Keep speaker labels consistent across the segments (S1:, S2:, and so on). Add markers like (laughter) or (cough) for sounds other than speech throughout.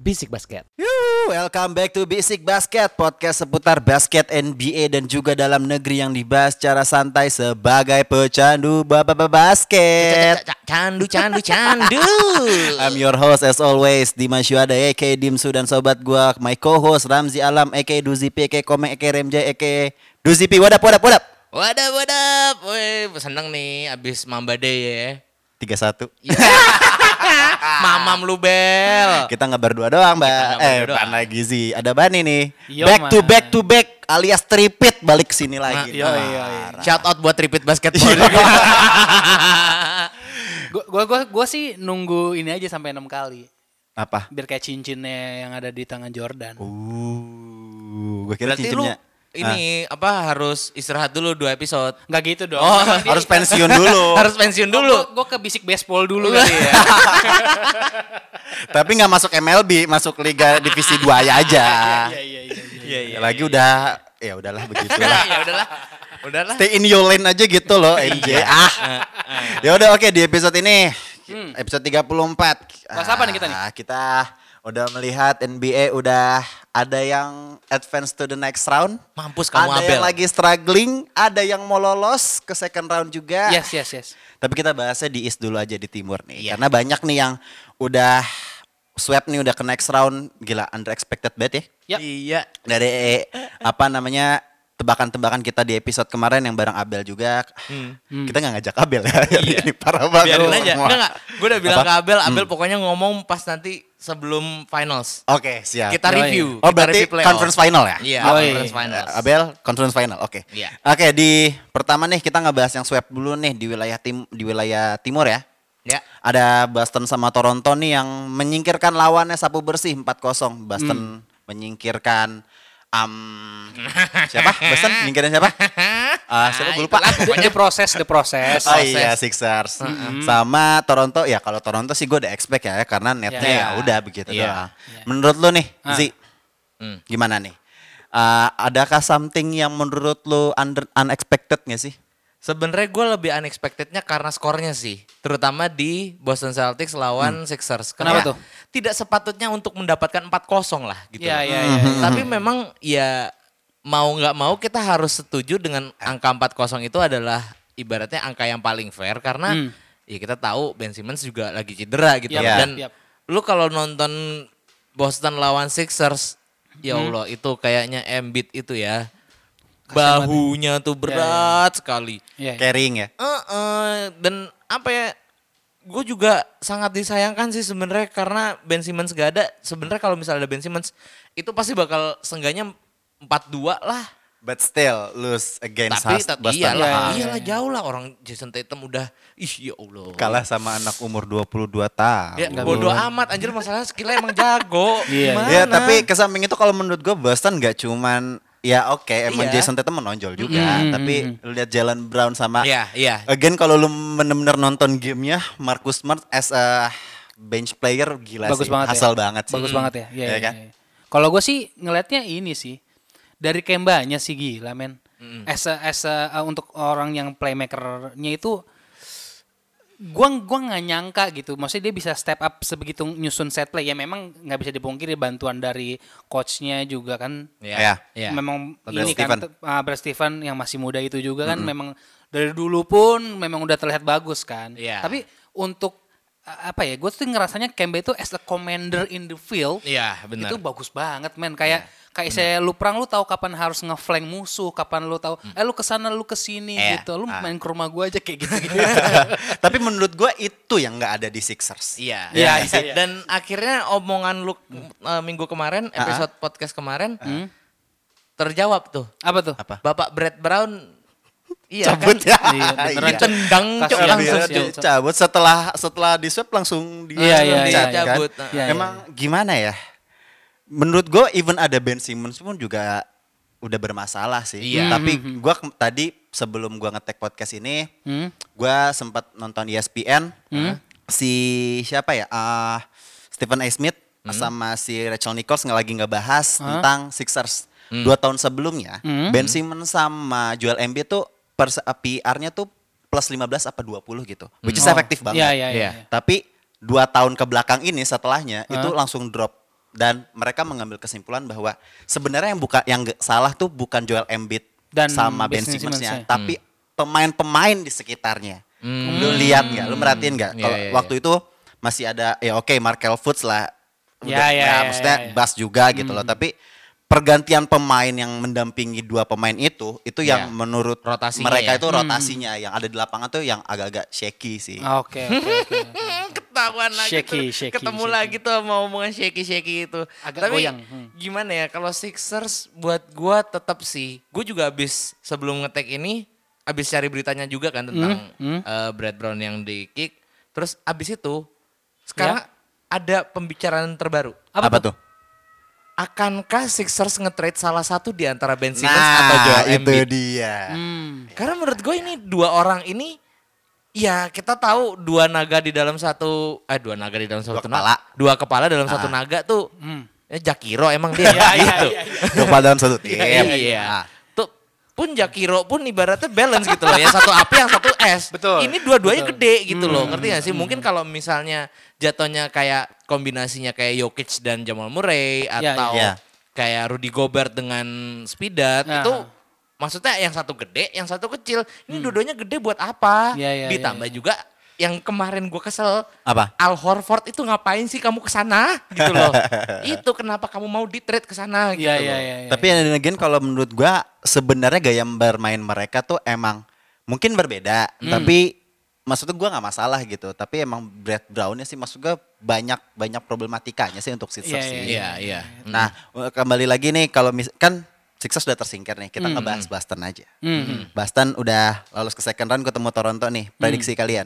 S1: Bisik Basket.
S2: Yuhu, welcome back to Basic Basket, podcast seputar basket NBA dan juga dalam negeri yang dibahas secara santai sebagai pecandu bapak basket.
S1: Candu, candu, candu.
S2: (laughs) I'm your host as always, Dimas Yuada, a.k.a. Dimsu dan sobat gua, my co-host Ramzi Alam, a.k.a. Duzipi, a.k.a. Komeng, a.k.a. Remjay, a.k.a. Duzipi, wadap, wadap, wadap.
S1: Wadap, wadap. Woi, seneng nih abis Mamba Day
S2: 31.
S1: ya.
S2: Ah.
S1: Mamam lu bel.
S2: Kita nggak berdua doang, Mbak.
S1: nggak
S2: Eh,
S1: berdua doang.
S2: bukan lagi sih. Ada Bani nih.
S3: Yo,
S2: back to
S3: Man.
S2: back to back alias tripit balik sini lagi.
S3: yo, yo, yo.
S2: Parah.
S1: Shout out buat Tripit Basketball.
S2: Iya,
S3: Gua, gua, gua, gua sih nunggu ini aja sampai enam kali.
S2: Apa?
S3: Biar kayak cincinnya yang ada di tangan Jordan.
S2: Uh, gue kira
S1: Berarti lu
S2: cincinnya. Ah.
S1: ini apa harus istirahat dulu dua episode.
S3: Nggak gitu dong.
S1: Oh,
S3: (laughs) Jadi-
S2: Ah, harus pensiun dulu.
S1: (laughs) harus pensiun dulu.
S3: Gua, gua ke bisik baseball
S1: (laughs)
S3: dulu kali ya.
S2: Tapi nggak masuk MLB, masuk Liga Divisi 2 ya aja.
S3: (laughs) Iya, iya, iya. iya.
S1: Iya, iya.
S2: Lagi udah ya udahlah
S3: (laughs)
S2: begitulah.
S1: Ya udahlah. Udahlah.
S2: Stay in your lane aja gitu loh,
S3: Iya,
S2: MJ.
S3: Eh,
S2: ah. Ya udah oke di episode ini episode 34.
S3: Hmm. Bahas apa nih kita nih?
S2: Ah, Kita udah melihat NBA udah ada yang advance to the next round.
S1: Mampus kamu
S2: ada yang
S1: Abel.
S2: lagi struggling, ada yang mau lolos ke second round juga.
S3: Yes, yes, yes.
S2: Tapi kita bahasnya di East dulu aja di timur nih.
S1: Iya.
S2: Karena banyak nih yang udah sweep nih udah ke next round. Gila unexpected banget ya.
S3: Yap.
S1: Iya.
S2: Dari eh, apa namanya tebakan-tebakan kita di episode kemarin yang bareng Abel juga.
S3: Hmm.
S2: Kita nggak ngajak Abel ya. (laughs) ini parah banget.
S1: Hmm. Iya. Biarin
S2: lu
S1: aja.
S2: semua.
S1: Enggak enggak. Gue udah bilang
S2: Apa? Hmm.
S1: ke Abel, Abel pokoknya ngomong pas nanti sebelum finals.
S2: Oke, siap.
S1: Kita
S3: Yoi.
S1: review.
S2: oh,
S1: Kita
S2: berarti
S1: review playoff.
S2: conference final ya?
S1: Iya,
S3: Yoi.
S1: conference finals.
S2: Eh, Abel, conference final. Oke.
S1: Iya.
S2: Oke, di pertama nih kita ngebahas yang sweep dulu nih di wilayah tim di wilayah timur ya.
S1: Ya.
S2: Ada Boston sama Toronto nih yang menyingkirkan lawannya sapu bersih 4-0.
S1: Hmm.
S2: Boston menyingkirkan am siapa? Boston menyingkirin siapa? Ah, siapa gue lupa.
S1: Itulah Hmm, pokoknya
S3: The process, the process.
S2: (laughs) Oh iya Sixers sama Toronto ya kalau Toronto sih gue udah expect ya karena netnya
S3: Iya.
S2: ya udah begitu
S1: Iya.
S2: doang. Menurut lu nih
S3: Ah.
S2: Zi
S1: Hmm.
S2: gimana nih? Eh, adakah something yang menurut lu under, unexpected gak sih?
S1: Sebenarnya gue lebih unexpectednya karena skornya sih, terutama di Boston Celtics lawan Sixers.
S3: Hmm. Kenapa tuh?
S1: Tidak sepatutnya untuk mendapatkan 4-0 lah (laughs) gitu.
S3: Iya, iya, iya, iya.
S1: Tapi memang ya mau nggak mau kita harus setuju dengan angka 4-0 itu adalah ibaratnya angka yang paling fair karena
S3: Hmm.
S1: ya kita tahu Ben Simmons juga lagi cedera gitu
S3: Yap,
S2: Iya.
S1: dan
S3: yap.
S1: lu kalau nonton Boston lawan Sixers ya
S3: Hmm.
S1: Allah itu kayaknya Embiid itu ya bahunya tuh berat sekali.
S3: Iya, iya.
S2: Caring ya.
S1: Heeh, dan apa ya? Gue juga sangat disayangkan sih sebenarnya karena Ben Simmons gak ada. Sebenarnya kalau misalnya ada Ben Simmons itu pasti bakal sengganya 4-2 lah.
S2: But still lose against
S1: Tapi
S2: Hus-
S1: tet-
S2: Boston. Ah.
S1: iyalah,
S3: Iya, iya,
S1: iyalah
S3: iya.
S1: jauh lah orang Jason Tatum udah ih ya Allah.
S3: Gitu.
S2: Kalah sama anak umur 22 tahun.
S1: Ya, bodoh amat anjir masalahnya skillnya emang jago.
S3: (laughs) Iya,
S1: Gimana?
S2: Ya, tapi kesamping itu kalau menurut gue Boston gak cuman ya oke emang
S1: Iya.
S2: Jason Tatum menonjol juga,
S3: Mm,
S2: tapi lu lihat Jalen Brown sama
S1: Iya, iya.
S2: Again kalau lu bener-bener nonton gamenya Marcus Smart as a bench player gila sih.
S3: Bagus banget. ya.
S2: Hasal banget sih.
S3: Bagus
S2: Hmm.
S3: banget ya. Iya,
S2: Iya
S3: iya,
S2: kan?
S3: iya. Kalau gue sih ngelihatnya ini sih dari Kembanya sih gila men. As a- as a- uh, untuk orang yang playmakernya itu gua gua nggak nyangka gitu. Maksudnya dia bisa step up sebegitu nyusun set play. Ya memang nggak bisa dipungkiri bantuan dari coachnya juga kan.
S1: Iya.
S2: Iya.
S1: Iya.
S3: Memang
S2: Brad
S3: ini
S2: Stephen.
S3: kan te- ah, Brad Stephen yang masih muda itu juga kan memang dari dulu pun memang udah terlihat bagus kan.
S1: Iya.
S3: Tapi untuk a- apa ya? Gue tuh ngerasanya Kemba itu as a commander in the field
S1: Iya, benar. Iya,
S3: itu bagus banget men kayak kayak saya lu perang lu tahu kapan harus ngeflank musuh, kapan lu tahu eh lu kesana lu kesini
S1: Mm. Iya.
S3: gitu. Lu main ke rumah gua aja kayak gitu.
S1: (laughs)
S3: gitu.
S2: (laughs) tapi menurut gue itu yang nggak ada di Sixers. Ya kan?
S1: Iya.
S3: Iya,
S1: Iya,
S3: iya, iya.
S1: Dan akhirnya omongan lu eh, minggu kemarin, episode podcast kemarin terjawab tuh.
S3: Hmm? Apa tuh?
S2: Apa?
S1: Bapak Brad Brown iya
S2: Cabut
S1: kan
S2: ya.
S3: Iya, beneran.
S1: ditendang
S3: Kasihan,
S1: cok
S2: Iya,
S1: langsung
S3: kasihan.
S1: cok.
S2: dicabut setelah setelah di swap langsung dia
S3: Iya, iya,
S2: dicat,
S1: iya,
S2: kan?
S1: cabut.
S3: Iya, iya.
S2: Emang gimana ya? Menurut gue even ada Ben Simmons pun juga udah bermasalah sih.
S1: Iya.
S2: Tapi gue tadi sebelum gue ngetek podcast ini,
S3: Hmm?
S2: gue sempat nonton E ESPN si siapa ya Ah, Stephen A Smith
S3: Hmm?
S2: sama si Rachel Nichols nggak lagi ngebahas tentang Sixers
S3: Hmm.
S2: dua tahun sebelumnya Ben Simmons sama Joel Embiid tuh pers- eh, PR-nya tuh plus 15 apa 20 gitu which is
S3: Oh,
S2: efektif banget
S3: iya, iya, iya,
S1: Iya.
S3: iya.
S2: tapi dua tahun ke belakang ini setelahnya itu langsung drop dan mereka mengambil kesimpulan bahwa sebenarnya yang buka yang ge- salah tuh bukan Joel Embiid
S3: Dan
S2: sama Ben
S3: Ben
S2: Simmons-nya,
S3: Simmons-nya.
S2: tapi
S1: Hmm.
S2: pemain-pemain di sekitarnya. Lu lihat nggak? Lu merhatiin nggak?
S1: Iya,
S2: Kalau
S1: Hmm. iya,
S2: waktu itu masih ada ya oke Markel Fultz lah.
S3: Ya,
S2: Udah-
S3: ya,
S2: ya,
S3: ya,
S2: maksudnya
S3: ya, ya.
S2: bas juga gitu
S1: Hmm.
S2: loh, tapi pergantian pemain yang mendampingi dua pemain itu itu yang
S1: Ya.
S2: menurut
S1: Rotasinya
S2: mereka
S1: ya.
S2: itu rotasinya yang ada di lapangan tuh yang agak-agak shaky sih.
S3: Ah, Oke, oke, oke.
S1: (laughs) ketahuan lagi
S3: Shaky,
S1: tuh.
S3: shaky,
S1: ketemu
S3: shaky.
S1: lagi tuh sama omongan shaky shaky itu
S3: Agak
S1: tapi
S3: goyang, hmm.
S1: gimana ya kalau Sixers buat gua tetap sih gue juga abis sebelum ngetek ini abis cari beritanya juga kan tentang
S3: Hmm,
S1: eh, Brad Brown yang di kick terus abis itu sekarang
S3: Ya.
S1: ada pembicaraan terbaru
S3: Apa
S2: Apa,
S3: tuh?
S2: tuh?
S1: akankah Sixers nge-trade salah satu di antara Ben Simmons atau
S2: Nah,
S1: Joel
S2: itu
S1: Embiid
S2: dia.
S3: Hmm.
S1: karena menurut gue ini dua orang ini ya kita tahu dua naga di dalam satu eh dua naga di dalam satu
S2: kepala.
S1: naga, dua kepala dalam satu naga tuh eh, Jakiro emang dia
S3: Ah. (laughs) Iya, iya,
S1: gitu.
S3: iya,
S2: Dua kepala dalam satu tim. Nah,
S1: Iya. Tuh pun Jakiro pun ibaratnya balance gitu loh ya satu api yang satu es.
S3: Betul. Hmm,
S1: Ini dua-duanya gede gitu loh. Ngerti gak sih? Mungkin kalau misalnya jatuhnya kayak kombinasinya kayak Jokic dan Jamal Murray
S3: Ya,
S1: atau
S2: ya.
S1: kayak Rudy Gobert dengan Spidat
S3: Ya. Hmm.
S1: itu maksudnya yang satu gede, yang satu kecil. Ini dua-duanya gede buat apa?
S3: Ya, ya, ya,
S1: Ditambah juga yang kemarin gue kesel
S2: Apa?
S1: Al Horford itu ngapain sih kamu ke sana gitu
S2: (laughs)
S1: loh. itu kenapa kamu mau di trade ke sana gitu.
S3: Iya,
S1: loh.
S3: iya, iya. iya.
S2: Tapi yang again kalau menurut gua sebenarnya gaya bermain mereka tuh emang mungkin berbeda, tapi maksudnya gua nggak masalah gitu. Tapi emang Brad Brownnya sih maksud gua banyak banyak problematikanya sih untuk Sixers
S3: Iya,
S2: sih.
S1: Iya, iya.
S2: Nah, kembali lagi nih kalau mis kan Sixers udah tersingkir nih, kita ngebahas Boston aja. Boston udah lolos ke second round ketemu Toronto nih, prediksi kalian.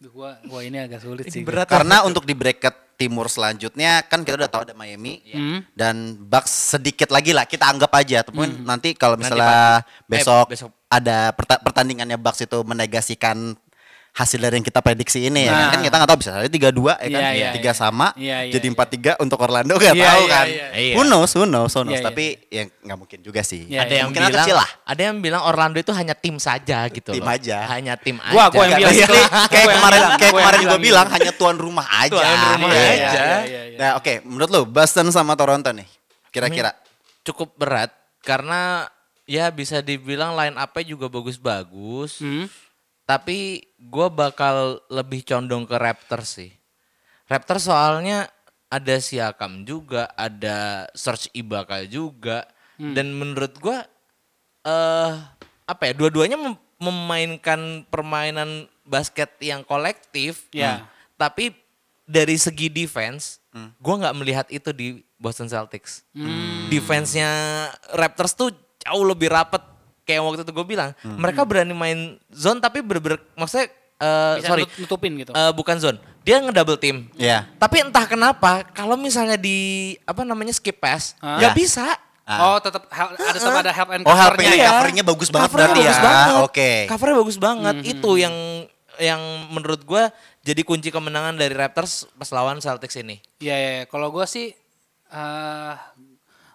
S3: Duh, gua, gua ini agak sulit sih.
S1: berat ya.
S2: Karena untuk di bracket timur selanjutnya kan kita udah tahu ada Miami
S3: Hmm.
S2: dan Bucks sedikit lagi lah kita anggap aja temuin nanti kalau
S1: Nanti
S2: misalnya
S1: Eh,
S2: besok,
S1: besok.
S2: ada perta- pertandingannya Bucks itu menegasikan hasil dari yang kita prediksi ini
S3: Nah.
S2: ya kan kita nggak tahu bisa saja tiga dua ya kan
S3: Iya, iya,
S2: tiga
S3: iya.
S2: sama
S3: Iya, iya,
S2: jadi
S3: iya.
S2: empat tiga untuk Orlando nggak
S3: Iya,
S2: tahu
S3: iya,
S2: kan
S3: iya.
S1: Iya.
S2: who knows who knows who knows
S3: Iya, iya,
S2: tapi ya nggak mungkin juga sih
S1: ada
S3: Iya, iya.
S1: yang
S2: Kemungkinan
S1: bilang
S2: kecil lah.
S1: ada yang bilang Orlando itu hanya tim saja gitu
S2: Tim
S1: loh.
S2: aja.
S1: hanya tim aja
S3: Gua- gua yang
S2: Nggak,
S3: bilang.
S2: basically, kayak
S3: Gua yang
S2: kemarin kayak
S3: bilang, gua yang
S2: kemarin gue
S3: bilang.
S2: bilang hanya tuan rumah aja
S1: Tuan rumah
S2: Iya, iya.
S1: aja.
S3: Iya, iya, iya.
S2: Nah, oke, menurut lu Boston sama Toronto nih. Kira-kira
S1: cukup berat karena ya bisa dibilang line up-nya juga bagus-bagus
S3: Hmm.
S1: tapi gua bakal lebih condong ke Raptors sih Raptors soalnya ada Siakam juga ada Serge Ibaka juga
S3: Hmm.
S1: dan menurut gua eh apa ya dua-duanya mem- memainkan permainan basket yang kolektif Hmm.
S3: Ya.
S1: tapi dari segi defense gua nggak melihat itu di Boston Celtics
S3: Hmm.
S1: defense-nya Raptors tuh jauh lebih rapet kayak yang waktu itu gue bilang mereka berani main zone tapi berber maksudnya eh,
S3: Bisa
S1: sorry
S3: nut- nutupin gitu.
S1: Eh, bukan zone dia ngedouble team
S2: Iya.
S1: tapi entah kenapa kalau misalnya di apa namanya skip pass
S3: Ah.
S1: nggak
S2: Ya.
S1: bisa Iya.
S3: Oh, tetap hel- ada tetap ada help and
S2: Oh, help
S3: covernya
S2: and
S3: ya.
S2: cover. covernya bagus banget
S1: Covernya
S2: berarti
S1: bagus
S2: ya.
S1: banget.
S2: Oke.
S1: Covernya bagus banget.
S3: Hmm,
S1: Itu yang yang menurut gua jadi kunci kemenangan dari Raptors pas lawan Celtics ini.
S3: Iya, iya. iya. Kalau gua sih eh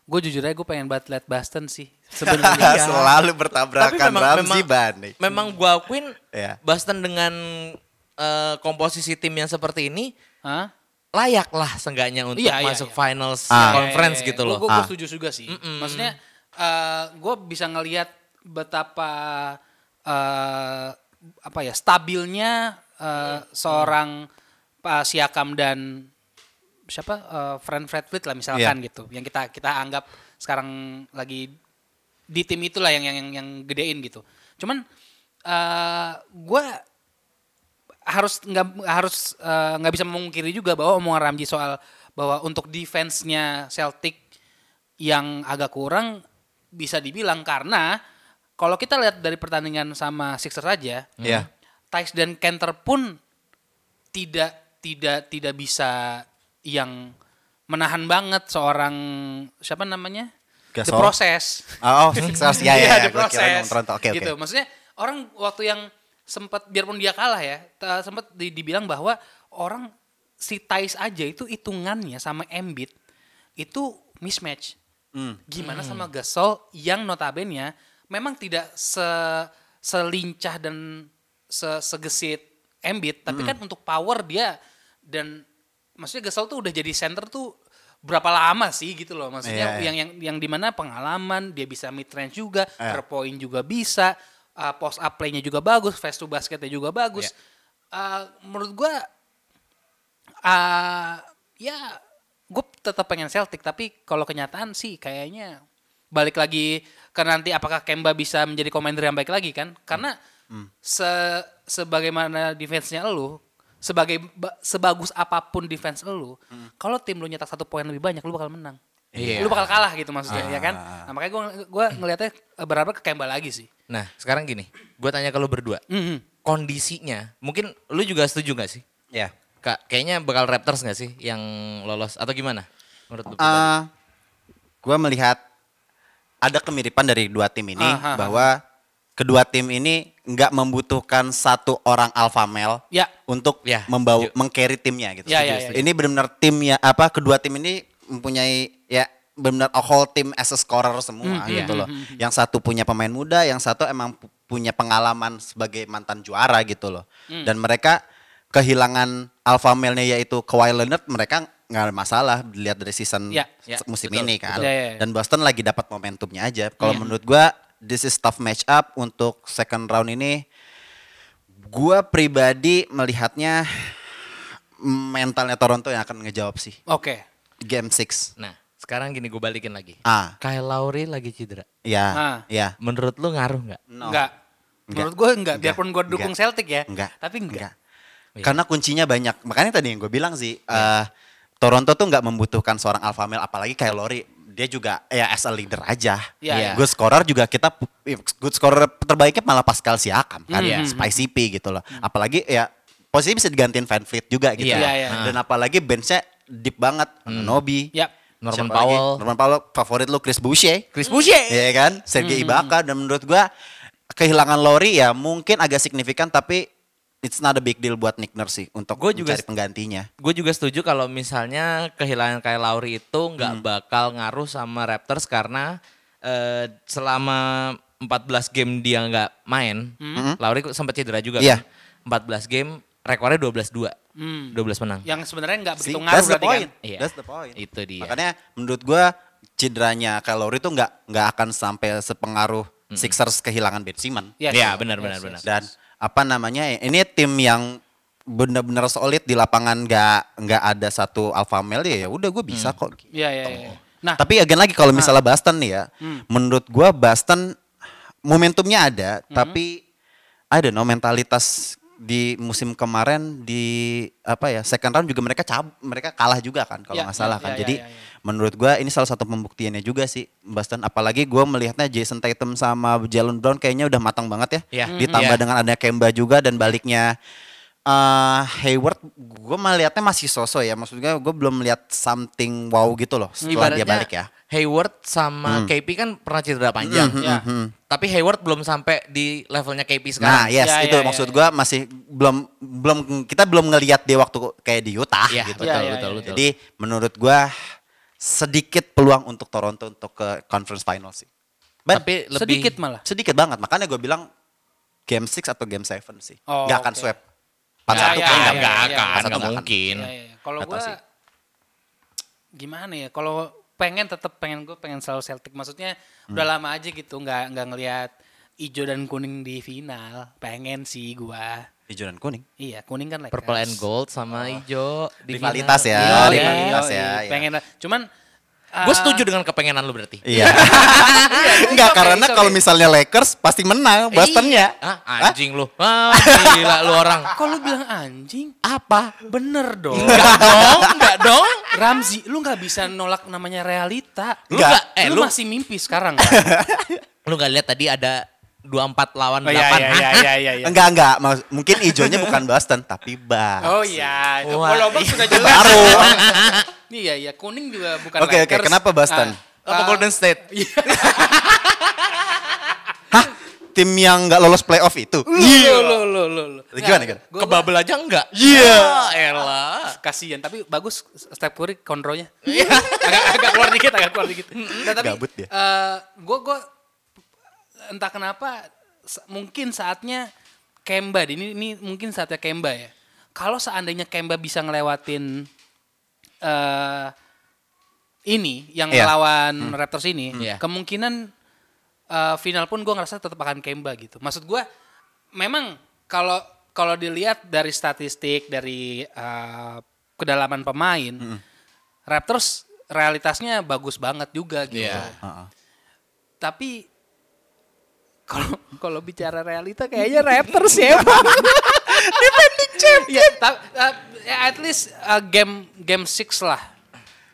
S3: gua jujur aja gua pengen banget lihat Boston sih
S2: (laughs) iya.
S3: sebenarnya.
S2: Ah, selalu bertabrakan Ramzi Bani.
S1: memang gua akuin
S2: Iya.
S1: Boston dengan eh, komposisi tim yang seperti ini
S3: Hah?
S1: layak lah seenggaknya untuk
S3: Iya, iya,
S1: masuk
S3: iya.
S1: finals
S2: Ah.
S1: conference gitu loh.
S3: Gue
S2: Ah.
S3: Iya. setuju juga sih. Maksudnya gue bisa ngelihat betapa eh, apa ya stabilnya eh, seorang Pak Siakam dan siapa eh, Fred VanVleet lah misalkan
S2: Iya.
S3: gitu yang kita kita anggap sekarang lagi di tim itulah yang yang yang, yang gedein gitu. Cuman eh, gue harus nggak harus eh, nggak bisa memungkiri juga bahwa omongan Ramji soal bahwa untuk defense-nya Celtic yang agak kurang bisa dibilang karena kalau kita lihat dari pertandingan sama Sixers saja,
S2: Iya.
S3: Tice dan Kenter pun tidak tidak tidak bisa yang menahan banget seorang siapa namanya The
S2: Gasol.
S3: Process
S2: Oh, oh, Sixers ya ya.
S3: ada
S2: Gua kira
S3: proses.
S2: ngomong Toronto. Oke, oke.
S3: Iya, Gitu. Maksudnya orang waktu yang sempat biarpun dia kalah ya, ta- sempat di- dibilang bahwa orang si Thais aja itu hitungannya sama Embiid itu mismatch.
S2: Hmm.
S3: Gimana sama Gasol yang notabene ya, memang tidak se selincah dan se- segesit
S2: Hmm.
S3: Embiid, tapi kan untuk power dia dan maksudnya Gasol tuh udah jadi center tuh berapa lama sih gitu loh
S2: Iya,
S3: maksudnya
S2: iya.
S3: yang yang yang dimana pengalaman dia bisa mid range juga
S2: Iya.
S3: per point juga bisa uh, post up play-nya juga bagus face to basketnya juga
S2: Iya.
S3: bagus Uh, menurut gua uh, ya gue tetap pengen Celtic tapi kalau kenyataan sih kayaknya balik lagi ke nanti apakah Kemba bisa menjadi commander yang baik lagi kan karena
S1: Hmm.
S3: se sebagaimana defense-nya lu sebagai ba- sebagus apapun defense lu kalau tim lu nyetak satu poin lebih banyak lu bakal menang
S1: Hmm. Iya.
S3: lu bakal kalah gitu maksudnya ya kan nah, makanya gue gua ngelihatnya berharap ke Kemba lagi sih
S1: Nah, sekarang gini, gue tanya ke lu berdua.
S3: Mhm.
S1: Kondisinya, mungkin lu juga setuju gak sih?
S2: Ya.
S1: Kak, kayaknya bakal Raptors gak sih yang lolos atau gimana? Menurut lu? pribadi?
S2: Eh, gua melihat ada kemiripan dari dua tim ini
S3: Aha.
S2: bahwa kedua tim ini nggak membutuhkan satu orang alpha male
S3: Ya.
S2: untuk
S1: Ya,
S2: membawa
S1: setuju.
S2: mengcarry timnya gitu.
S3: Ya, ya,
S2: Setuju,
S3: ya.
S2: setuju. Ini benar-benar tim ya apa kedua tim ini mempunyai ya benar-benar a whole team as a scorer
S3: Hmm,
S2: semua
S3: iya.
S2: gitu loh. Yang satu punya pemain muda, yang satu emang pu- punya pengalaman sebagai mantan juara gitu loh.
S3: Hmm.
S2: Dan mereka kehilangan alpha male-nya yaitu Kawhi Leonard, mereka nggak ada masalah dilihat dari season
S3: Ya,
S1: ya,
S2: Hmm. se- musim
S1: betul,
S2: ini kan.
S3: betul. Ya, ya, Iya. ya.
S2: Dan Boston lagi dapat momentumnya aja. Kalau menurut gua this is tough match up untuk second round ini. Gua pribadi melihatnya mentalnya Toronto yang akan ngejawab sih.
S3: oke
S2: Game 6.
S1: Nah, sekarang gini gue balikin lagi.
S2: Ah,
S1: Kyle Lowry lagi cedera.
S2: ya,
S3: Ah.
S2: ya.
S1: Menurut lu ngaruh nggak?
S2: No.
S3: enggak menurut gue enggak biarpun gue dukung
S2: Enggak.
S3: Celtic ya
S2: Enggak.
S3: tapi enggak, Oh,
S1: Iya.
S2: Karena kuncinya banyak. Makanya tadi yang gue bilang sih, eh,
S3: Iya.
S2: Toronto tuh nggak membutuhkan seorang alpha male, apalagi kayak Lori. Dia juga ya as a leader aja.
S3: Iya, iya.
S2: Good scorer juga kita, eh, good scorer terbaiknya malah Pascal Siakam kan,
S3: Iya.
S1: Hmm.
S2: Spicy P gitu loh. Apalagi ya posisi bisa digantiin Van Fleet juga gitu.
S1: Iya,
S2: loh.
S3: Hmm. iya. Hmm.
S2: Dan apalagi benchnya deep banget. Nobi,
S3: Yap.
S1: Norman
S2: Siapa lagi?
S1: Powell.
S2: Norman Powell favorit lu Chris Boucher.
S1: Chris Boucher.
S2: (laughs) Iya kan?
S1: Hmm.
S2: Sergei Ibaka dan menurut gua kehilangan Lori ya mungkin agak signifikan tapi it's not a big deal buat Nick Nurse sih untuk
S1: Gua juga
S2: mencari penggantinya.
S1: Gue juga setuju kalau misalnya kehilangan Kyle Lowry itu nggak bakal ngaruh sama Raptors karena eh, selama 14 game dia nggak main, Lowry sempat cedera juga
S2: Iya.
S1: kan. 14 game, rekornya 12-2. 12 menang.
S3: yang sebenarnya enggak
S2: See,
S3: begitu ngaruh berarti kan
S1: Iya.
S2: That's the point.
S1: Itu dia.
S2: Makanya menurut gua cederanya Kalori tuh nggak nggak akan sampai sepengaruh Sixers kehilangan Ben Simmons.
S1: Hmm. Iya,
S3: Yes, yes,
S1: benar
S3: yes,
S1: benar
S3: yes,
S1: benar.
S2: Dan apa namanya? Ini tim yang bener-bener solid di lapangan nggak nggak ada satu alpha male ya ya udah gue bisa
S1: Hmm.
S2: kok
S3: Iya, iya, iya. Nah,
S2: Oh.
S3: ah. Hmm.
S2: Tapi again lagi kalau misalnya Boston nih ya, menurut gua Boston momentumnya ada,
S3: Hmm.
S2: tapi I don't know mentalitas di musim kemarin di apa ya second round juga mereka cab mereka kalah juga kan kalau
S3: Ya,
S2: nggak salah
S3: ya,
S2: kan.
S3: ya,
S2: Jadi
S3: ya, ya, ya.
S2: menurut gua ini salah satu pembuktiannya juga sih Boston. Apalagi gua melihatnya Jason Tatum sama Jalen Brown kayaknya udah matang banget ya.
S1: Ya. Mhm.
S2: Ditambah
S1: Ya.
S2: dengan adanya Kemba juga dan baliknya eh Hayward gue melihatnya masih sosok ya maksudnya gue belum melihat something wow gitu loh setelah dia balik ya Hmm.
S1: Hayward sama KP kan pernah cedera panjang.
S3: Ya.
S1: Tapi Hayward belum sampai di levelnya KP
S2: Nah,
S1: sekarang.
S2: yes,
S3: Ya,
S2: itu
S3: ya, ya,
S2: maksud gua masih belum belum kita belum ngelihat dia waktu kayak di Utah
S1: Iya,
S2: gitu.
S1: betul,
S3: Ya, ya,
S1: betul,
S3: ya, ya.
S1: betul.
S2: Jadi menurut gua sedikit peluang untuk Toronto untuk ke conference final sih. But
S1: tapi lebih
S3: sedikit malah.
S2: sedikit banget. Makanya gua bilang game 6 atau game 7 sih.
S3: Oh,
S2: Nggak akan
S3: oke.
S2: sweep.
S1: Enggak,
S3: Ya,
S2: 4-1
S3: ya,
S2: kayaknya
S1: enggak,
S2: nggak-
S1: enggak,
S2: nggak
S1: akan,
S3: ya,
S2: akan. 4-1
S1: enggak
S2: nggak akan.
S1: mungkin.
S3: Iya, iya. Kalau
S2: Nggak tahu
S3: gue
S2: sih.
S3: gimana ya? Kalau pengen tetap pengen gue pengen selalu Celtic. Maksudnya
S2: Hmm.
S3: udah lama aja gitu nggak nggak ngelihat hijau dan kuning di final. Pengen sih gua.
S2: Hijau dan
S3: (laughs)
S2: kuning.
S3: Iya kuning kan Lakers.
S1: Purple and gold
S3: Oh.
S1: sama hijau di
S2: Rivalitas ya,
S3: Iya, iya,
S2: rivalitas
S3: iya,
S2: ya.
S3: iya. Pengen lah. Cuman
S1: Gue setuju dengan kepengenan lu berarti.
S2: Iya.
S3: It's
S2: Enggak
S3: okay,
S2: karena
S3: it's
S2: kalau
S3: okay.
S2: misalnya Lakers pasti menang
S3: Iya.
S2: Bostonnya.
S1: Hah, anjing lu. Ah, gila lu orang.
S3: Kok lu bilang anjing?
S1: Apa?
S3: Bener dong.
S1: Enggak dong, enggak dong.
S3: Ramzi, lu nggak bisa nolak namanya realita.
S1: Lu enggak eh
S3: lu,
S1: lu
S3: masih mimpi
S2: (laughs)
S3: sekarang kan?
S1: lu enggak lihat tadi ada 24 lawan 8.
S3: Oh, iya
S2: Enggak, enggak. Maksud- mungkin
S3: (laughs)
S2: hijaunya bukan Boston, tapi Bucks.
S3: Oh iya,
S1: Wah.
S3: Wolobak sudah jelas.
S2: Baru.
S3: iya iya, kuning juga bukan
S2: Oke, oke.
S3: Lakers.
S2: Kenapa Boston?
S3: Ah,
S1: Apa
S3: ah,
S1: Golden State?
S2: Tim yang nggak lolos playoff itu.
S3: Ah, Lu lu lu lu. lu.
S2: Gimana, gimana?
S3: gua-
S1: Kebabel aja enggak?
S2: Iya.
S1: Ya elah.
S3: gua Kasihan, tapi bagus step Curry kontrolnya.
S2: (laughs)
S3: agak, agak keluar dikit, agak keluar dikit. Nah, tapi
S2: Iya. Gabut dia.
S3: eh, gua gua entah kenapa sa- mungkin saatnya Kemba deh. ini ini mungkin saatnya Kemba ya. Kalau seandainya Kemba bisa ngelewatin eh ini yang
S2: Iya.
S3: melawan Raptors ini,
S1: Iya.
S3: kemungkinan eh, final pun gue ngerasa tetap akan Kemba gitu. Maksud gue, memang kalau kalau dilihat dari statistik dari eh, kedalaman pemain, Raptors realitasnya bagus banget juga gitu.
S1: Iya.
S2: Heeh.
S3: Tapi kalau kalau bicara realita kayaknya Raptors ya. (laughs) Bang. Defending champion. Ya, ta- ta- at least uh, game game 6 lah.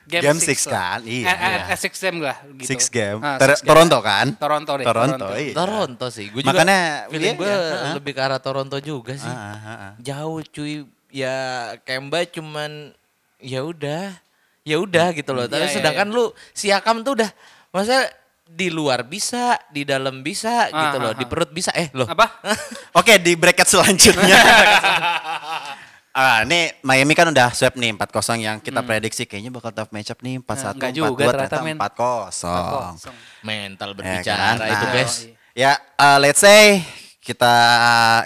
S2: Game
S3: six
S2: six kan, iya.
S3: Eh, eh, eh, six game lah gitu.
S2: Six game.
S3: Ah,
S2: Ter-
S3: six game.
S2: Toronto kan?
S3: Toronto deh,
S2: Toronto.
S3: Toronto.
S2: iya.
S1: Toronto sih. Gue
S2: Makanya,
S1: juga feeling
S2: iya,
S1: gue
S2: iya, heeh.
S1: lebih ke arah Toronto juga sih.
S2: Heeh, heeh.
S1: Jauh cuy. Ya Kemba cuman ya udah. Ya udah
S2: Hmm.
S1: gitu loh. Tapi
S3: Iya, iya,
S1: sedangkan lu Siakam tuh udah masa di luar bisa, di dalam bisa
S3: Ah,
S1: gitu
S3: ah,
S1: loh, di
S3: ah.
S1: perut bisa. Eh, loh.
S3: Apa?
S2: Oke, di bracket
S3: (laughs)
S2: selanjutnya. Ah, nih Miami kan udah sweep nih 4-0 yang kita prediksi kayaknya bakal tough matchup nih 4-1,
S3: Nah, Hmm. nggak
S2: 4-2,
S3: juga ternyata,
S2: ternyata
S3: men.
S2: 4-0.
S3: Kosong.
S1: (laughs) Mental
S2: Ya
S1: berbicara
S2: kan?
S1: itu,
S2: Nah,
S1: guys.
S2: Ya, eh, let's say kita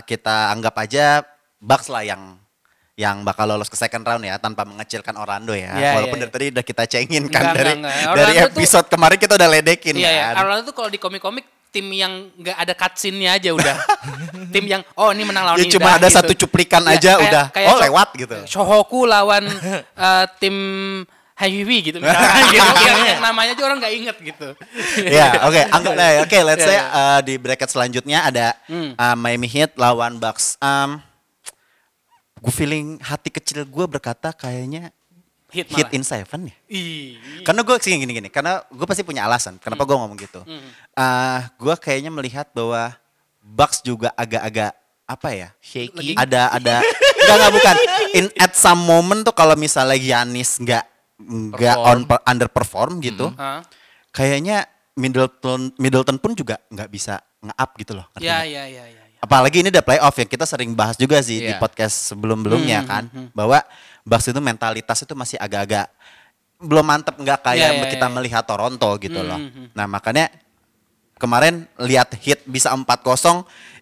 S2: kita anggap aja Bucks lah yang yang bakal lolos ke second round ya tanpa mengecilkan Orlando ya.
S3: Iya,
S2: Walaupun
S3: iya,
S2: dari tadi udah kita cengin kan
S3: Enggak,
S2: dari
S3: enggak, enggak.
S2: dari
S3: Orlando tuh-
S2: episode kemarin kita udah ledekin
S3: Iya ya.
S2: kan.
S3: Orlando tuh kalau di komik-komik tim yang nggak ada cutscene-nya aja
S2: (laughs)
S3: udah. tim yang oh ini menang lawan
S2: Ya,
S3: ini.
S2: cuma
S3: udah,
S2: ada
S3: gitu.
S2: satu cuplikan
S3: Ya,
S2: aja
S3: kayak-
S2: udah.
S3: kayak
S2: oh,
S3: Sho-
S2: lewat gitu.
S3: Shohoku
S2: (laughs)
S3: lawan eh, tim Hayuwi gitu misalkan
S2: (laughs)
S3: gitu. Yang- yang namanya aja orang nggak inget gitu.
S2: ya, oke, anggaplah ya. Oke,
S3: Iya,
S2: let's say uh, di bracket selanjutnya ada
S3: Hmm.
S2: uh, Miami Heat lawan Bucks. Um, gue feeling hati kecil gue berkata kayaknya
S3: Hit malah.
S2: Heat in seven ya.
S3: Ih.
S2: Karena gue sih gini-gini, karena gue pasti punya alasan
S3: Hmm.
S2: kenapa gue ngomong gitu. Ah, gue kayaknya melihat bahwa Bucks juga agak-agak apa ya?
S1: Shaky.
S2: Ada ada enggak enggak bukan. In at some moment tuh kalau misalnya Giannis enggak enggak on underperform gitu.
S3: Hmm. Hah?
S2: Kayaknya Middleton Middleton pun juga nggak bisa nge-up gitu loh. ngerti
S3: Ya,
S2: nggak?
S3: ya, ya, ya. ya.
S2: Apalagi ini udah playoff yang kita sering bahas juga sih di
S1: Iya.
S2: podcast
S3: Hmm,
S2: sebelum-belumnya kan bahwa Bucks itu mentalitas itu masih agak-agak belum mantep nggak kayak
S3: Iya, iya,
S2: kita
S3: iya.
S2: melihat Toronto gitu loh.
S3: Hmm, hmm,
S2: Nah makanya kemarin lihat hit bisa 4-0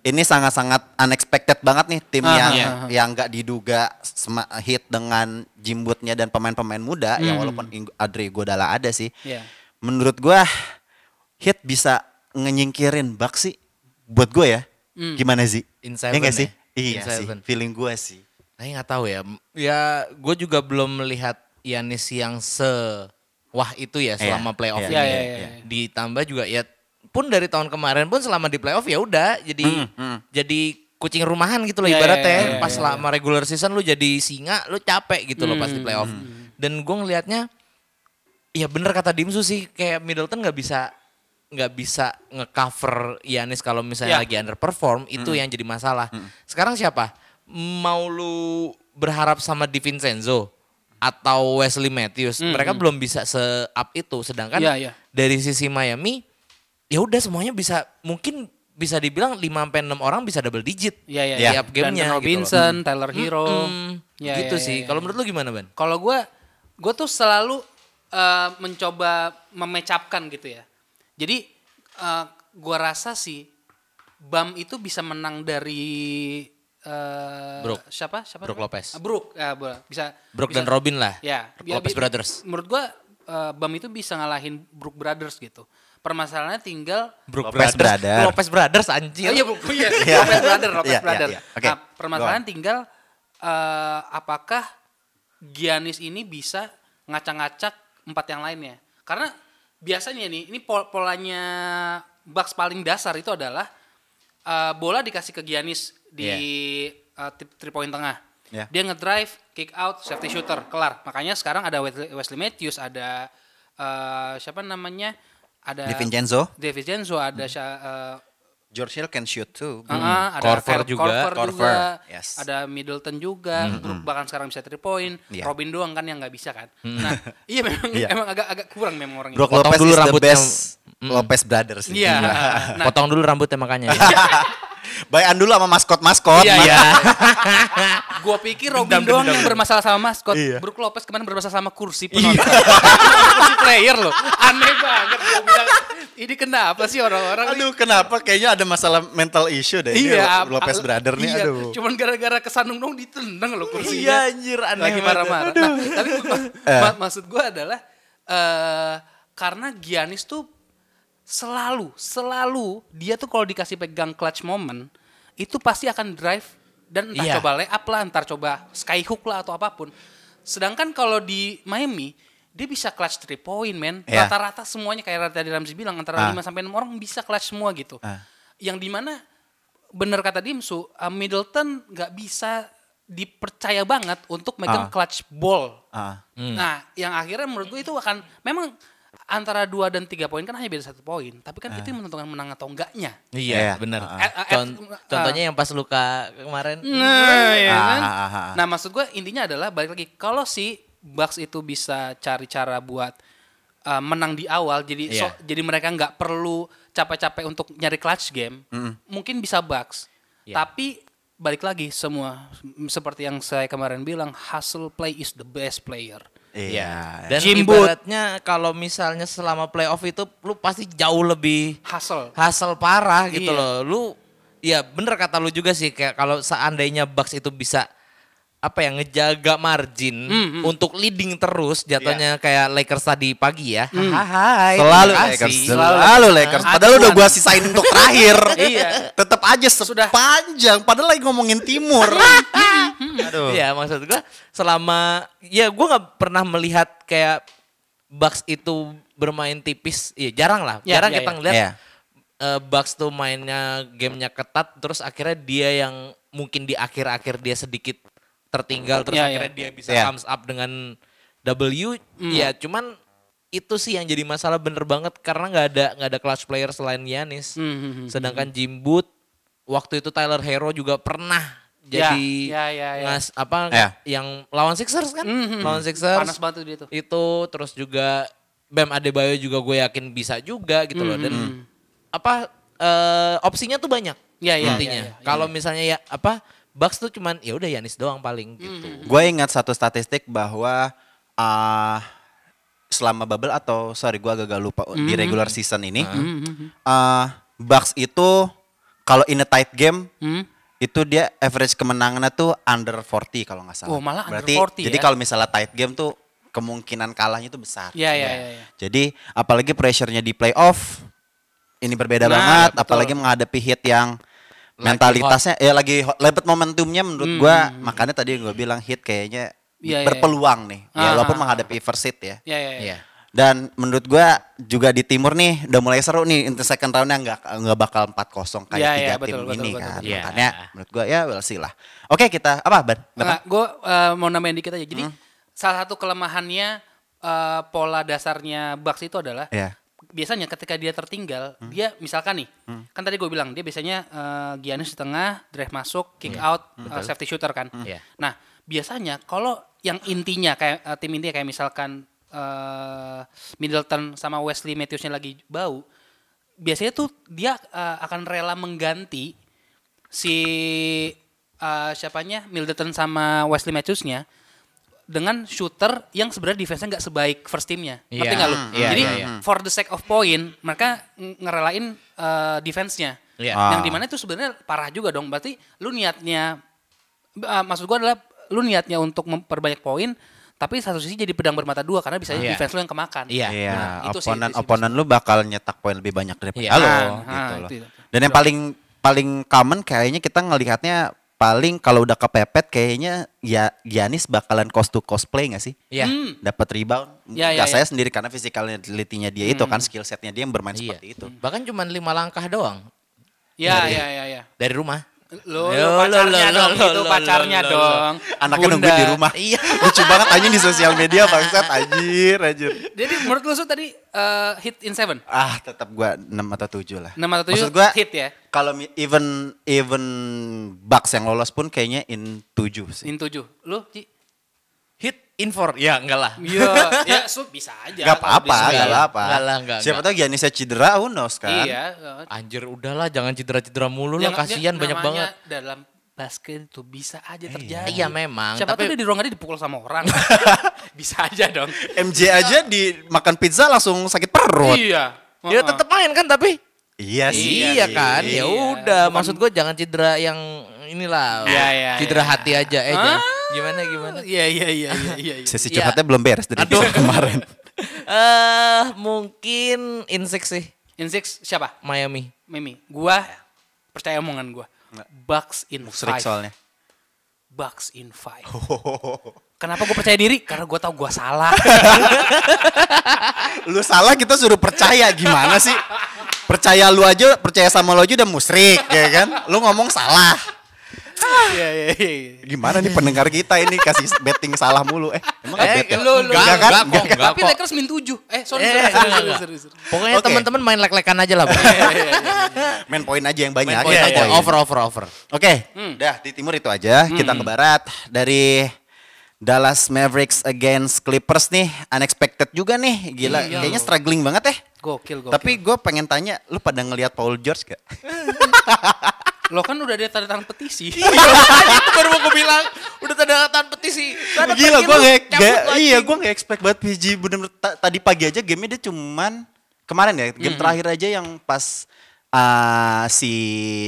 S2: ini sangat-sangat unexpected banget nih tim
S3: Ah,
S2: yang
S3: iya.
S2: yang nggak diduga sema- hit dengan jimbutnya dan pemain-pemain muda ya walaupun Ing- Adri Godala ada sih.
S3: Hmm. Iya.
S2: Menurut gua hit bisa ngenyingkirin Bucks sih buat gue ya. Gimana sih?
S1: In
S2: Iya
S1: seven
S2: nggak
S1: ya?
S2: sih?
S1: In
S2: Iya sih.
S1: seven.
S2: Feeling gue sih.
S1: Tapi nggak tahu ya. Ya, gue juga belum melihat Yanis yang se wah itu ya selama
S2: Iya,
S1: playoff
S2: iya,
S1: ini.
S3: iya,
S1: ya.
S3: iya, iya.
S1: Ditambah juga ya pun dari tahun kemarin pun selama di playoff ya udah jadi jadi kucing rumahan gitu loh
S3: Hmm, Iya,
S1: ibaratnya.
S3: iya, iya, iya, Hmm,
S1: pas selama regular season lu jadi singa, lu capek gitu loh pas di playoff. Dan gue ngelihatnya ya bener kata Dimsu sih kayak Middleton nggak bisa nggak bisa ngecover Yanis kalau misalnya
S3: Ya.
S1: lagi underperform itu
S3: Hmm.
S1: yang jadi masalah. Sekarang siapa? Mau lu berharap sama DiVincenzo atau Wesley Matthews?
S3: Hmm,
S1: Mereka belum bisa se-up itu. Sedangkan
S3: Ya, ya.
S1: dari sisi Miami ya udah semuanya bisa mungkin bisa dibilang 5 sampai 6 orang bisa double digit
S3: Iya, iya,
S1: tiap gamenya
S3: Brandon
S1: gitu loh.
S3: Robinson, Tyler Hero.
S1: Hmm,
S3: Ya,
S1: gitu
S3: ya, ya,
S1: sih.
S3: ya.
S1: Kalau menurut lu gimana, Ban?
S3: Kalau gue, gue tuh selalu eh, mencoba memecapkan gitu ya. Jadi eh, gue rasa sih Bam itu bisa menang dari eh,
S1: Brook.
S3: siapa? Siapa?
S1: Brook
S3: namanya?
S1: Lopez.
S3: Ah, Brook, ya, bo- bisa.
S1: Brook dan
S3: bisa-
S1: Robin lah.
S3: Ya.
S1: Brook
S3: ya,
S1: Lopez
S3: bi-
S1: Brothers.
S3: Menurut gue Bam itu bisa ngalahin Brook Brothers gitu. Permasalahannya tinggal
S1: Brook
S2: Lopez Brothers.
S1: Lopez Brothers anjir.
S3: Oh iya, Bu. Iya,
S2: Iya.
S3: Lopez Brother, Lopez
S2: Iya, iya,
S3: Brother.
S2: iya. Oke,
S3: Nah, permasalahan tinggal eh, apakah Giannis ini bisa ngacak-ngacak empat yang lainnya. Karena biasanya nih, ini pol- polanya Bucks paling dasar itu adalah eh, bola dikasih ke Giannis di eh, tip- three point tengah.
S2: Iya.
S3: Dia ngedrive, kick out, safety shooter, kelar. Makanya sekarang ada Wesley Wesley Matthews, ada eh, siapa namanya? Ada
S2: DiVincenzo.
S3: DiVincenzo, ada
S2: Hmm.
S3: Sha- eh,
S2: George Hill can shoot too.
S3: Ah, ada
S1: Corver
S3: Cor-
S1: juga.
S3: Corver
S2: Corver,
S3: juga,
S2: yes. Hmm.
S3: ada Middleton juga, Brook bahkan sekarang bisa three point,
S2: Iya. Hmm.
S3: Robin doang kan yang nggak bisa kan.
S2: (laughs)
S3: Nah, iya memang
S2: Iya.
S3: emang agak agak kurang memang orang
S2: Brook
S1: Potong
S2: Lopez
S1: dulu
S2: is the
S1: rambutnya.
S2: best Lopez Brothers.
S3: ini. Iya.
S2: (laughs)
S3: (laughs) Nah,
S1: Potong dulu rambutnya makanya.
S2: Bayan dulu sama maskot-maskot.
S3: Iya,
S2: Mas-
S3: iya. gua pikir Robin doang yang bermasalah sama maskot.
S2: Iya.
S3: Brook Lopez kemarin bermasalah sama kursi penonton. (laughs) kursi player loh. Aneh banget gua bilang. Ini kenapa sih orang-orang nih?
S2: (laughs) Aduh kenapa kayaknya ada masalah mental issue deh. ini
S3: Iya,
S2: Lopez
S3: al-
S2: Brothers nih
S3: iya, ya.
S2: aduh. Iya,
S3: Cuman gara-gara kesandung dong ditendang loh kursinya.
S1: anjir
S3: lagi marah-marah. Nah, tapi ma- ma- maksud gue adalah eh karena Giannis tuh selalu selalu dia tuh kalau dikasih pegang clutch moment itu pasti akan drive dan entah
S1: Iya.
S3: coba lay up lah, entar coba skyhook lah atau apapun. Sedangkan kalau di Miami dia bisa clutch three point men.
S2: Iya.
S3: Rata-rata semuanya kayak tadi Ramzi bilang antara
S2: Ah.
S3: 5 sampai 6 orang bisa clutch semua gitu.
S2: Ah.
S3: Yang dimana bener kata Dimsu, uh, Middleton nggak bisa dipercaya banget untuk
S2: Ah.
S3: megang clutch ball.
S2: Ah.
S3: Nah, yang akhirnya menurut gue itu akan memang antara dua dan tiga poin kan hanya beda satu poin, tapi
S2: Ah.
S3: kan itu yang menentukan menang atau enggaknya.
S1: (laughs) Iya,
S2: Iya.
S1: benar.
S2: Ah,
S3: ah.
S1: Con- contohnya yang pas luka kemarin.
S3: Nah, ya
S2: Ah,
S3: kan?
S2: ah, ah, ah.
S3: Nah, maksud gue intinya adalah balik lagi kalau si Bucks itu bisa cari cara buat uh, menang di awal, jadi so-
S1: Iya.
S3: jadi mereka nggak perlu capek-capek untuk nyari clutch game, mungkin bisa Bucks.
S1: Iya.
S3: Tapi balik lagi semua seperti yang saya kemarin bilang, hustle play is the best player.
S2: Iya.
S1: Dan
S3: Jim Boot.
S1: ibaratnya kalau misalnya selama playoff itu lu pasti jauh lebih
S3: Hustle.
S1: hasil parah gitu
S3: Iya.
S1: loh. Lu ya bener kata lu juga sih kayak kalau seandainya Bucks itu bisa apa ya ngejaga margin untuk leading terus jatuhnya kayak Lakers tadi pagi ya. Hai,
S2: Selalu
S1: terima
S2: Lakers,
S1: kasih.
S2: selalu, Lakers. Padahal udah gua sisain untuk terakhir.
S3: (laughs) Iya.
S2: Tetap aja
S3: Sudah.
S2: sepanjang. Padahal lagi ngomongin timur.
S3: (laughs)
S2: Aduh.
S1: Iya maksud gua selama ya gua nggak pernah melihat kayak Bucks itu bermain tipis, ya jarang lah,
S3: Ya,
S1: jarang
S3: ya,
S1: kita
S3: ya.
S1: ngeliat
S2: Iya.
S1: eh, Bucks tuh mainnya gamenya ketat, terus akhirnya dia yang mungkin di akhir-akhir dia sedikit tertinggal, terus
S3: Ya, ya.
S1: akhirnya dia bisa
S2: Iya.
S1: thumbs up dengan W,
S3: Hmm.
S1: ya cuman itu sih yang jadi masalah bener banget karena nggak ada nggak ada clutch player selain Yanis,
S3: Hmm, hmm,
S1: sedangkan Jim Boot waktu itu Tyler Hero juga pernah
S3: Ya,
S1: jadi
S3: ya, ya, ya.
S1: ngas- apa
S2: Ya.
S1: yang lawan Sixers kan
S3: Mhm.
S1: lawan Sixers
S3: Panas banget tuh dia tuh.
S1: itu terus juga Bam Adebayo juga gue yakin bisa juga gitu
S3: Hmm,
S1: loh dan apa eh, opsinya tuh banyak
S3: Iya, iya,
S1: intinya
S3: iya, iya, iya.
S1: kalau misalnya ya apa Bucks tuh cuman ya udah Yanis doang paling
S3: Hmm,
S1: gitu
S2: Gue ingat satu statistik bahwa ah, selama bubble atau sorry gue agak-agak lupa
S3: Mm-hmm.
S2: di regular season ini, ah, Bucks itu kalau in a tight game
S3: Hmm?
S2: itu dia average kemenangannya tuh under 40 kalau nggak salah.
S3: Oh, malah under
S2: Berarti,
S3: 40
S2: Jadi
S3: ya?
S2: kalau misalnya tight game tuh kemungkinan kalahnya tuh besar.
S3: Iya, iya,
S2: Ya.
S3: iya, iya.
S2: Jadi apalagi pressure-nya di playoff ini berbeda
S3: Nah,
S2: banget,
S3: betul.
S2: apalagi menghadapi hit yang mentalitasnya ya lagi hot- lepet momentumnya menurut gua makanya tadi yang gua bilang hit kayaknya
S3: Hmm, Iya, iya,
S2: berpeluang nih ya
S3: Ah,
S2: walaupun
S3: ah,
S2: menghadapi first hit ya.
S3: Ya, ya, ya.
S1: Iya.
S2: Dan menurut gua juga di timur nih udah mulai seru nih untuk second roundnya nggak nggak bakal 4-0 kayak
S3: Iya,
S2: tiga
S3: iya,
S2: tim
S3: betul, betul,
S2: ini
S3: betul,
S2: kan.
S1: betul. Iya.
S2: Makanya menurut gua ya we'll see lah. Oke kita apa ban? Bapak?
S3: Nggak, gue mau nambahin dikit aja. Jadi salah satu kelemahannya eh, pola dasarnya Bucks itu adalah
S2: Iya.
S3: biasanya ketika dia tertinggal,
S1: Hmm.
S3: dia misalkan nih, kan tadi gue bilang dia biasanya eh, Giannis di tengah, drive masuk, kick out, eh, safety shooter kan.
S1: Hmm. Iya.
S3: Nah biasanya kalau yang intinya kayak eh, tim intinya kayak misalkan eh, Middleton sama Wesley Matthewsnya lagi bau, biasanya tuh dia eh, akan rela mengganti si eh, siapanya Middleton sama Wesley Matthewsnya dengan shooter yang sebenarnya defense-nya nggak sebaik first teamnya.
S1: Iya.
S3: Ngerti nggak lu?
S1: Iya,
S3: Jadi
S1: iya, iya.
S3: for the sake of point mereka ng- ngerelain eh, defense-nya.
S1: Iya.
S2: Ah.
S3: Yang dimana itu sebenarnya parah juga dong. Berarti lu niatnya eh, maksud gua adalah lu niatnya untuk memperbanyak poin tapi satu sisi jadi pedang bermata dua karena bisa
S1: Iya.
S3: defense lu yang kemakan.
S1: Iya.
S2: Iya,
S3: Nah, itu sih,
S2: oponan
S3: itu sih
S2: oponan lu bakal nyetak poin lebih banyak daripada
S1: Iya.
S2: lo
S3: Nah,
S2: gitu
S3: nah,
S2: loh.
S3: itu, itu.
S2: Dan yang paling paling common kayaknya kita ngelihatnya paling kalau udah kepepet kayaknya ya Giannis bakalan cost to cost play gak sih?
S1: Iya.
S3: Hmm.
S2: Dapat rebound.
S3: Iya, iya,
S2: Nggak saya sendiri karena physicality-nya dia itu
S3: Hmm.
S2: kan skill setnya dia yang bermain
S1: iya
S2: seperti itu.
S1: bahkan cuman lima langkah doang
S3: Iya, iya, iya, iya.
S1: dari rumah
S3: Lo,
S1: Yo,
S3: lo
S1: lo,
S3: pacarnya
S1: lo,
S3: dong,
S1: lo,
S3: itu
S1: lo, lo,
S3: pacarnya
S1: lo, lo.
S3: dong.
S2: Anaknya
S3: Bunda.
S2: nungguin di rumah.
S1: Iya.
S2: (laughs) Lucu banget anjing di sosial media bangsat anjir
S3: (laughs)
S2: anjir.
S3: Jadi menurut lu Su, tadi eh, hit in seven?
S2: Ah, tetap gua 6 atau 7 lah.
S3: 6 atau 7
S2: Maksud gua
S3: hit ya?
S2: Kalau mi- even even Bucks yang lolos pun kayaknya in 7 sih.
S3: In tujuh. Lu, Ci?
S1: hit in four ya enggak lah
S3: Iya, ya Su bisa aja.
S1: Iya,
S2: Gak
S3: kalau
S2: apa-apa,
S3: disuruh.
S1: Enggak
S2: gak
S1: lah,
S2: apa-apa.
S1: enggak lah, enggak,
S2: Siapa tahu Giannisnya cedera, who knows kan?
S3: Iya.
S1: anjir udahlah jangan cedera-cedera mulu lah
S3: Yang-
S1: kasihan
S3: yang
S1: banyak
S3: Ya, namanya
S1: banget
S3: Dalam basket itu bisa aja terjadi.
S1: Iya, memang,
S3: Siapa
S1: tapi-
S3: tahu dia di ruangan dia dipukul sama orang.
S1: (laughs)
S3: (laughs) bisa aja dong.
S2: MJ
S1: Iya.
S2: aja dimakan pizza langsung sakit perut.
S3: Iya.
S1: ya tetap main kan tapi
S2: Iya sih.
S1: Iya, kan,
S2: sih.
S1: ya
S3: Iya.
S1: udah.
S3: Bukan-
S1: Maksud gue jangan cedera yang inilah,
S3: Iya, iya,
S1: cedera
S3: iya.
S1: hati aja. Eh,
S3: Ah.
S1: jangan. gimana gimana?
S3: Iya, iya, iya, iya, iya. iya.
S2: Sesi
S1: (laughs) Iya.
S2: curhatnya belum beres dari
S1: Aduh.
S2: episode (laughs) kemarin.
S1: Eh, mungkin Insek sih
S3: In six siapa?
S1: Miami.
S3: Mimi. Gua percaya omongan gua. Bucks in
S2: Sering
S3: five.
S2: soalnya.
S3: Bucks in five.
S1: Oh.
S3: Kenapa gue percaya diri? Karena gue tahu gue
S1: (laughs)
S3: salah.
S2: (laughs) Lu salah kita suruh percaya gimana sih? Percaya lu aja, percaya sama lu aja udah musrik, ya kan? Lu ngomong salah.
S3: Iya iya
S1: Eh,
S3: iya.
S2: Gimana nih pendengar kita ini kasih betting salah mulu? Eh, emang
S1: Eh,
S2: eh, bet ya?
S1: lu- lu-
S2: Enggak kan?
S1: enggak kok,
S2: Enggak kan?
S1: enggak
S3: Tapi
S1: kok.
S3: Lakers min 7. Eh, sorry,
S1: Eh,
S3: sorry,
S1: enggak,
S3: sorry,
S1: enggak.
S3: sorry, sorry.
S1: Pokoknya
S2: Oke.
S1: teman-teman main lek-lekan aja lah. Bro.
S2: Main poin aja yang banyak. kita
S1: main poin aja. Hmm.
S2: poin.
S1: Over, over, over.
S2: Oke, dah di timur itu aja. Kita ke barat dari Dallas Mavericks against Clippers nih, unexpected juga nih. Gila,
S1: Iya.
S2: kayaknya struggling banget ya.
S3: Gokil, gokil.
S2: Tapi gue pengen tanya, lu pada ngelihat Paul George gak?
S3: lo kan udah ada tanda tangan petisi. (laughs) Iya,
S1: itu baru mau gue bilang udah tanda tangan petisi.
S3: Kan
S1: Tanda
S2: Gila,
S3: gitu,
S1: tangan
S2: gue
S1: lu
S2: nggak,
S1: cabut
S2: nggak-
S1: lu,
S2: iya
S1: anjing.
S2: gue nggak expect banget PG. Bener, tadi pagi aja gamenya dia cuman kemarin ya, game terakhir aja yang pas ah, si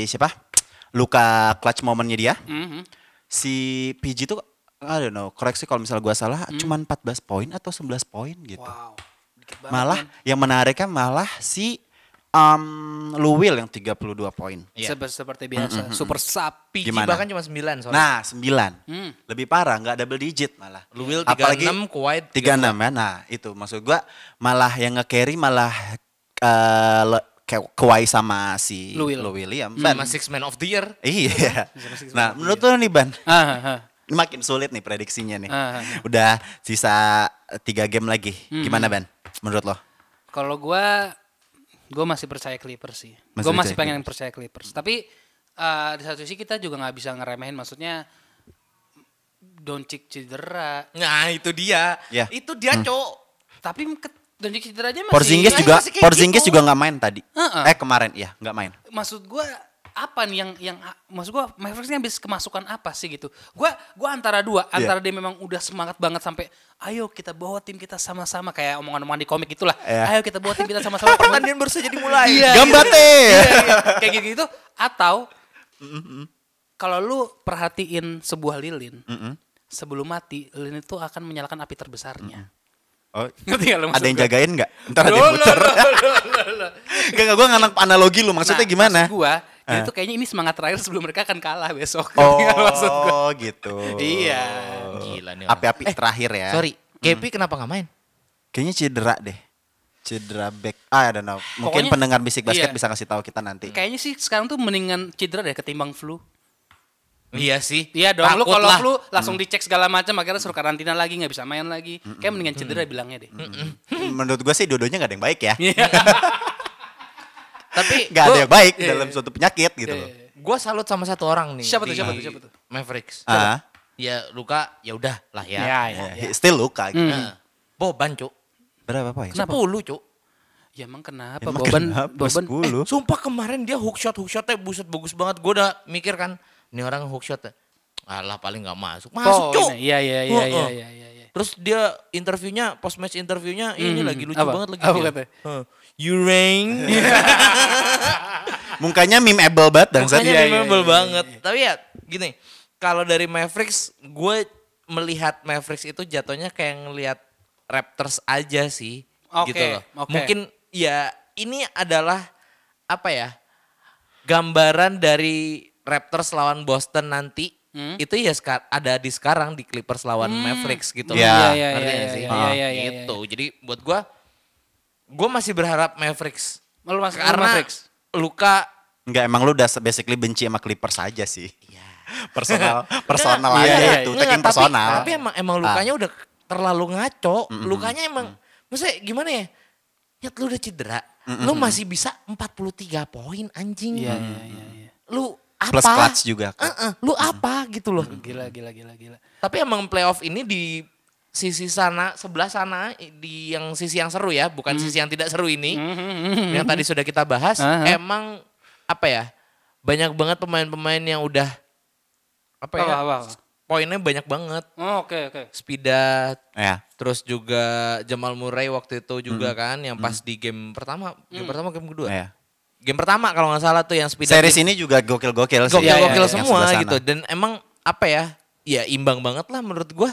S2: siapa? Luka clutch momennya dia.
S3: Mhm.
S2: si PG tuh I don't know, koreksi kalau misalnya gua salah, cuman 14 poin atau 11 poin gitu.
S3: Wow. Dikit banget.
S2: malah yang menariknya malah si um, Luwil yang 32 poin.
S3: Sep- seperti biasa, super sapi.
S1: PG
S2: Gimana?
S1: bahkan cuma 9 soalnya.
S2: Nah, 9.
S3: Hmm.
S2: Lebih parah, nggak double digit malah.
S1: Lu Will
S2: Apalagi
S1: 36, Kuwait
S2: 36 ya. Nah, itu maksud gua malah yang nge-carry malah eh, Le- Ke- Kawhi sama si
S3: Lu Will. Hmm,
S2: Lu William. Ban.
S1: sama Six Man of the Year.
S2: Iya. Nah, menurut lu nih Ban,
S3: Ah, ah, ah.
S2: Ini makin sulit nih prediksinya nih.
S3: Ah. Hmm.
S2: Udah sisa tiga game lagi. Gimana Ban? Menurut lo?
S3: Kalau gua gua masih percaya Clippers sih.
S2: Masih
S3: gua masih
S2: percaya
S3: pengen percaya Clippers. Tapi eh, di satu sisi kita juga nggak bisa ngeremehin maksudnya Doncic cedera.
S1: Nah, itu dia.
S2: Iya.
S1: Itu dia, Cok.
S3: Tapi ke- Doncic cedera aja masih Ah,
S2: Porzingis
S1: masih
S2: juga
S1: kayak gitu.
S2: Porzingis juga nggak main tadi.
S3: Heeh.
S2: Eh kemarin iya nggak main.
S3: maksud gua apa nih yang yang maksud gua Mavericks ini habis kemasukan apa sih gitu gua gua antara dua
S2: Iya.
S3: antara dia memang udah semangat banget sampai ayo kita bawa tim kita sama-sama kayak omongan-omongan di komik itulah
S2: Iya.
S3: ayo kita bawa tim kita sama-sama
S1: Pertandingan baru saja dimulai.
S3: Iya.
S2: Gambate.
S3: kayak gitu gitu atau kalau lu perhatiin sebuah lilin sebelum mati lilin itu akan menyalakan api terbesarnya
S2: Oh,
S3: ngerti gak lu
S2: ada
S3: maksud
S2: yang
S3: gua?
S2: jagain nggak? Ntar ada
S3: Loh,
S2: yang muter.
S3: loh, loh, loh, loh.
S2: Gak gak gue nganak analogi lu maksudnya
S3: Nah,
S2: gimana?
S3: maksud gua jadi tuh kayaknya ini semangat terakhir sebelum mereka akan kalah besok
S2: Oh
S3: (laughs) maksud gua
S2: gitu.
S3: Iya. Eh,
S1: Gila nih. orang.
S2: Api-api terakhir ya.
S1: Sorry, Kepi kenapa nggak main?
S2: Kayaknya cedera deh. Cedera back. Ah, I don't know. Mungkin
S3: Pokoknya-
S2: pendengar bisik basket
S3: iya.
S2: bisa kasih tahu kita nanti.
S3: Kayaknya sih sekarang tuh mendingan cedera deh ketimbang flu.
S1: Iya sih.
S3: Iya dong, lu
S1: Takut
S3: kalau
S1: lah.
S3: flu langsung dicek segala macam akhirnya suruh karantina lagi nggak bisa main lagi. Kayak mendingan cedera bilangnya deh.
S2: Hmm. Menurut gue sih dua-duanya gak ada yang baik ya.
S3: mm. Iya.
S1: Tapi
S2: (laughs) Gak ada
S1: gua-
S2: yang baik
S3: iya,
S2: dalam
S3: iya.
S2: suatu penyakit gitu
S3: Iya,
S2: loh.
S3: iya, iya.
S1: Gua salut sama satu orang nih.
S3: Siapa
S1: di
S3: tuh, siapa tuh, siapa tuh?
S1: Mavericks.
S3: iya.
S2: Ah.
S1: Ya luka, ya udah lah ya.
S3: Ya, ya,
S2: Ya,
S3: ya.
S2: he- Still luka. gitu.
S1: Nah, Boban, Cuk.
S2: Berapa poin?
S3: Hmm. Kenapa?
S1: 10, Cuk.
S3: Ya emang kenapa?
S2: Emang
S3: Boban,
S2: kenapa
S3: Boban. Iya,
S2: 10?
S3: Eh,
S1: Sumpah kemarin dia hook shot, hook shotnya buset bagus banget. Gua udah mikir kan, ini orang hook shotnya. Alah paling nggak masuk. Masuk,
S3: Poin,
S1: Cuk.
S3: Iya, iya, iya,
S1: Heeh.
S3: iya, iya, iya, iya.
S1: Terus dia interviewnya, post match interviewnya, ini
S3: Hmm,
S1: lagi lucu
S3: apa?
S1: banget lagi.
S3: Apa
S1: dia.
S3: katanya?
S1: Heeh. You rain.
S3: (laughs)
S1: (laughs)
S2: Mukanya meme able banget dan
S1: Makanya
S2: saya.
S3: Iya, iya,
S1: memorable
S3: iya, iya,
S1: banget. Tapi ya gini, kalau dari Mavericks, gue melihat Mavericks itu jatuhnya kayak ngelihat Raptors aja sih,
S3: Oke,
S1: gitu loh.
S3: oke.
S1: Mungkin ya ini adalah apa ya gambaran dari Raptors lawan Boston nanti
S3: Hmm.
S1: itu ya seka- ada di sekarang di Clippers lawan Mavericks gitu. loh.
S2: Iya,
S1: Ngerti
S3: iya,
S1: nggak
S3: iya,
S1: sih?
S3: iya,
S1: Ah,
S3: iya, iya,
S1: Gitu. Jadi buat gue, gue masih berharap Mavericks
S3: Lu masuk ke
S1: karena
S3: Mavericks.
S1: luka
S2: Enggak emang lu udah basically benci sama Clippers aja sih. (laughs) Personal, personal aja
S3: Iya, iya,
S2: itu,
S1: Enggak,
S2: taking
S1: tapi-
S2: personal. Ah.
S1: Tapi, emang emang lukanya udah terlalu ngaco. Lukanya emang maksudnya gimana ya? Nyet lu udah cedera. Lu masih bisa 43 poin anjing.
S3: Iya, iya, iya, iya.
S1: Lu apa?
S2: Plus clutch juga.
S1: Eh-eh, lu apa gitu loh.
S3: Gila, gila, gila, gila.
S1: Tapi emang playoff ini di sisi sana sebelah sana di yang sisi yang seru ya, bukan
S2: Mm.
S1: sisi yang tidak seru ini. Yang tadi sudah kita bahas,
S3: Aha.
S1: emang apa ya? Banyak banget pemain-pemain yang udah apa ya?
S3: Apa, apa, apa?
S1: Poinnya banyak banget.
S3: Oh, oke, oke.
S1: Spidat,
S2: Ya.
S1: Terus juga Jamal Murray waktu itu
S2: Hmm.
S1: juga kan yang pas di game pertama, game pertama game kedua.
S2: ya.
S1: Game pertama kalau nggak salah tuh yang speed
S2: Series ini juga gokil-gokil sih. Iya,
S1: gokil-gokil
S2: Yang
S1: semua
S2: sebelah sana.
S1: gitu dan
S2: Hmm.
S1: emang apa ya? Ya imbang banget lah menurut gua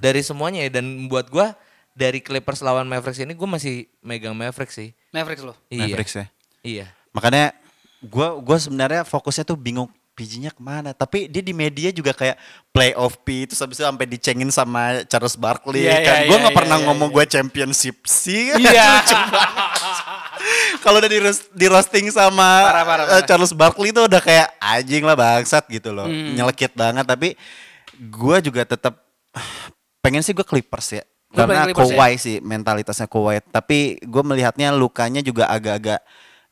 S1: dari semuanya ya dan buat gua dari Clippers lawan Mavericks ini gue masih megang Mavericks sih.
S3: Mavericks loh.
S1: Iya.
S2: Mavericks ya.
S1: Iya.
S2: Makanya gua gua sebenarnya fokusnya tuh bingung PG-nya kemana. Tapi dia di media juga kayak playoff P terus habis itu sampai dicengin sama Charles Barkley kan.
S3: Iya, iya,
S2: gua
S3: iya,
S2: nggak
S3: iya,
S2: pernah
S3: iya,
S2: ngomong
S3: iya.
S2: gua championship sih.
S3: Iya.
S2: Kalau udah di, roast- di roasting sama
S3: Parah, parah,
S2: eh,
S3: parah.
S2: Charles Barkley tuh udah kayak anjing lah bangsat gitu loh.
S3: Hmm.
S2: Nyelekit banget tapi gua juga tetap (sighs) pengen sih gua Clippers ya.
S3: Lu
S2: Karena
S3: pengen Clippers ya?
S2: Kawhi sih mentalitasnya Kawhi, tapi gua melihatnya lukanya juga agak-agak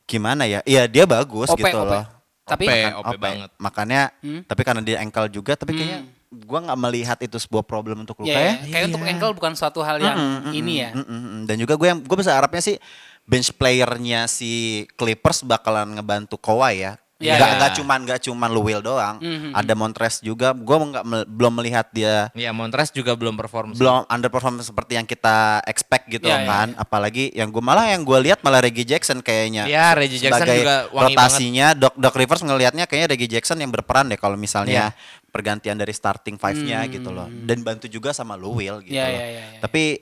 S2: gimana ya? Iya, dia bagus
S3: Ope,
S2: gitu
S3: ope. Hmm?
S2: loh.
S3: Tapi
S1: Ope.
S2: Makan- ope.
S1: banget.
S2: Makanya tapi karena dia ankle juga, tapi kayaknya gua nggak melihat itu sebuah problem untuk
S3: ya,
S2: luka
S3: ya,
S2: ya.
S3: Hmm. kayak untuk ankle bukan suatu hal yang ini ya.
S2: Mm, mm, mm. Dan juga gue yang gue bisa harapnya sih bench playernya si Clippers bakalan ngebantu Kawhi ya. nggak
S3: Iya, iya. Mm,
S2: nggak cuman nggak cuman Luwil doang. Ada Montres juga. Gue nggak mel- belum melihat dia
S1: Iya, Montrez juga belum perform. sih.
S2: belum underperform seperti yang kita expect gitu loh
S3: Iya,
S2: kan. Apalagi yang gue malah yang gue lihat malah Reggie Jackson kayaknya.
S1: Iya, Reggie Jackson
S2: sebagai
S1: juga wangi
S2: rotasinya Doc Doc Rivers ngelihatnya kayaknya Reggie Jackson yang berperan deh kalau
S3: Iya.
S2: misalnya pergantian dari starting five-nya gitu loh dan bantu juga sama Luwil gitu
S3: Hmm. Iya,
S2: loh.
S3: iya, iya, iya.
S2: Tapi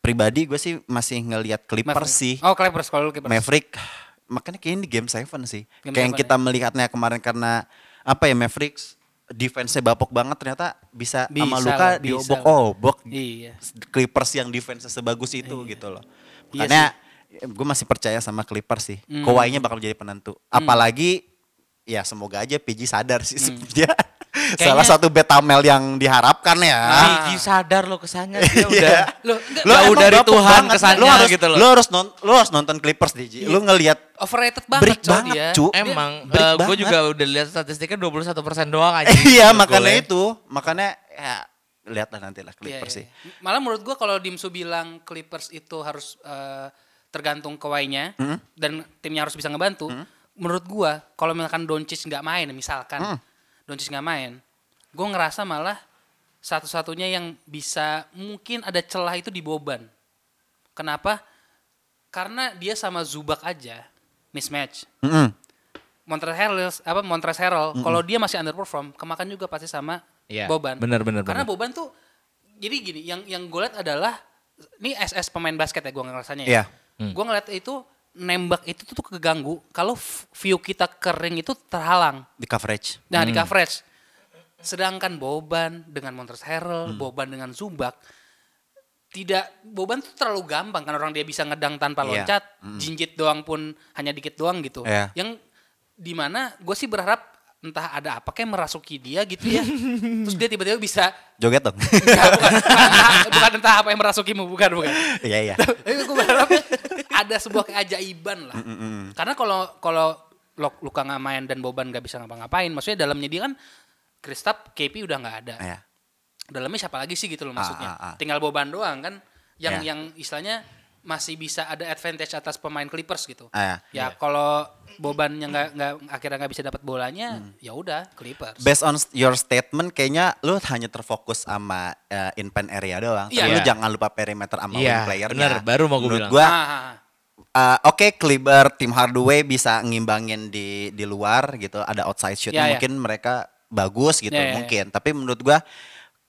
S2: pribadi gue sih masih ngelihat Clippers sih
S3: Oh, Clippers kalau lu Clippers.
S2: Maverick makanya kayaknya di game 7 sih.
S3: Game
S2: kayak yang
S3: seven, ya.
S2: kita melihatnya kemarin karena apa ya Mavericks defense-nya bapok banget ternyata bisa, sama
S3: Bisa
S2: Luka
S3: lah, bisa
S2: diobok-obok.
S3: Iya.
S2: Clippers yang defense sebagus itu
S1: Iya.
S2: gitu loh. Makanya gue masih percaya sama Clippers sih.
S1: Hmm.
S2: Kawhi-nya bakal jadi penentu. Apalagi ya semoga aja PG sadar sih
S1: Hmm.
S2: (laughs) dia salah satu betamel yang diharapkan ya. Iya.
S1: Gigi
S2: (laughs)
S1: sadar lo kesana dia udah.
S3: Lo enggak
S1: Lo- Jauh
S2: emang
S1: dari
S2: bapok
S1: Tuhan
S2: banget.
S1: kesannya
S2: Lu harus,
S1: gitu loh. Iya.
S2: Lu harus, non, lu harus nonton Clippers, Diji. Lu ngelihat
S3: overrated banget
S2: Break
S3: coy
S2: banget,
S3: dia.
S2: cu.
S1: Emang
S2: Break
S1: gue
S2: banget.
S1: juga udah lihat statistiknya 21% doang aja. gitu
S2: (laughs) Iya, makanya itu. Makanya ya lihatlah nanti lah
S3: Iya,
S2: Clippers
S3: iya.
S2: sih.
S3: Malah menurut gua kalau Dimsu bilang Clippers itu harus eh, tergantung kawainya
S2: Hmm.
S3: dan timnya harus bisa ngebantu. Menurut gua kalau misalkan Doncic nggak main misalkan
S2: Hmm.
S3: Doncic nggak main, gua ngerasa malah satu-satunya yang bisa mungkin ada celah itu di Boban. Kenapa? Karena dia sama Zubak aja mismatch.
S2: Mm-mm.
S3: Montrezl Harrell apa Montrezl Harrell kalau dia masih underperform kemakan juga pasti sama
S1: Iya,
S3: Boban.
S1: benar, benar,
S3: Karena
S1: benar.
S3: Boban tuh jadi gini yang yang gue lihat adalah ini SS pemain basket ya gue ngerasanya
S2: Iya.
S3: ya.
S1: Hmm.
S3: Gue ngeliat itu nembak itu tuh keganggu kalau f- view kita kering itu terhalang.
S2: Di coverage.
S3: Nah di coverage. Sedangkan Boban dengan Montrezl
S2: Hmm.
S3: Harrell, Boban dengan Zubac tidak Boban tuh terlalu gampang kan orang dia bisa ngedang tanpa
S2: Iya.
S3: loncat, jinjit doang pun hanya dikit doang gitu.
S2: Iya.
S3: Yang dimana gue sih berharap entah ada apa kayak merasuki dia gitu
S2: (laughs)
S3: ya. Terus dia tiba-tiba bisa
S2: Joget dong. (laughs)
S3: Enggak, bukan, (laughs) bukan entah apa yang merasukimu, bukan bukan.
S2: Iya, iya.
S3: Tapi gue berharap ada sebuah keajaiban lah.
S2: Mm,
S3: Karena kalau kalau Lo- Luka nggak main dan Boban nggak bisa ngapa-ngapain, maksudnya dalamnya dia kan Kristap, KP udah nggak ada.
S2: Iya.
S3: Dalamnya siapa lagi sih gitu loh maksudnya.
S2: ah, ah.
S3: Tinggal Boban doang kan,
S2: Iya.
S3: yang yang istilahnya masih bisa ada advantage atas pemain Clippers gitu.
S2: Ah,
S3: ya kalau Boban yang nggak nggak akhirnya nggak bisa dapat bolanya,
S2: Hmm.
S3: ya udah Clippers.
S2: Based on your statement kayaknya lu hanya terfokus sama eh, in pen area doang. Tapi
S3: Iya.
S2: lu jangan lupa perimeter sama
S1: Iya,
S2: wing player-nya.
S1: bener. Baru mau gue
S2: Menurut
S1: bilang.
S2: Gua,
S3: Ah, ah, ah.
S2: Uh, Oke, Kliber, tim Hardaway bisa ngimbangin di di luar gitu. Ada outside shoot
S1: Iya,
S3: Ya, ya.
S2: mungkin mereka bagus gitu
S3: Ya, ya, ya.
S2: mungkin. Tapi menurut gua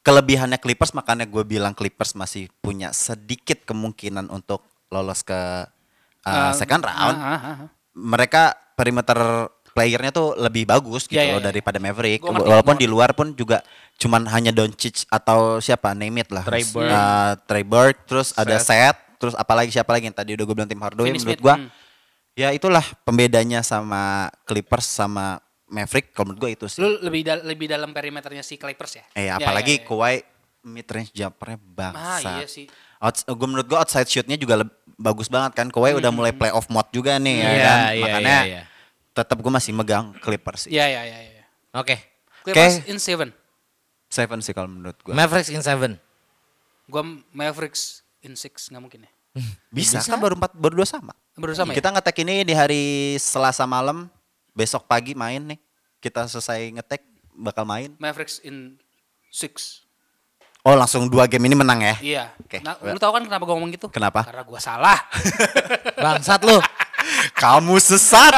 S2: kelebihannya Clippers makanya gue bilang Clippers masih punya sedikit kemungkinan untuk lolos ke uh,
S1: Eh,
S3: Ah,
S2: second round.
S3: ah, ah, ah.
S2: Mereka perimeter playernya tuh lebih bagus gitu
S3: Ya, ya,
S2: loh
S3: ya.
S2: daripada Maverick.
S3: Gua ngerti,
S2: Walaupun
S3: gua
S2: di luar pun juga cuman hanya Doncic atau siapa name it lah.
S1: Trey Burke.
S2: Uh, Trey Burke, terus ada Seth, terus apalagi siapa lagi yang tadi udah gue bilang tim Hardaway
S3: Finney
S2: menurut
S3: Smith,
S2: gua
S3: hmm.
S2: ya itulah pembedanya sama Clippers sama Maverick kalau menurut gue itu sih.
S3: Lu lebih dal- lebih dalam perimeternya si Clippers ya?
S2: eh
S3: Ya,
S2: apalagi
S3: ya, ya.
S2: Kawhi mid range jumpernya bangsa.
S3: Ah, iya sih.
S2: Outs- eh, gua menurut gue outside shootnya juga leb- bagus banget kan. Kawhi udah
S3: Hmm.
S2: mulai playoff mode juga nih ya
S1: Iya,
S2: kan.
S1: iya,
S2: Makanya
S1: iya, iya.
S2: tetap gue masih megang Clippers sih.
S3: Ya ya ya ya.
S1: Oke.
S3: Clippers in seven.
S2: Seven sih kalau menurut gue.
S1: Mavericks in seven.
S3: Gua Mavericks in six nggak mungkin ya.
S2: Bisa, kan baru empat baru dua sama.
S3: Baru sama ya?
S2: Kita ngetek ini di hari Selasa malam, besok pagi main nih. Kita selesai ngetek bakal main.
S3: ya? Mavericks in six.
S2: Oh langsung dua game ini menang ya?
S3: Iya.
S2: Oke.
S3: Nah, lu tahu kan kenapa gua ngomong gitu?
S2: Kenapa?
S3: Karena gua salah. (laughs)
S1: Bangsat lu.
S2: Kamu sesat.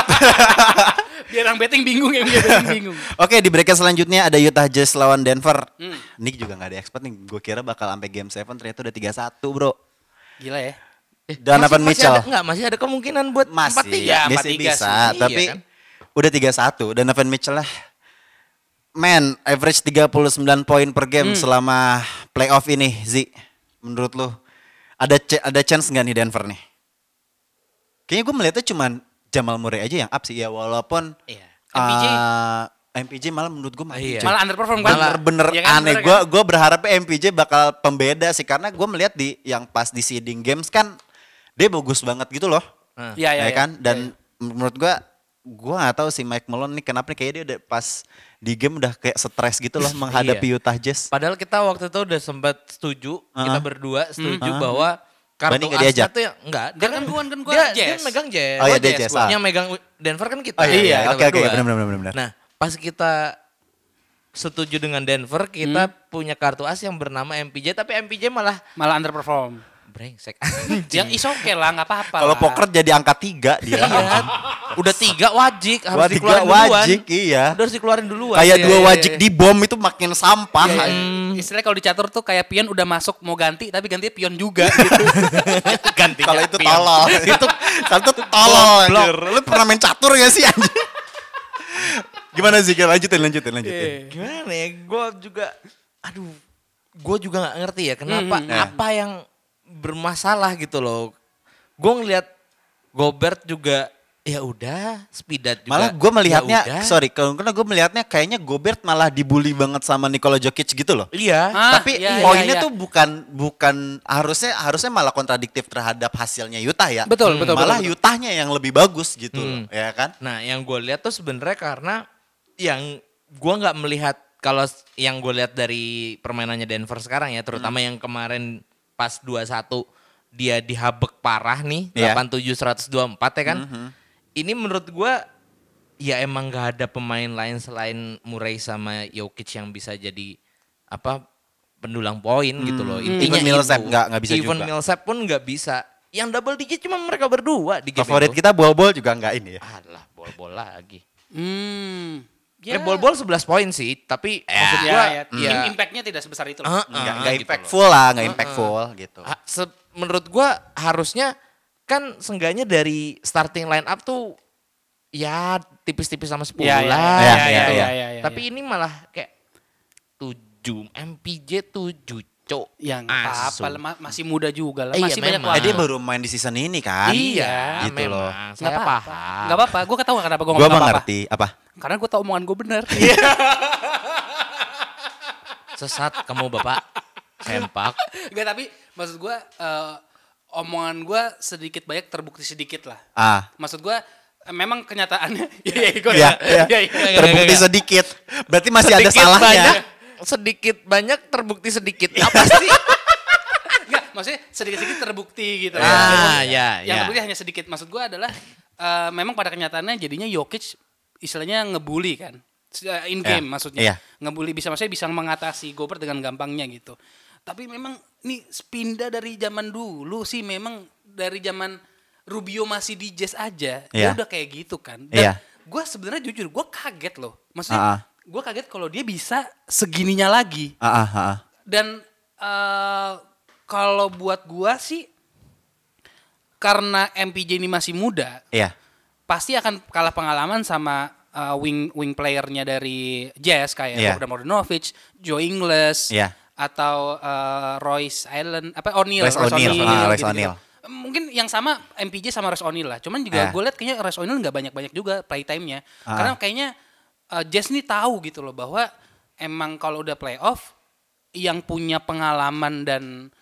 S3: Biar yang betting bingung yang dia betting bingung.
S2: Oke di bracket selanjutnya ada Utah Jazz lawan Denver. Nick juga nggak ada expert nih. Gue kira bakal sampai game 7 ternyata udah 3-1 bro.
S3: Gila ya.
S2: (laughs) Donovan
S1: Masih- masih
S2: Mitchell.
S1: ada- Enggak, masih ada kemungkinan buat
S2: Masih,
S1: 4-3.
S2: bisa,
S3: 4-3
S2: bisa
S1: sih.
S2: tapi
S1: Iya kan?
S2: udah 3-1. Donovan Mitchell lah. Man, average 39 poin per
S3: Hmm.
S2: game selama playoff ini, Zi. Menurut lu, ada ch- ada chance nggak nih Denver nih? Kayaknya gue melihatnya cuman Jamal Murray aja yang up sih ya, walaupun
S1: Iya.
S3: MPJ?
S2: ah, MPJ malah menurut gue
S1: Iya.
S3: Malah underperform kan.
S2: Malah bener
S3: Iya kan,
S2: aneh.
S3: bener
S2: Gue
S3: kan?
S2: gue berharap MPJ bakal pembeda sih karena gue melihat di yang pas di seeding games kan dia bagus banget gitu loh.
S1: Heeh.
S3: Iya, iya,
S2: Ya
S3: iya.
S2: kan? Dan menurut gue gue gak tahu si Mike Malone nih kenapa nih kayaknya dia udah pas di game udah kayak stres gitu loh menghadapi Utah Jazz.
S1: Padahal kita waktu itu udah sempat setuju, kita berdua setuju bahwa
S2: Bani
S1: kartu
S2: nggak diajak?
S1: Asta tuh yang enggak.
S3: Dia kan gua- kan gua
S1: dia,
S3: Jazz.
S1: dia megang Jazz.
S2: Oh iya,
S1: Gua
S2: dia Jazz, ah.
S1: Yang megang Denver kan kita.
S2: Oh iya, iya,
S1: kita
S2: oke, oke,
S1: berdua.
S2: benar, benar, benar, benar.
S1: Nah, pas kita setuju dengan Denver, kita
S2: Hmm.
S1: punya kartu as yang bernama MPJ, tapi MPJ malah
S3: Malah underperform.
S1: brengsek. (laughs)
S3: Yang is okay lah, nggak apa-apa.
S2: Nah, Kalau
S3: lah.
S2: poker jadi angka tiga dia. ya kan?
S1: Iya. Udah tiga wajik harus
S2: Wah, tiga
S1: dikeluarin duluan.
S2: wajik, iya.
S1: Udah harus dikeluarin duluan.
S2: kayak
S1: Iya,
S2: dua
S1: iya,
S2: wajik
S1: iya.
S2: di bom itu makin sampah.
S3: Iya, iya.
S2: Hmm.
S3: Istilahnya kalau dicatur tuh kayak pion udah masuk mau ganti tapi ganti pion
S2: (laughs)
S3: juga gitu.
S1: Gantinya
S2: Kalau itu
S1: pion.
S2: tolol, itu kalau itu tolol.
S1: Blok.
S2: anjir. Lu pernah main catur gak sih anjir? Gimana sih? Lanjutin, lanjutin, lanjutin.
S1: gimana ya gue juga aduh gue juga nggak ngerti ya kenapa
S2: Nah.
S1: apa yang bermasalah gitu loh gue ngelihat Gobert juga ya udah Spidat juga
S2: Malah gue melihatnya,
S1: ya udah.
S2: sorry, kalau karena gue melihatnya kayaknya Gobert malah dibully banget sama Nikola Jokic gitu loh.
S1: iya
S3: Ah,
S2: Tapi
S3: iya, iya,
S2: poinnya
S3: iya.
S2: tuh bukan bukan harusnya harusnya malah kontradiktif terhadap hasilnya Utah ya.
S3: Betul, betul,
S2: Malah
S3: betul, betul.
S2: Utahnya yang lebih bagus gitu loh,
S1: Hmm.
S2: ya kan?
S1: nah yang gue lihat tuh sebenarnya karena yang gue nggak melihat kalau s- yang gue lihat dari permainannya Denver sekarang ya terutama
S2: Hmm.
S1: yang kemarin pas 2-1 dia dihabek parah nih
S2: Iya. Mm-hmm.
S1: 87 124 ya kan ini menurut gue ya emang nggak ada pemain lain selain Murray sama Jokic yang bisa jadi apa pendulang poin gitu loh intinya
S2: Hmm. Even Millsap
S1: itu.
S2: nggak- nggak bisa
S1: even
S2: juga.
S1: Millsap pun nggak bisa yang double digit cuma mereka berdua di game
S2: Favorit
S1: itu.
S2: kita bol-bol juga nggak ini ya.
S1: Alah, bol-bol lagi.
S3: Hmm.
S1: Ya, bol-bol 11 poin sih, tapi maksud
S3: Ya,
S1: gua
S3: ya.
S1: ya,
S3: Im- Impactnya tidak sebesar itu.
S1: Ah,
S3: loh.
S1: ah,
S2: Nggak nggak
S1: gitu loh. Ah,
S2: impactful lah, nggak impactful gitu.
S1: Ha- se- menurut gua harusnya kan sengganya dari starting line up tuh ya tipis-tipis sama 10
S3: Ya, ya,
S1: lah.
S2: ya,
S1: gitu
S2: ya,
S1: loh.
S2: ya,
S3: ya, ya,
S1: tapi ini malah kayak 7 MPJ 7 cok.
S2: Iya.
S3: Ya nggak apa-apa, lah, ma- masih muda juga lah,
S1: Iya,
S3: masih banyak
S1: memang.
S2: Eh,
S3: waktu.
S2: dia baru main di season ini kan?
S1: Iya,
S2: gitu
S1: memang.
S2: loh.
S1: Saya
S3: Nggak apa-apa.
S1: paham.
S3: Nggak apa-apa, gue ketawa kenapa gue
S2: Gue
S3: ngomong nggak apa-apa.
S2: mengerti apa?
S3: Karena gue tau omongan gue
S2: (laughs)
S3: bener.
S2: Iya.
S3: (laughs)
S1: Sesat kamu Bapak. Sempak.
S3: Enggak tapi maksud gue eh, omongan gue sedikit banyak terbukti sedikit lah.
S2: Ah,
S3: Maksud gue eh, memang kenyataannya. (laughs) Iya iya gue
S2: Iya, iya.
S1: Nggak,
S2: terbukti
S1: nggak, nggak.
S2: sedikit. Berarti masih ada
S1: Sedikit
S2: salahnya.
S1: Banyak, sedikit banyak terbukti sedikit. Apa
S2: (laughs)
S1: sih?
S3: Enggak, maksudnya sedikit-sedikit terbukti gitu.
S1: Ah, ya,
S3: Yang
S1: ya.
S3: terbukti hanya sedikit. Maksud gue adalah eh, memang pada kenyataannya jadinya Jokic istilahnya ngebully kan. Se- eh, In
S2: Iya,
S3: game maksudnya.
S2: iya.
S3: Ngebully bisa maksudnya bisa mengatasi Gobert dengan gampangnya gitu. Tapi memang nih pindah dari zaman dulu sih memang dari zaman Rubio masih di Jazz aja.
S2: Iya.
S3: Dia udah kayak gitu kan. Dan
S2: Iya.
S3: gue sebenarnya jujur gue kaget loh. Maksudnya
S2: Ah, ah.
S3: gue kaget kalau dia bisa segininya lagi.
S2: Ah, ah, ah, ah.
S3: Dan eh, kalau buat gua sih karena MPJ ini masih muda,
S2: Iya.
S3: pasti akan kalah pengalaman sama eh, wing wing playernya dari Jazz kayak
S2: Iya.
S3: Bogdan Bogdanovic, Joe Ingles
S2: Iya.
S3: atau eh, Royce Allen apa O'Neal,
S2: Royce O'Neal, ah, Royce
S3: gitu-gitu.
S2: O'Neal.
S3: Mungkin yang sama MPJ sama Royce O'Neal lah. Cuman juga
S2: Ah.
S3: gue lihat kayaknya Royce O'Neal nggak banyak-banyak juga playtime-nya.
S2: Ah.
S3: Karena kayaknya eh, Jazz nih tahu gitu loh bahwa emang kalau udah playoff yang punya pengalaman dan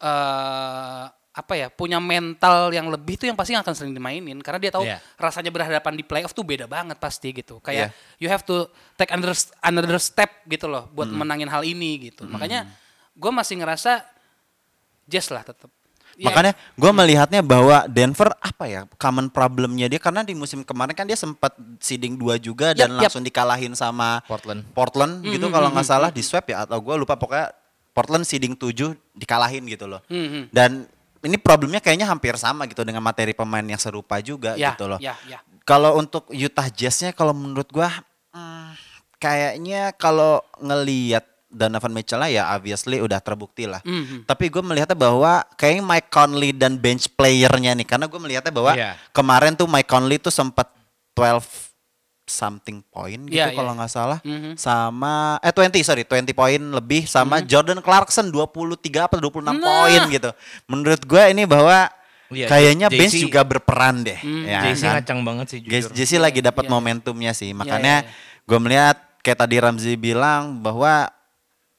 S3: eh apa ya punya mental yang lebih tuh yang pasti akan sering dimainin karena dia tahu
S1: Iya.
S3: rasanya berhadapan di playoff tuh beda banget pasti gitu.
S2: Iya.
S3: Kayak you have to take another another step gitu loh buat
S2: Hmm.
S3: menangin hal ini gitu. Makanya gue masih ngerasa Jazz lah tetap. Ya,
S2: Makanya gue melihatnya bahwa Denver apa ya common problemnya dia karena di musim kemarin kan dia sempat seeding dua juga dan
S3: Yap, yap. Mm,
S2: langsung dikalahin sama
S1: Portland.
S2: Portland gitu kalau nggak salah di swap ya atau gue lupa pokoknya Portland seeding 7 dikalahin gitu loh.
S3: Mm, Hmm,
S2: Dan ini problemnya kayaknya hampir sama gitu dengan materi pemain yang serupa juga
S3: ya,
S2: gitu loh.
S3: Ya,
S1: Iya.
S3: ya.
S2: Kalau untuk Utah Jazz-nya kalau menurut gua hmm, kayaknya kalau ngelihat Donovan Mitchell ya obviously udah terbukti lah.
S3: Mhm.
S2: Tapi gue melihatnya bahwa kayaknya Mike Conley dan bench playernya nih, karena gue melihatnya bahwa
S3: Iya.
S2: kemarin tuh Mike Conley tuh sempat 12 something point gitu
S3: Iya, iya,
S2: kalau
S3: iya.
S2: nggak salah,
S3: Mhm.
S2: sama eh 20 sorry 20 poin lebih sama Jordan Clarkson 23 apa 26
S3: Nah.
S2: poin gitu. Menurut gue ini bahwa
S3: Oh
S1: Iya,
S2: kayaknya
S1: J-
S2: bench
S1: JC
S2: juga berperan deh.
S3: Mhm,
S2: ya
S1: Jay-Z
S2: kan?
S1: ngacang banget sih
S2: Guys,
S1: jujur.
S2: Jesse lagi dapat
S3: iya, iya.
S2: momentumnya sih.
S3: iya,
S2: Makanya
S3: iya.
S2: gue melihat kayak tadi Ramzi bilang bahwa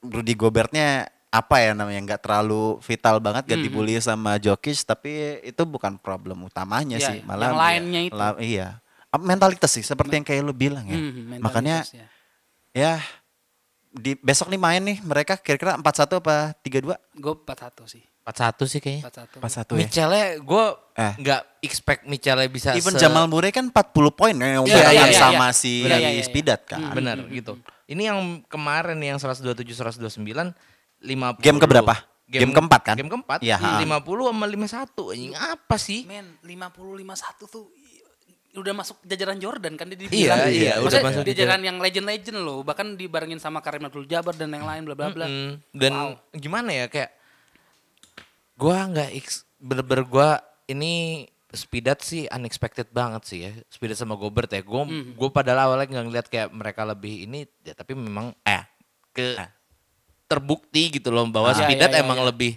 S2: Rudy Gobertnya apa ya namanya nggak terlalu vital banget gak dibully sama Jokic tapi itu bukan problem utamanya
S3: Iya,
S2: sih
S3: iya.
S2: malah
S3: Yang lainnya itu.
S2: la- iya Ah, mentalitas sih seperti yang kayak lu bilang ya
S3: Mhm, mentalitas,
S2: makanya
S3: ya.
S2: ya di besok nih main nih mereka kira-kira 41 apa 32
S3: Gue 41 sih.
S1: 41 sih kayaknya.
S3: 41.
S2: 41 ya
S1: Michelle gue
S2: Eh.
S1: nggak expect Michelle bisa
S2: even
S1: se-
S2: Jamal Murray kan 40 poin yang
S3: Iya, iya, iya,
S2: sama
S3: iya.
S2: si
S3: Benar, iya, iya, iya.
S2: Spidat kan
S1: benar gitu. Ini yang kemarin yang 127 129 50
S2: Game keberapa? Game keempat, kan?
S1: Game keempat.
S2: Iya, ha.
S1: 50 sama 51 anjing. Apa sih?
S3: Men, 50-51 tuh i- udah masuk jajaran Jordan kan dia
S1: Iya,
S3: dibilang.
S1: iya, udah
S3: Maksudnya
S1: masuk
S3: jajaran yang legend-legend loh, bahkan dibarengin sama Karim Abdul-Jabbar dan yang lain bla bla bla.
S1: Mm-mm. Hmm, Dan gimana ya kayak gua nggak ex- bener-bener gua ini Spidat sih unexpected banget sih ya. Spidat sama Gobert ya. Gue
S3: Hmm.
S1: gue padahal awalnya nggak ngeliat kayak mereka lebih ini ya tapi memang eh ke terbukti gitu loh bahwa
S3: Ah. Iya,
S1: Spidat
S3: iya, iya,
S1: emang
S3: iya.
S1: lebih.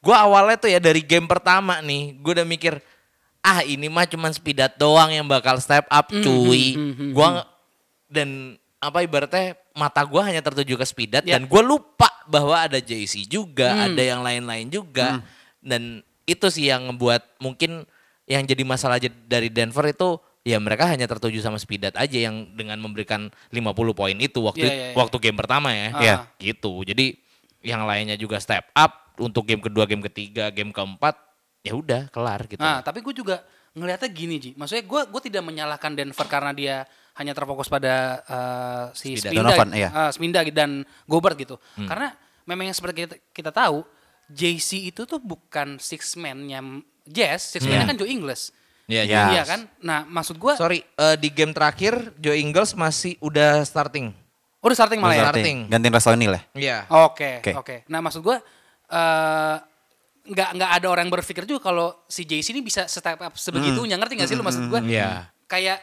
S1: Gue awalnya tuh ya dari game pertama nih gue udah mikir ah ini mah cuman Spidat doang yang bakal step up cuy.
S3: mm, mm,
S1: Gua nge- dan apa ibaratnya mata gue hanya tertuju ke Spidat
S3: Ya.
S1: dan gue lupa bahwa ada JC juga, ada yang lain-lain juga dan itu sih yang ngebuat mungkin yang jadi masalah aja dari Denver itu ya mereka hanya tertuju sama Spidat aja yang dengan memberikan 50 poin itu waktu
S3: Iya, iya, iya.
S1: waktu game pertama ya.
S3: Iya.
S1: Gitu. Jadi yang lainnya juga step up untuk game kedua, game ketiga, game keempat ya udah kelar gitu.
S3: Nah, tapi gue juga ngelihatnya gini Ji, maksudnya gue gue tidak menyalahkan Denver karena dia hanya terfokus pada eh, si
S1: Spinda.
S3: Spinda,
S2: Donovan, iya.
S3: eh, Spinda dan Gobert gitu. Karena memang yang seperti kita, kita tahu, JC itu tuh bukan six man-nya Jazz, six man-nya kan Joe Ingles.
S1: Ya,
S2: Ya.
S1: jadi-
S3: Iya kan? Nah, maksud gue,
S1: Sorry, eh, di game terakhir Joe Ingles masih udah starting.
S3: udah starting malah ya?
S1: Starting.
S2: Gantiin ya? Rasoni lah.
S1: Iya.
S3: Oke,
S2: Oke.
S3: oke. Nah, maksud gua eh, nggak nggak ada orang yang berpikir juga kalau si JC ini bisa step up sebegitunya. Ngerti nggak sih lu maksud gua?
S1: Iya.
S3: Kayak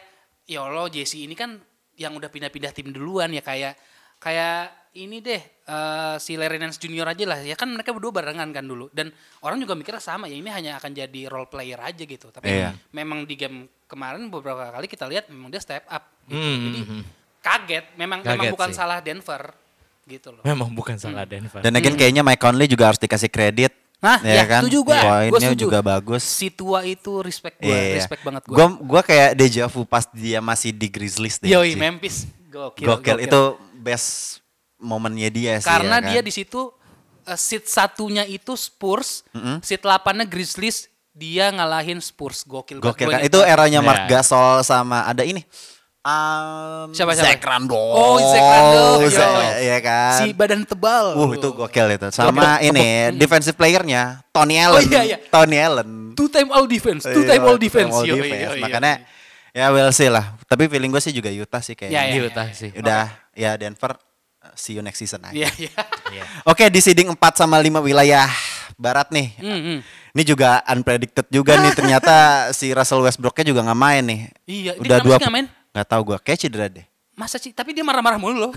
S3: ya Allah JC ini kan yang udah pindah-pindah tim duluan ya kayak kayak ini deh eh, si Larry Nance Junior aja lah ya kan mereka berdua barengan kan dulu dan orang juga mikirnya sama ya ini hanya akan jadi role player aja gitu tapi
S2: Iya.
S3: memang di game kemarin beberapa kali kita lihat memang dia step up gitu.
S1: Hmm,
S3: jadi
S1: hmm, hmm.
S3: kaget memang memang
S1: Kaget
S3: bukan
S1: sih.
S3: salah Denver gitu loh
S1: Memang bukan salah Denver.
S2: Dan again kayaknya Mike Conley juga harus dikasih kredit.
S3: Nah, Hmm. ya,
S2: kan?
S3: setuju gua. Gua
S2: Poinnya
S3: setuju.
S2: juga bagus.
S3: si tua itu respect gue,
S2: Iya.
S3: respect banget gue.
S2: Gua gua kayak deja vu pas dia masih di Grizzlies deh. Iya sih.
S3: Yoi Memphis, gokil,
S2: gokil, itu best momennya dia sih.
S3: Karena
S2: ya kan?
S3: dia di situ eh, seat satunya itu Spurs, seat 8-nya Grizzlies, dia ngalahin Spurs, gokil. banget.
S2: gokil
S3: Gua
S2: kan.
S3: ingat
S2: Itu
S3: banget.
S2: eranya Mark
S1: Iya.
S2: Gasol sama ada ini. Um,
S3: Siapa, siapa?
S2: Zach Randolph.
S3: Oh, Zach Randolph,
S2: Zach-
S3: yoi.
S2: Iya kan.
S3: si badan tebal.
S2: Uh, itu gokil itu. Sama ini defensive playernya Tony Allen.
S3: iya, iya.
S2: Tony Allen.
S3: Two time all defense, two
S2: Iya,
S3: time all
S2: two-time
S3: defense.
S2: all
S3: Yoi,
S2: defense.
S3: yoi,
S2: Makanya
S3: yoi.
S2: ya we'll see lah. Tapi feeling gue sih juga Utah sih
S3: Iya,
S2: kayaknya.
S3: iya.
S1: Utah sih.
S2: Udah ya Denver uh, see you next season aja.
S3: Iya, iya.
S2: Oke, di seeding 4 sama 5 wilayah barat nih.
S3: Mm-mm.
S2: Ini juga unpredicted juga
S3: (laughs)
S2: nih ternyata si Russell Westbrooknya juga nggak main nih.
S3: Iya, dia
S2: udah
S3: kenapa
S2: dua
S3: sih nggak main?
S2: Nggak tahu gue, kayak cedera deh.
S3: Masa sih, tapi dia marah-marah
S2: (laughs)
S3: mulu loh.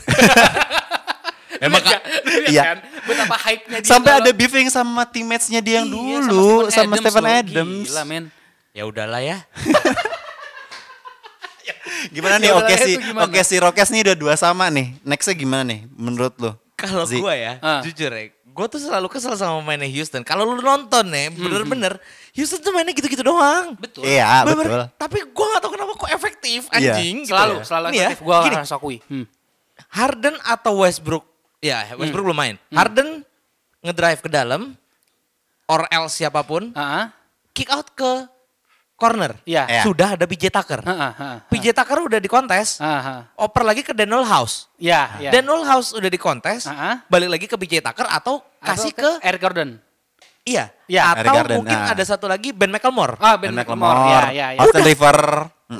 S1: Emang
S3: Lihat
S1: Kak-
S3: nggak? Lihat
S2: Iya.
S3: kan? Betapa hype-nya dia.
S2: Sampai
S3: kalau-
S2: ada beefing sama teammates-nya dia yang
S3: Iya,
S2: dulu sama
S3: Stephen
S2: Stephen
S3: loh.
S2: Adams.
S3: Gila, men.
S1: Ya udahlah ya.
S2: Gimana
S3: Ya
S2: nih?
S3: udah
S2: Oke
S3: lah, itu
S2: si
S3: gimana?
S2: oke si Rockets nih udah dua sama nih. Nextnya gimana nih? Menurut lo?
S1: Kalau
S2: Zi?
S1: gue ya,
S3: Ah.
S1: jujur ya, gue tuh selalu kesel sama mainnya Houston. Kalau lu nonton ya, bener-bener Houston tuh mainnya gitu-gitu doang.
S3: Hmm. Betul.
S2: Iya
S1: Bener-bener.
S2: betul.
S1: Tapi gue gak tau kenapa kok efektif
S2: Iya.
S1: anjing. gitu
S3: Selalu,
S1: ya.
S3: selalu
S1: Nih ya,
S3: efektif. Gua
S1: gini,
S3: harus akui. Hmm.
S1: Harden atau Westbrook? Ya, Westbrook belum main.
S3: Hmm.
S1: Harden ngedrive ke dalam, or else siapapun,
S3: Ah, ah.
S1: kick out ke corner.
S3: Iya.
S2: Iya.
S1: Sudah ada PJ Tucker.
S3: Ah, ah, ah, ah.
S1: PJ Tucker udah dikontes,
S3: Ah, ah.
S1: oper lagi ke Daniel House.
S3: Ya, ya.
S1: Dan Daniel House udah dikontes,
S3: Ah-ah.
S1: balik lagi ke PJ Tucker atau
S3: Atau
S1: kasih ke
S3: Eric Gordon.
S1: Iya.
S3: Iya.
S1: Atau
S2: Eric Garden,
S1: mungkin
S2: nah.
S1: ada satu lagi Ben McLemore.
S3: Ah,
S2: Ben
S3: Ben
S2: McLemore,
S3: McLemore. Ya, ya, ya.
S2: Austin
S1: Udah.
S2: River.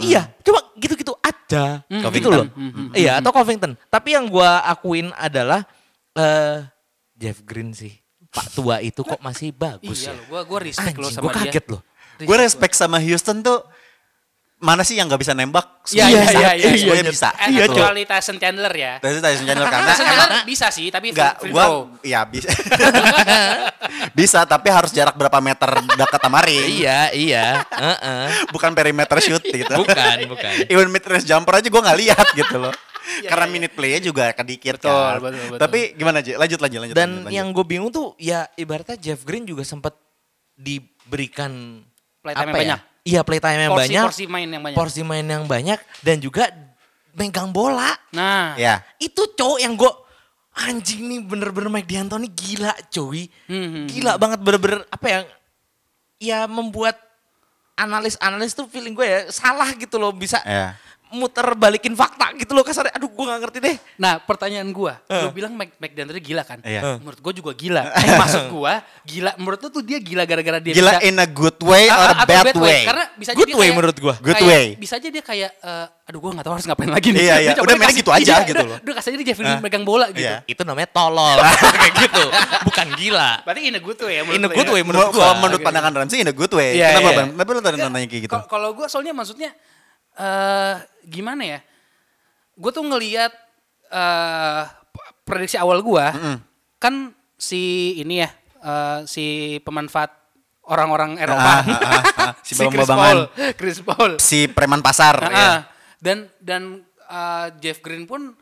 S1: Iya, cuma gitu-gitu aja.
S2: Mm-mm.
S1: Gitu loh.
S2: Covington.
S1: Iya, atau Covington. Tapi yang gua akuin adalah eh Jeff Green sih. Pak tua itu kok masih bagus
S3: Iya
S1: ya.
S3: loh, gua gua respect
S1: Anjing,
S3: lo sama
S1: gue
S3: dia.
S1: kaget loh.
S3: Iya.
S2: Gue respect sama Houston tuh mana sih yang nggak bisa nembak?
S3: Iya,
S2: Semuanya
S3: iya,
S2: bisa.
S3: iya, iya,
S2: Semuanya
S1: iya.
S2: bisa. Nah,
S3: Eh,
S1: Iya, Cok.
S3: kecuali Tyson Chandler ya.
S2: Tapi Tyson Chandler karena
S3: Tyson
S2: emang
S3: Chandler bisa sih, tapi
S2: Enggak,
S3: free
S2: gua
S3: throw.
S2: ya bisa. (laughs) bisa, tapi harus jarak berapa meter dekat sama ring.
S1: Iya, iya. Heeh.
S2: Bukan perimeter shoot gitu.
S1: Bukan, bukan.
S2: (laughs) Even mid range jumper aja gue nggak lihat gitu loh. Karena minute play-nya juga kedikit
S3: Iya, Betul,
S2: kan.
S3: betul, betul.
S2: Tapi gimana aja? Lanjut lanjut lanjut.
S1: Dan
S2: lanjut, lanjut.
S1: yang gue bingung tuh ya ibaratnya Jeff Green juga sempat diberikan
S3: Playtime yang
S1: apa ya?
S3: banyak.
S1: Iya playtime yang
S3: Porsi-
S1: banyak.
S3: porsi main yang banyak.
S1: Porsi main yang banyak dan juga megang bola.
S3: Nah,
S2: ya.
S1: Itu cowok yang gue anjing nih bener-bener Mike D'Antoni gila coy.
S3: Hmm, hmm,
S1: Gila banget bener-bener apa yang ya membuat analis-analis tuh feeling gue ya salah gitu loh bisa
S2: Iya.
S1: muter balikin fakta gitu loh kasarnya. Aduh gue gak ngerti deh.
S3: nah pertanyaan gua,
S1: Eh.
S3: lu bilang Mike Mike D'Antoni gila kan?
S2: Iya.
S3: Menurut gua juga gila. Eh, maksud gua, gila menurut lu tuh dia gila gara-gara dia
S2: Gila
S3: bisa-
S2: in a good way
S3: A-
S2: or a
S3: a- atau
S2: bad way.
S3: Karena bisa aja
S1: Good
S3: dia
S1: way
S3: kayak-
S1: menurut gua.
S2: Good
S3: kayak-
S2: way.
S3: Bisa aja dia kayak eh, aduh gua gak tahu harus ngapain lagi nih.
S2: Iya, iya.
S3: Dia (laughs)
S2: Udah
S3: coba dia
S2: mainnya
S3: kasih-
S2: gitu aja
S3: iya,
S2: gitu
S3: udah-
S2: loh.
S3: Udah kasih aja dia Jeffrey Green megang bola gitu.
S2: Iya.
S1: Itu namanya tolol (laughs) kayak gitu. Bukan gila.
S3: Berarti in a good way ya
S1: In a
S3: lu
S1: good
S3: ya?
S1: way menurut
S2: Kalau-
S1: gua. Iya,
S2: kalau menurut pandangan Ramsey in a good way.
S3: Iya,
S2: Kenapa
S3: iya.
S2: Bang? Tapi lu tadi nanya kayak gitu.
S3: Kalau- Kalau gue soalnya maksudnya eh gimana ya? Gue tuh ngelihat eh p- prediksi awal gue kan si ini ya eh, si pemanfaat orang-orang Eropa,
S2: Ah, ah, ah,
S3: (laughs)
S2: ah. Si
S3: Chris
S2: bambang-bambangan.
S3: Paul, Chris Paul,
S2: Si preman pasar. ya.
S3: Ah,
S1: iya.
S3: ah. dan dan eh, Jeff Green pun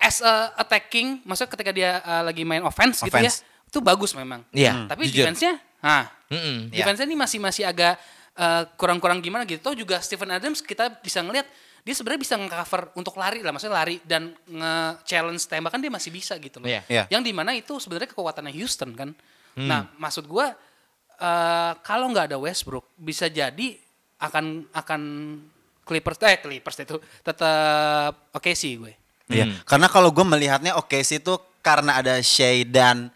S3: as a attacking, maksudnya ketika dia eh, lagi main offense, gitu ya,
S2: Offense.
S3: itu bagus memang.
S1: Iya,
S3: Tapi
S1: jujur.
S3: defense-nya, ah,
S1: Mm-mm.
S2: Iya.
S3: Defense-nya ini masih masih agak eh, kurang-kurang gimana gitu. Toh juga Steven Adams kita bisa ngelihat dia sebenarnya bisa nge-cover untuk lari lah, maksudnya lari dan nge-challenge tembakan dia masih bisa gitu loh.
S1: Iya. Hmm.
S2: Iya.
S3: Yang dimana itu sebenarnya kekuatannya Houston kan. Nah, maksud gua eh, kalau nggak ada Westbrook bisa jadi akan akan Clippers eh Clippers itu tetap oke sih gue.
S2: Iya.
S3: Hmm.
S2: Karena kalau gue melihatnya oke sih itu karena ada Shea dan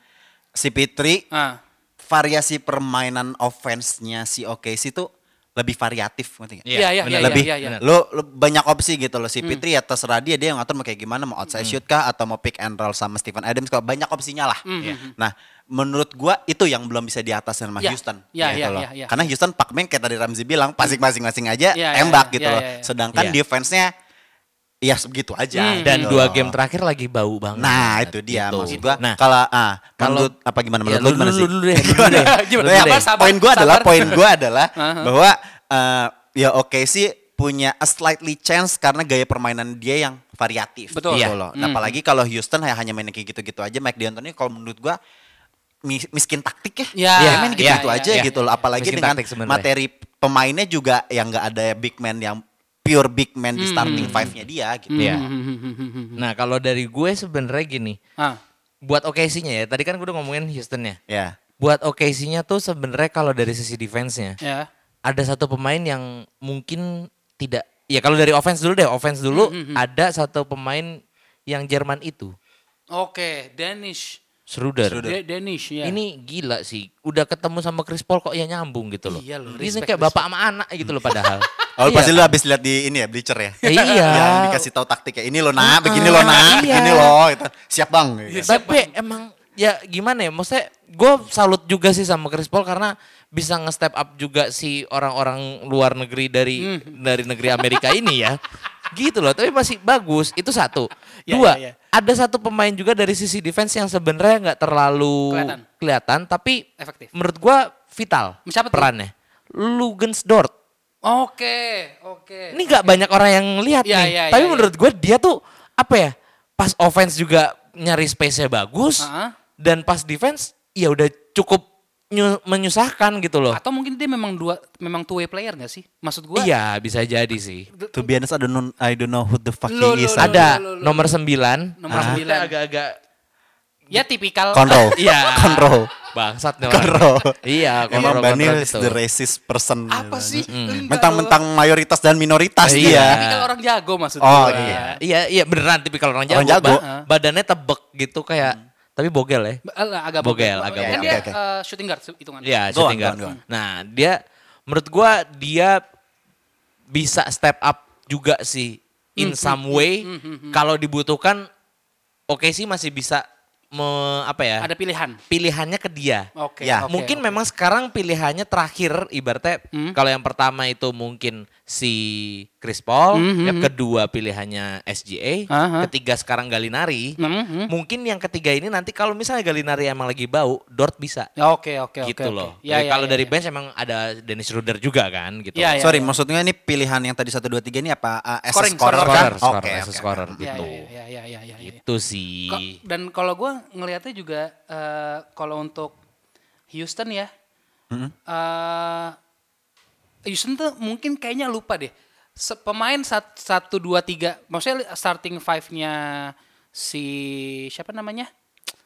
S2: si Pitri,
S3: Ah,
S2: variasi permainan offense-nya si OKC itu lebih variatif ngerti nggak?
S1: Iya,
S3: Iya, iya,
S1: benar.
S3: iya,
S2: lebih
S3: iya, iya. Hmm.
S2: Lo, lo banyak opsi gitu loh si Pitri ya terserah dia dia yang ngatur mau kayak gimana mau outside shoot kah atau mau pick and roll sama Stephen Adams kalau banyak opsinya lah.
S3: Hmm,
S2: Nah, menurut gua itu yang belum bisa diatas sama
S3: Iya,
S2: Houston
S3: iya,
S2: gitu
S3: iya,
S2: loh.
S3: iya, iya.
S2: Karena Houston pakmen kayak tadi Ramzi bilang pasti masing-masing aja
S3: Iya, iya,
S2: tembak
S3: iya,
S2: gitu
S3: iya,
S2: loh.
S3: iya, iya.
S2: Sedangkan
S1: Iya.
S2: defense-nya ya segitu aja.
S3: Hmm.
S1: Dan
S2: gitu
S1: dua
S2: loh.
S1: game terakhir lagi bau banget.
S2: Nah, itu dia
S1: Gitu.
S2: maksud gua.
S1: Nah,
S2: kalau ah,
S1: kalau-
S2: menurut apa gimana
S1: ya,
S2: menurut
S1: lu
S2: lu gimana sih?
S1: dulu, lu dulu deh, lu dulu deh.
S3: Gimana?
S1: Lu dulu
S3: Sabar,
S1: deh.
S3: sabar.
S2: poin gue adalah
S3: sabar.
S2: poin gue adalah
S3: Aha.
S2: bahwa eh, ya oke sih punya a slightly chance karena gaya permainan dia yang variatif.
S3: Betul.
S2: Gitu
S3: Iya.
S2: loh.
S3: Hmm.
S2: Nah, apalagi kalau Houston ya hanya main kayak gitu-gitu aja. Mike D'Antoni kalau menurut gue mis- miskin taktik ya.
S3: Ya,
S2: Dia main
S3: ya,
S2: gitu-gitu
S3: ya,
S2: aja
S3: ya,
S2: gitu loh. Apalagi
S1: Miskin
S2: dengan
S1: taktik sebenarnya.
S2: materi pemainnya juga yang nggak ada big man yang pure big man di starting five-nya dia gitu.
S1: Iya.
S3: Hmm.
S1: Nah, kalau dari gue sebenarnya gini,
S3: Ah,
S1: buat OKC-nya ya. Tadi kan gue udah ngomongin Houston-nya.
S2: Ya.
S1: Buat OKC-nya tuh sebenarnya kalau dari sisi defense-nya
S3: ya.
S1: ada satu pemain yang mungkin tidak ya kalau dari offense dulu deh, offense dulu
S3: Hmm,
S1: ada satu pemain yang Jerman itu,
S3: Oke, Danish.
S1: Schroeder.
S3: De- Danish ya.
S1: Ini gila sih. Udah ketemu sama Chris Paul kok ya nyambung gitu loh.
S3: Iya loh,
S1: Ini
S3: respect,
S1: kayak bapak sama anak gitu loh
S3: (laughs)
S1: padahal.
S2: Oh,
S1: Iya
S2: pasti
S1: kan?
S2: lu habis lihat di ini ya, Bleacher (laughs) ya.
S1: Eh, iya.
S2: Yang dikasih tahu taktik ya. Ini lo nak, begini lo nak,
S1: Iya.
S2: begini lo. Gitu. Siap bang. gitu.
S1: Tapi emang ya gimana ya? Maksudnya gue salut juga sih sama Chris Paul karena bisa nge-step up juga si orang-orang luar negeri dari
S3: Hmm.
S1: dari negeri
S3: (laughs)
S1: Amerika ini ya. Gitu loh, tapi masih bagus. Itu satu.
S3: Ya,
S1: Dua,
S3: ya, ya.
S1: ada satu pemain juga dari sisi defense yang sebenarnya nggak terlalu
S3: Kelihatan.
S1: kelihatan. tapi
S3: Efektif.
S1: menurut gua vital
S3: Siapa tuh?
S1: perannya. Lugensdort.
S3: Oke, oke.
S1: Ini nggak banyak orang yang lihat
S3: Iya,
S1: nih.
S3: iya,
S1: tapi
S3: iya,
S1: menurut gue dia tuh apa ya? Pas offense juga nyari space-nya bagus.
S3: Ah.
S1: Dan pas defense ya udah cukup nyu- menyusahkan gitu loh.
S3: Atau mungkin dia memang dua memang two way player gak sih? Maksud gua
S1: Iya, bisa jadi sih.
S2: To be honest, I don't know, I don't know who the fuck
S3: Lo,
S2: he is.
S3: lo, lo.
S1: Ada
S3: lu, lu.
S1: nomor 9.
S3: Nomor sembilan.
S1: Agak-agak
S3: ya tipikal
S2: Conroll.
S1: Iya.
S2: Conroll.
S1: bangsat nih orang.
S2: Conroll.
S1: Iya,
S2: Emang
S1: kontrol-
S2: Bani
S1: kontrol
S2: is
S1: gitu.
S2: the racist person.
S3: apa sih? Enggak
S2: Mentang-mentang mayoritas dan minoritas
S1: Eh,
S3: doang.
S1: iya.
S2: dia.
S3: Tipikal orang jago maksud
S2: Oh,
S3: gua.
S2: iya.
S1: Iya, iya beneran tipikal orang jago.
S2: Orang jago.
S1: Ba- badannya tebek gitu kayak tapi bogel ya.
S3: Hmm. Ba- eh, agak
S1: Bogel,
S3: Oh,
S1: agak
S3: iya. Kan
S2: bogel.
S3: dia
S2: Oke, oke.
S3: eh, shooting guard hitungannya.
S1: Iya,
S2: Go
S1: shooting
S2: on, go
S1: guard.
S2: on, go on.
S1: Nah, dia menurut gua dia
S3: Hmm,
S1: bisa step up juga sih in some way kalau dibutuhkan oke sih masih bisa me- apa ya?
S3: Ada pilihan.
S1: pilihannya ke dia.
S3: Oke.
S2: Ya.
S3: Oh,
S1: Iya.
S3: oke,
S1: mungkin
S3: oke.
S1: memang sekarang pilihannya terakhir ibaratnya
S3: Hmm.
S1: kalau yang pertama itu mungkin si Chris Paul,
S3: Hmm, hmm,
S1: yang
S3: hmm.
S1: kedua pilihannya SGA,
S3: Aha.
S1: ketiga sekarang Galinari.
S3: Hmm, hmm.
S1: Mungkin yang ketiga ini nanti kalau misalnya Galinari emang lagi bau, Dort bisa.
S3: Ya, Oke oke oke.
S1: gitu
S3: oke.
S1: loh.
S3: Ya,
S1: Jadi
S3: ya,
S1: kalau
S3: ya,
S1: dari
S3: ya.
S1: bench emang ada Dennis Ruder juga kan gitu.
S3: Ya, ya.
S2: Iya. Sorry, maksudnya ini pilihan yang tadi 1, 2, 3 ini apa? Uh, as a
S3: Scoring,
S2: scorer,
S1: Scorer,
S2: kan?
S1: scorer,
S2: Oke,
S1: as a
S2: oke.
S1: scorer
S3: Ya,
S1: gitu.
S3: Ya ya ya ya. ya, ya.
S1: Itu Gitu sih.
S3: Ko- Dan kalau gue ngelihatnya juga eh, kalau untuk Houston ya, eh, Houston tuh mungkin kayaknya lupa deh. Se- Pemain sat- satu dua tiga, maksudnya li- starting five-nya si siapa namanya?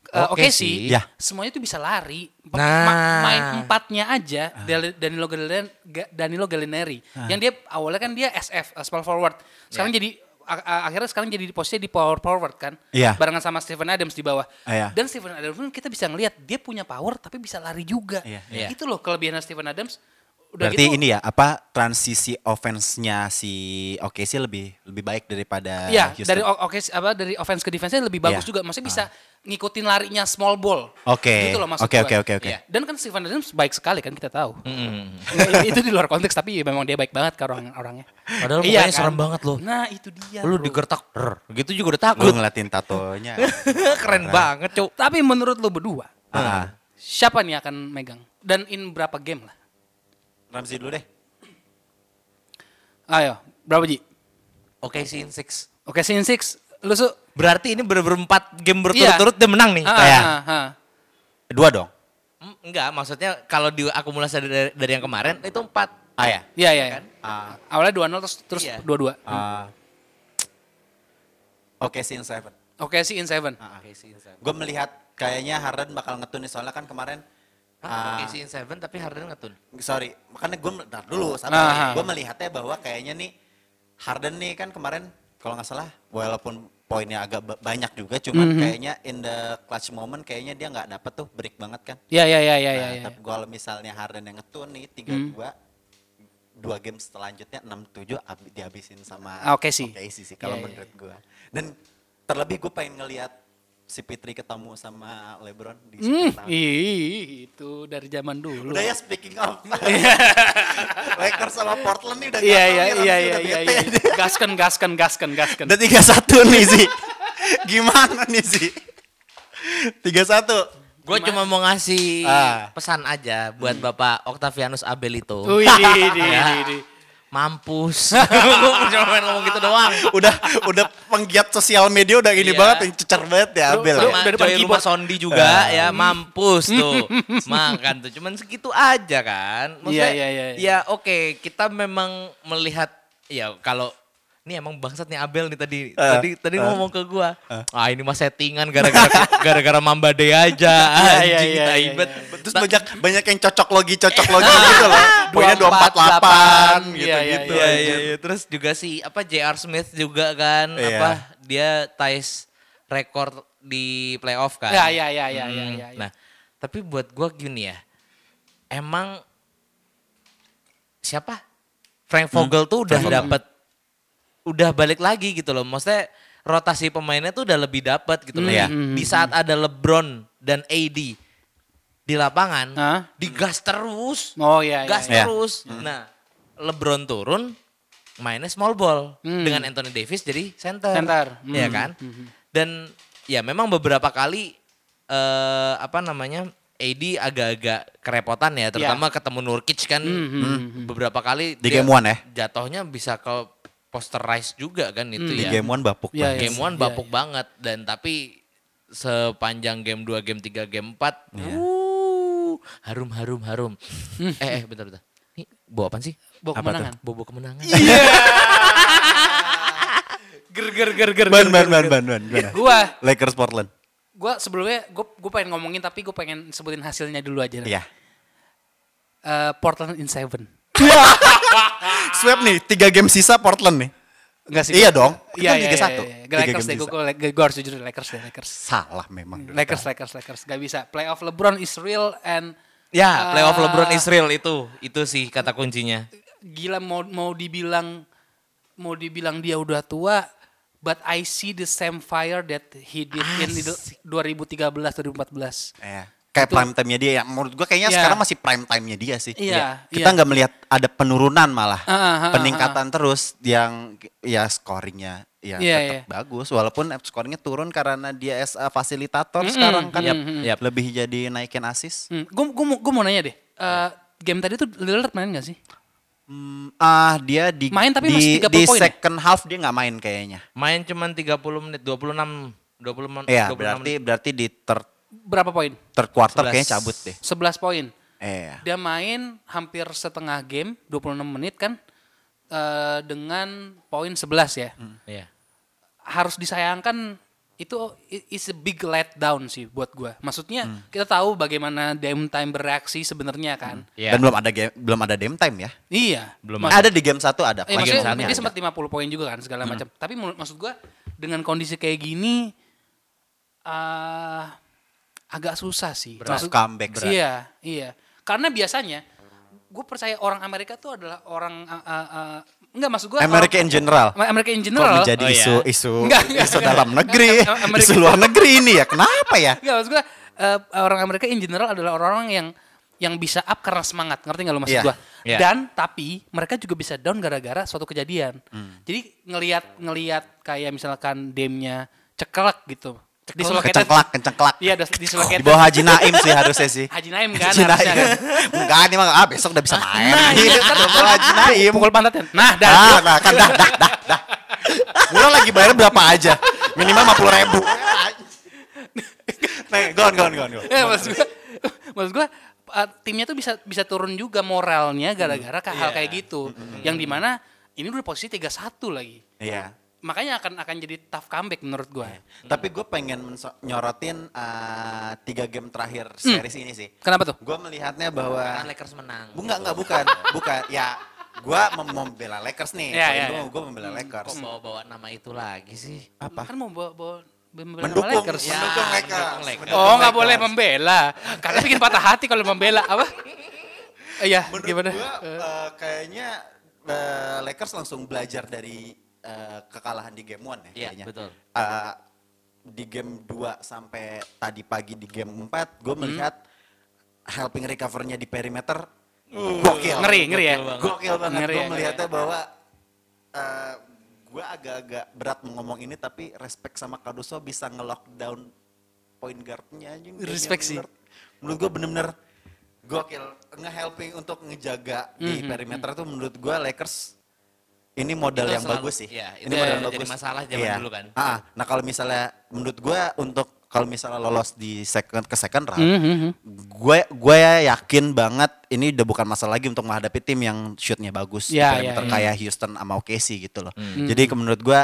S3: Eh,
S1: Oke
S3: Oke sih,
S1: sih.
S2: Ya.
S3: semuanya tuh bisa lari. Pe-
S1: Nah.
S3: main hmm, empatnya aja
S2: Ah.
S3: Dal- Danilo Gallinari, Ga- Danilo Gallinari. yang dia awalnya kan dia SF uh, small forward. Sekarang
S2: Ya.
S3: jadi a- a- akhirnya sekarang jadi di posisi di power forward kan,
S2: Iya.
S3: barengan sama Steven Adams di bawah.
S2: Iya.
S3: Dan Steven Adams pun kita bisa ngelihat dia punya power tapi bisa lari juga.
S2: Iya,
S1: iya.
S3: Itu loh kelebihannya Steven Adams. gitu,
S2: Berarti ini ya, apa transisi offense-nya si Oke sih lebih lebih baik daripada
S3: Iya,
S2: Eh, Houston.
S3: dari o- oke apa dari offense ke defense lebih
S2: Iya.
S3: bagus juga. Maksudnya bisa ngikutin larinya small ball.
S2: Oke.
S3: Gitu loh maksud
S2: Oke,
S3: gua.
S2: oke, oke, oke.
S3: Iya. Dan kan Steven Adams baik sekali kan kita tahu.
S1: Mm-mm.
S3: Nggak, itu di luar konteks tapi memang dia baik banget ke orang orangnya.
S1: Padahal
S3: Iya
S1: mukanya
S3: kan?
S1: serem banget loh.
S3: Nah, itu dia.
S1: Lu
S3: bro.
S1: digertak. "Rrr," Gitu juga udah
S2: Gue
S1: takut.
S2: ngeliatin tatonya.
S1: Keren banget, Cuk.
S3: Tapi menurut lu berdua,
S2: Ah.
S3: siapa nih akan megang? Dan in berapa game lah?
S2: Ramzi dulu deh.
S3: Ayo, berapa Ji?
S1: Oke sih in six.
S3: Oke, scene 6. Lu su
S1: Berarti ini bener-bener 4 game berturut-turut dia menang nih.
S3: Ah,
S2: kayak-
S3: ah, ah.
S2: Dua dong.
S1: Mm, Enggak, maksudnya kalau diakumulasi dari, dari yang kemarin itu 4.
S2: Ah ya.
S3: Iya, iya.
S1: Kan?
S2: Ah,
S3: Awalnya 2-0 terus terus
S1: Iya.
S3: 2-2.
S2: ah. Oke sih in seven.
S3: Oke sih in 7.
S1: Oke sih in 7.
S2: Gue melihat kayaknya Harden bakal ngetun nih soalnya kan kemarin
S1: Oke
S2: ah,
S1: sih in 7 tapi Harden ngetun.
S2: sorry makanya gue bentar dulu
S3: Aha.
S2: sama gue melihatnya bahwa kayaknya nih Harden nih kan kemarin kalau nggak salah walaupun poinnya agak ba- banyak juga cuman kayaknya in the clutch moment kayaknya dia nggak dapet tuh break banget kan
S3: Iya, iya, iya, iya,
S2: Nah,
S3: iya. iya.
S2: tapi kalau misalnya Harden yang ngetun nih tiga dua dua game selanjutnya 6-7 ab- dihabisin sama
S3: Ah, oke sih.
S2: sih kalau
S3: Iya, iya,
S2: menurut gue dan terlebih gue pengen ngelihat si Fitri ketemu sama LeBron di
S3: Hmm,
S2: sini
S3: ih, itu dari zaman dulu.
S2: Udah ya speaking (laughs) of. Lakers sama Portland nih udah
S3: Iya,
S2: gatal nih,
S3: iya,
S2: Ramzi
S3: iya, iya,
S2: udah
S3: iya,
S2: bete ya?
S3: iya.
S2: nih.
S3: Gaskan, gaskan, gaskan, gaskan.
S2: (laughs) Udah tiga satu nih sih. Gimana nih sih? Tiga satu.
S1: Gue cuma Hmm. mau ngasih
S2: Ah.
S1: pesan aja buat Bapak Octavianus Abelito.
S3: Wih, di, di,
S2: Nah.
S1: Ya.
S3: di, di.
S1: Mampus. Gue cuma pengen ngomong gitu doang.
S2: Udah udah penggiat sosial media udah gini
S1: Iya.
S2: banget yang cecer banget ya
S3: Lu-
S2: Abel.
S3: lu-
S2: ya.
S1: Sama
S3: dari
S1: Joy
S3: depan
S1: Rumah
S3: keyboard.
S1: Sondi
S3: Ah.
S1: juga ya mampus tuh. Makan tuh cuman segitu aja kan. Maksudnya,
S3: Iya, iya, iya, iya.
S1: Ya oke, kita memang melihat ya kalau ini emang bangsat nih Abel nih tadi.
S3: Ah.
S1: tadi tadi ngomong ke gua. Ah ini mah settingan gara-gara
S3: (laughs)
S1: gara-gara Mamba Day aja.
S3: Iya, iya,
S1: Anjing
S3: iya,
S1: kita
S3: iya,
S1: ibet.
S2: Terus banyak banyak yang cocok logi cocok
S3: (laughs)
S2: logi gitu loh. Poinnya dua empat
S3: 248,
S2: delapan
S3: iya,
S2: gitu
S3: iya,
S2: gitu.
S1: Iya, iya, iya. Terus juga si apa JR Smith juga kan
S2: Iya.
S1: apa dia ties rekor di playoff kan.
S3: Ya, ya, ya, ya, ya,
S1: Hmm,
S3: ya, ya.
S1: Nah, tapi buat gua gini ya. Emang siapa? Hmm. Frank Vogel tuh udah dapat udah balik lagi gitu loh. Maksudnya rotasi pemainnya tuh udah lebih dapat gitu loh.
S2: Iya.
S1: Di saat ada LeBron dan AD di lapangan,
S3: Hah?
S1: digas terus
S3: Oh, iya, iya.
S1: gas
S2: ya.
S3: iya.
S1: terus. Nah, LeBron turun, mainnya small ball
S3: Hmm.
S1: dengan Anthony Davis jadi center.
S3: Center,
S1: Iya
S3: hmm.
S1: kan? Dan ya memang beberapa kali eh apa namanya? AD agak-agak kerepotan ya, terutama
S3: Iya.
S1: ketemu Nurkic kan
S3: Hmm,
S1: beberapa kali
S2: Di
S1: dia
S2: game one ya?
S1: Jatuhnya bisa ke posterize juga kan itu
S2: Di
S1: ya.
S2: game one bapuk banget.
S3: Iya,
S1: Game
S3: sih.
S1: 1
S3: Iya,
S1: bapuk
S3: iya.
S1: banget dan tapi sepanjang game 2, game 3, game 4 harum harum harum. eh eh bentar bentar. Ini bawa apaan sih? Apa
S3: Bawa kemenangan.
S1: tuh? Bawa, bawa kemenangan.
S3: Ger, ger, ger, ger,
S2: Ban
S3: ger,
S2: ban
S3: ger,
S2: ban
S3: ger.
S2: ban ban. gimana?
S3: iya. Gua,
S2: Lakers Portland.
S3: gua sebelumnya gua, gua pengen ngomongin tapi gua pengen sebutin hasilnya dulu aja.
S2: Iya.
S3: Eh, Portland in seven.
S2: Iya. Swap nih, tiga game sisa Portland nih.
S3: Enggak sih.
S2: Iya
S3: gua-
S2: dong, itu kan
S3: Iya, iya, iya,
S2: 3-1.
S3: iya.
S2: Tiga
S3: Lakers
S2: game
S3: deh, gua,
S2: sisa.
S3: gua, gua harus jujur Lakers deh, Lakers.
S2: Salah memang. dulu.
S3: Lakers, Lakers, Lakers. Gak bisa. Playoff LeBron is real and
S1: ya, playoff
S3: eh,
S1: LeBron Israel itu. Itu sih kata kuncinya.
S3: gila mau mau dibilang mau dibilang dia udah tua But I see the same fire that he did in the 2013 2014.
S2: Iya. Kayak prime time-nya dia ya. Menurut gua kayaknya
S3: Iya.
S2: sekarang masih prime time-nya dia sih.
S3: Iya,
S2: Kita
S3: iya.
S2: nggak melihat ada penurunan malah.
S3: Ah, ah, ah,
S2: Peningkatan terus yang ya scoringnya ya
S3: Iya,
S2: tetap bagus walaupun scoringnya turun karena dia as a fasilitator sekarang kan
S1: Yap, yap.
S2: lebih jadi naikin asis.
S3: Hmm, gue mau nanya deh. eh, game tadi tuh Lillard main gak sih?
S2: Hmm, ah dia di
S3: Main tapi
S2: di,
S3: masih 30
S2: di
S3: poin ya?
S2: second half dia nggak main kayaknya.
S1: Main cuman 30 menit, 26 20 menit.
S2: Iya, berarti berarti di ter,
S3: Berapa poin?
S2: third quarter
S1: 11.
S2: kayaknya cabut deh.
S3: 11 poin.
S2: Iya.
S3: Dia main hampir setengah game, 26 menit kan. eh, dengan poin 11 ya.
S1: Iya.
S3: harus disayangkan itu i- is a big letdown sih buat gua. Maksudnya kita tahu bagaimana Dame Time bereaksi sebenarnya kan.
S1: Iya.
S2: Dan belum ada game, belum ada game time ya.
S3: Iya.
S1: belum
S2: Ada di game satu ada.
S3: Eh,
S2: kalau
S1: Lagi
S3: maksudnya
S1: misalnya
S3: dia
S1: ada. Hmm.
S3: sempat 50 poin juga kan segala macam. Tapi menurut maksud gua dengan kondisi kayak gini eh agak susah sih.
S2: Berat.
S3: Maksud-
S2: Comeback. Berat.
S3: Iya, iya. Karena biasanya gue percaya orang Amerika tuh adalah orang eh, eh, eh, enggak maksud gua
S2: Amerika
S3: orang-
S2: in general.
S3: Amerika in
S2: Kok
S3: general.
S2: menjadi
S1: Oh, iya.
S2: isu isu
S3: Enggak, enggak,
S2: isu
S3: enggak.
S2: dalam negeri,
S3: Em- em- Amerika.
S2: isu luar negeri ini ya. Kenapa ya?
S3: Enggak maksud gue eh, orang Amerika in general adalah orang-orang yang yang bisa up karena semangat, ngerti nggak lo maksud
S2: Iya,
S3: gua?
S1: iya.
S3: Dan tapi mereka juga bisa down gara-gara suatu kejadian.
S2: Hmm.
S3: Jadi ngelihat ngelihat kayak misalkan demnya cekelak gitu. Dislocated.
S2: Oh, Kecengklak, kecengklak.
S3: Iya, dis-
S2: Di
S3: dislocated.
S2: bawah Haji Naim sih harusnya sih.
S3: Haji Naim kan
S2: Haji
S3: harusnya
S2: Naim. (laughs)
S3: kan.
S2: Enggak nih mah ah, besok udah bisa main.
S3: Nah, iya,
S2: Di
S3: kan.
S2: bawah Haji Naim.
S3: Pukul pantatnya. Nah, dah.
S2: Nah, nah, kan dah, dah, dah, dah. Murah lagi bayar berapa aja? Minimal 50 ribu. Nah, gon, gon, gon, gon.
S3: Ya, (laughs) maksud gua, maksud gua, uh, timnya tuh bisa bisa turun juga moralnya gara-gara ke
S2: Iya.
S3: hal kayak
S2: Hmm,
S3: gitu. Yang dimana ini udah posisi 3-1 lagi.
S2: Iya.
S3: Makanya akan akan jadi tough comeback menurut gua.
S2: Tapi gue pengen menso- nyorotin eh, tiga game terakhir
S3: Hmm.
S2: series ini sih.
S3: Kenapa tuh?
S2: Gue melihatnya bahwa
S1: Lakers menang.
S2: Bu, enggak, enggak, bukan. bukan. Ya, gue mem- membela Lakers nih.
S3: Iya, iya,
S2: gue,
S3: iya.
S2: membela Lakers.
S1: bawa nama itu lagi sih?
S2: Apa?
S3: Kan mau bawa, bawa membela
S2: Mendukung,
S3: Lakers. Ya.
S2: mendukung Lakers.
S1: mendukung Lakers.
S3: Oh, nggak
S2: Lakers.
S3: boleh membela. Karena bikin patah hati kalau membela
S2: (laughs)
S3: apa? Iya,
S2: Menurut
S3: gimana?
S2: gua,
S3: Eh,
S2: eh, kayaknya eh, Lakers langsung belajar dari eh, kekalahan di game 1 ya
S1: Iya,
S2: kayaknya.
S1: betul.
S2: Eh, di game 2 sampai tadi pagi di game 4,
S3: Hmm.
S2: gue melihat helping recover-nya di perimeter gokil.
S3: Uh, ngeri, ngeri ya.
S2: Gokil banget.
S3: Ngeri
S2: Gue
S3: ya,
S2: melihatnya bahwa eh gue agak-agak berat ngomong ini tapi respect sama Caruso bisa nge-lockdown point guard-nya. anjing. Damian
S3: Respect sih.
S2: Lillard. Menurut gue bener-bener gokil. Nge-helping untuk ngejaga di perimeter tuh menurut gue Lakers ini modal
S1: Mhm. Itu
S2: yang
S1: selalu-
S2: bagus sih.
S1: iya,
S2: ini
S1: itu
S2: modal
S1: yang
S2: yang
S1: jadi
S2: bagus.
S1: masalah zaman
S2: Iya.
S1: dulu kan.
S2: Ah, nah kalau misalnya menurut gue untuk kalau misalnya lolos di second ke second round,
S1: Mhm,
S2: gue gue yakin banget ini udah bukan masalah lagi untuk menghadapi tim yang shootnya bagus
S3: Ya,
S2: di perimeter
S3: ya, ya.
S2: kayak Houston sama OKC gitu loh.
S1: Hmm.
S2: Jadi ke- menurut gue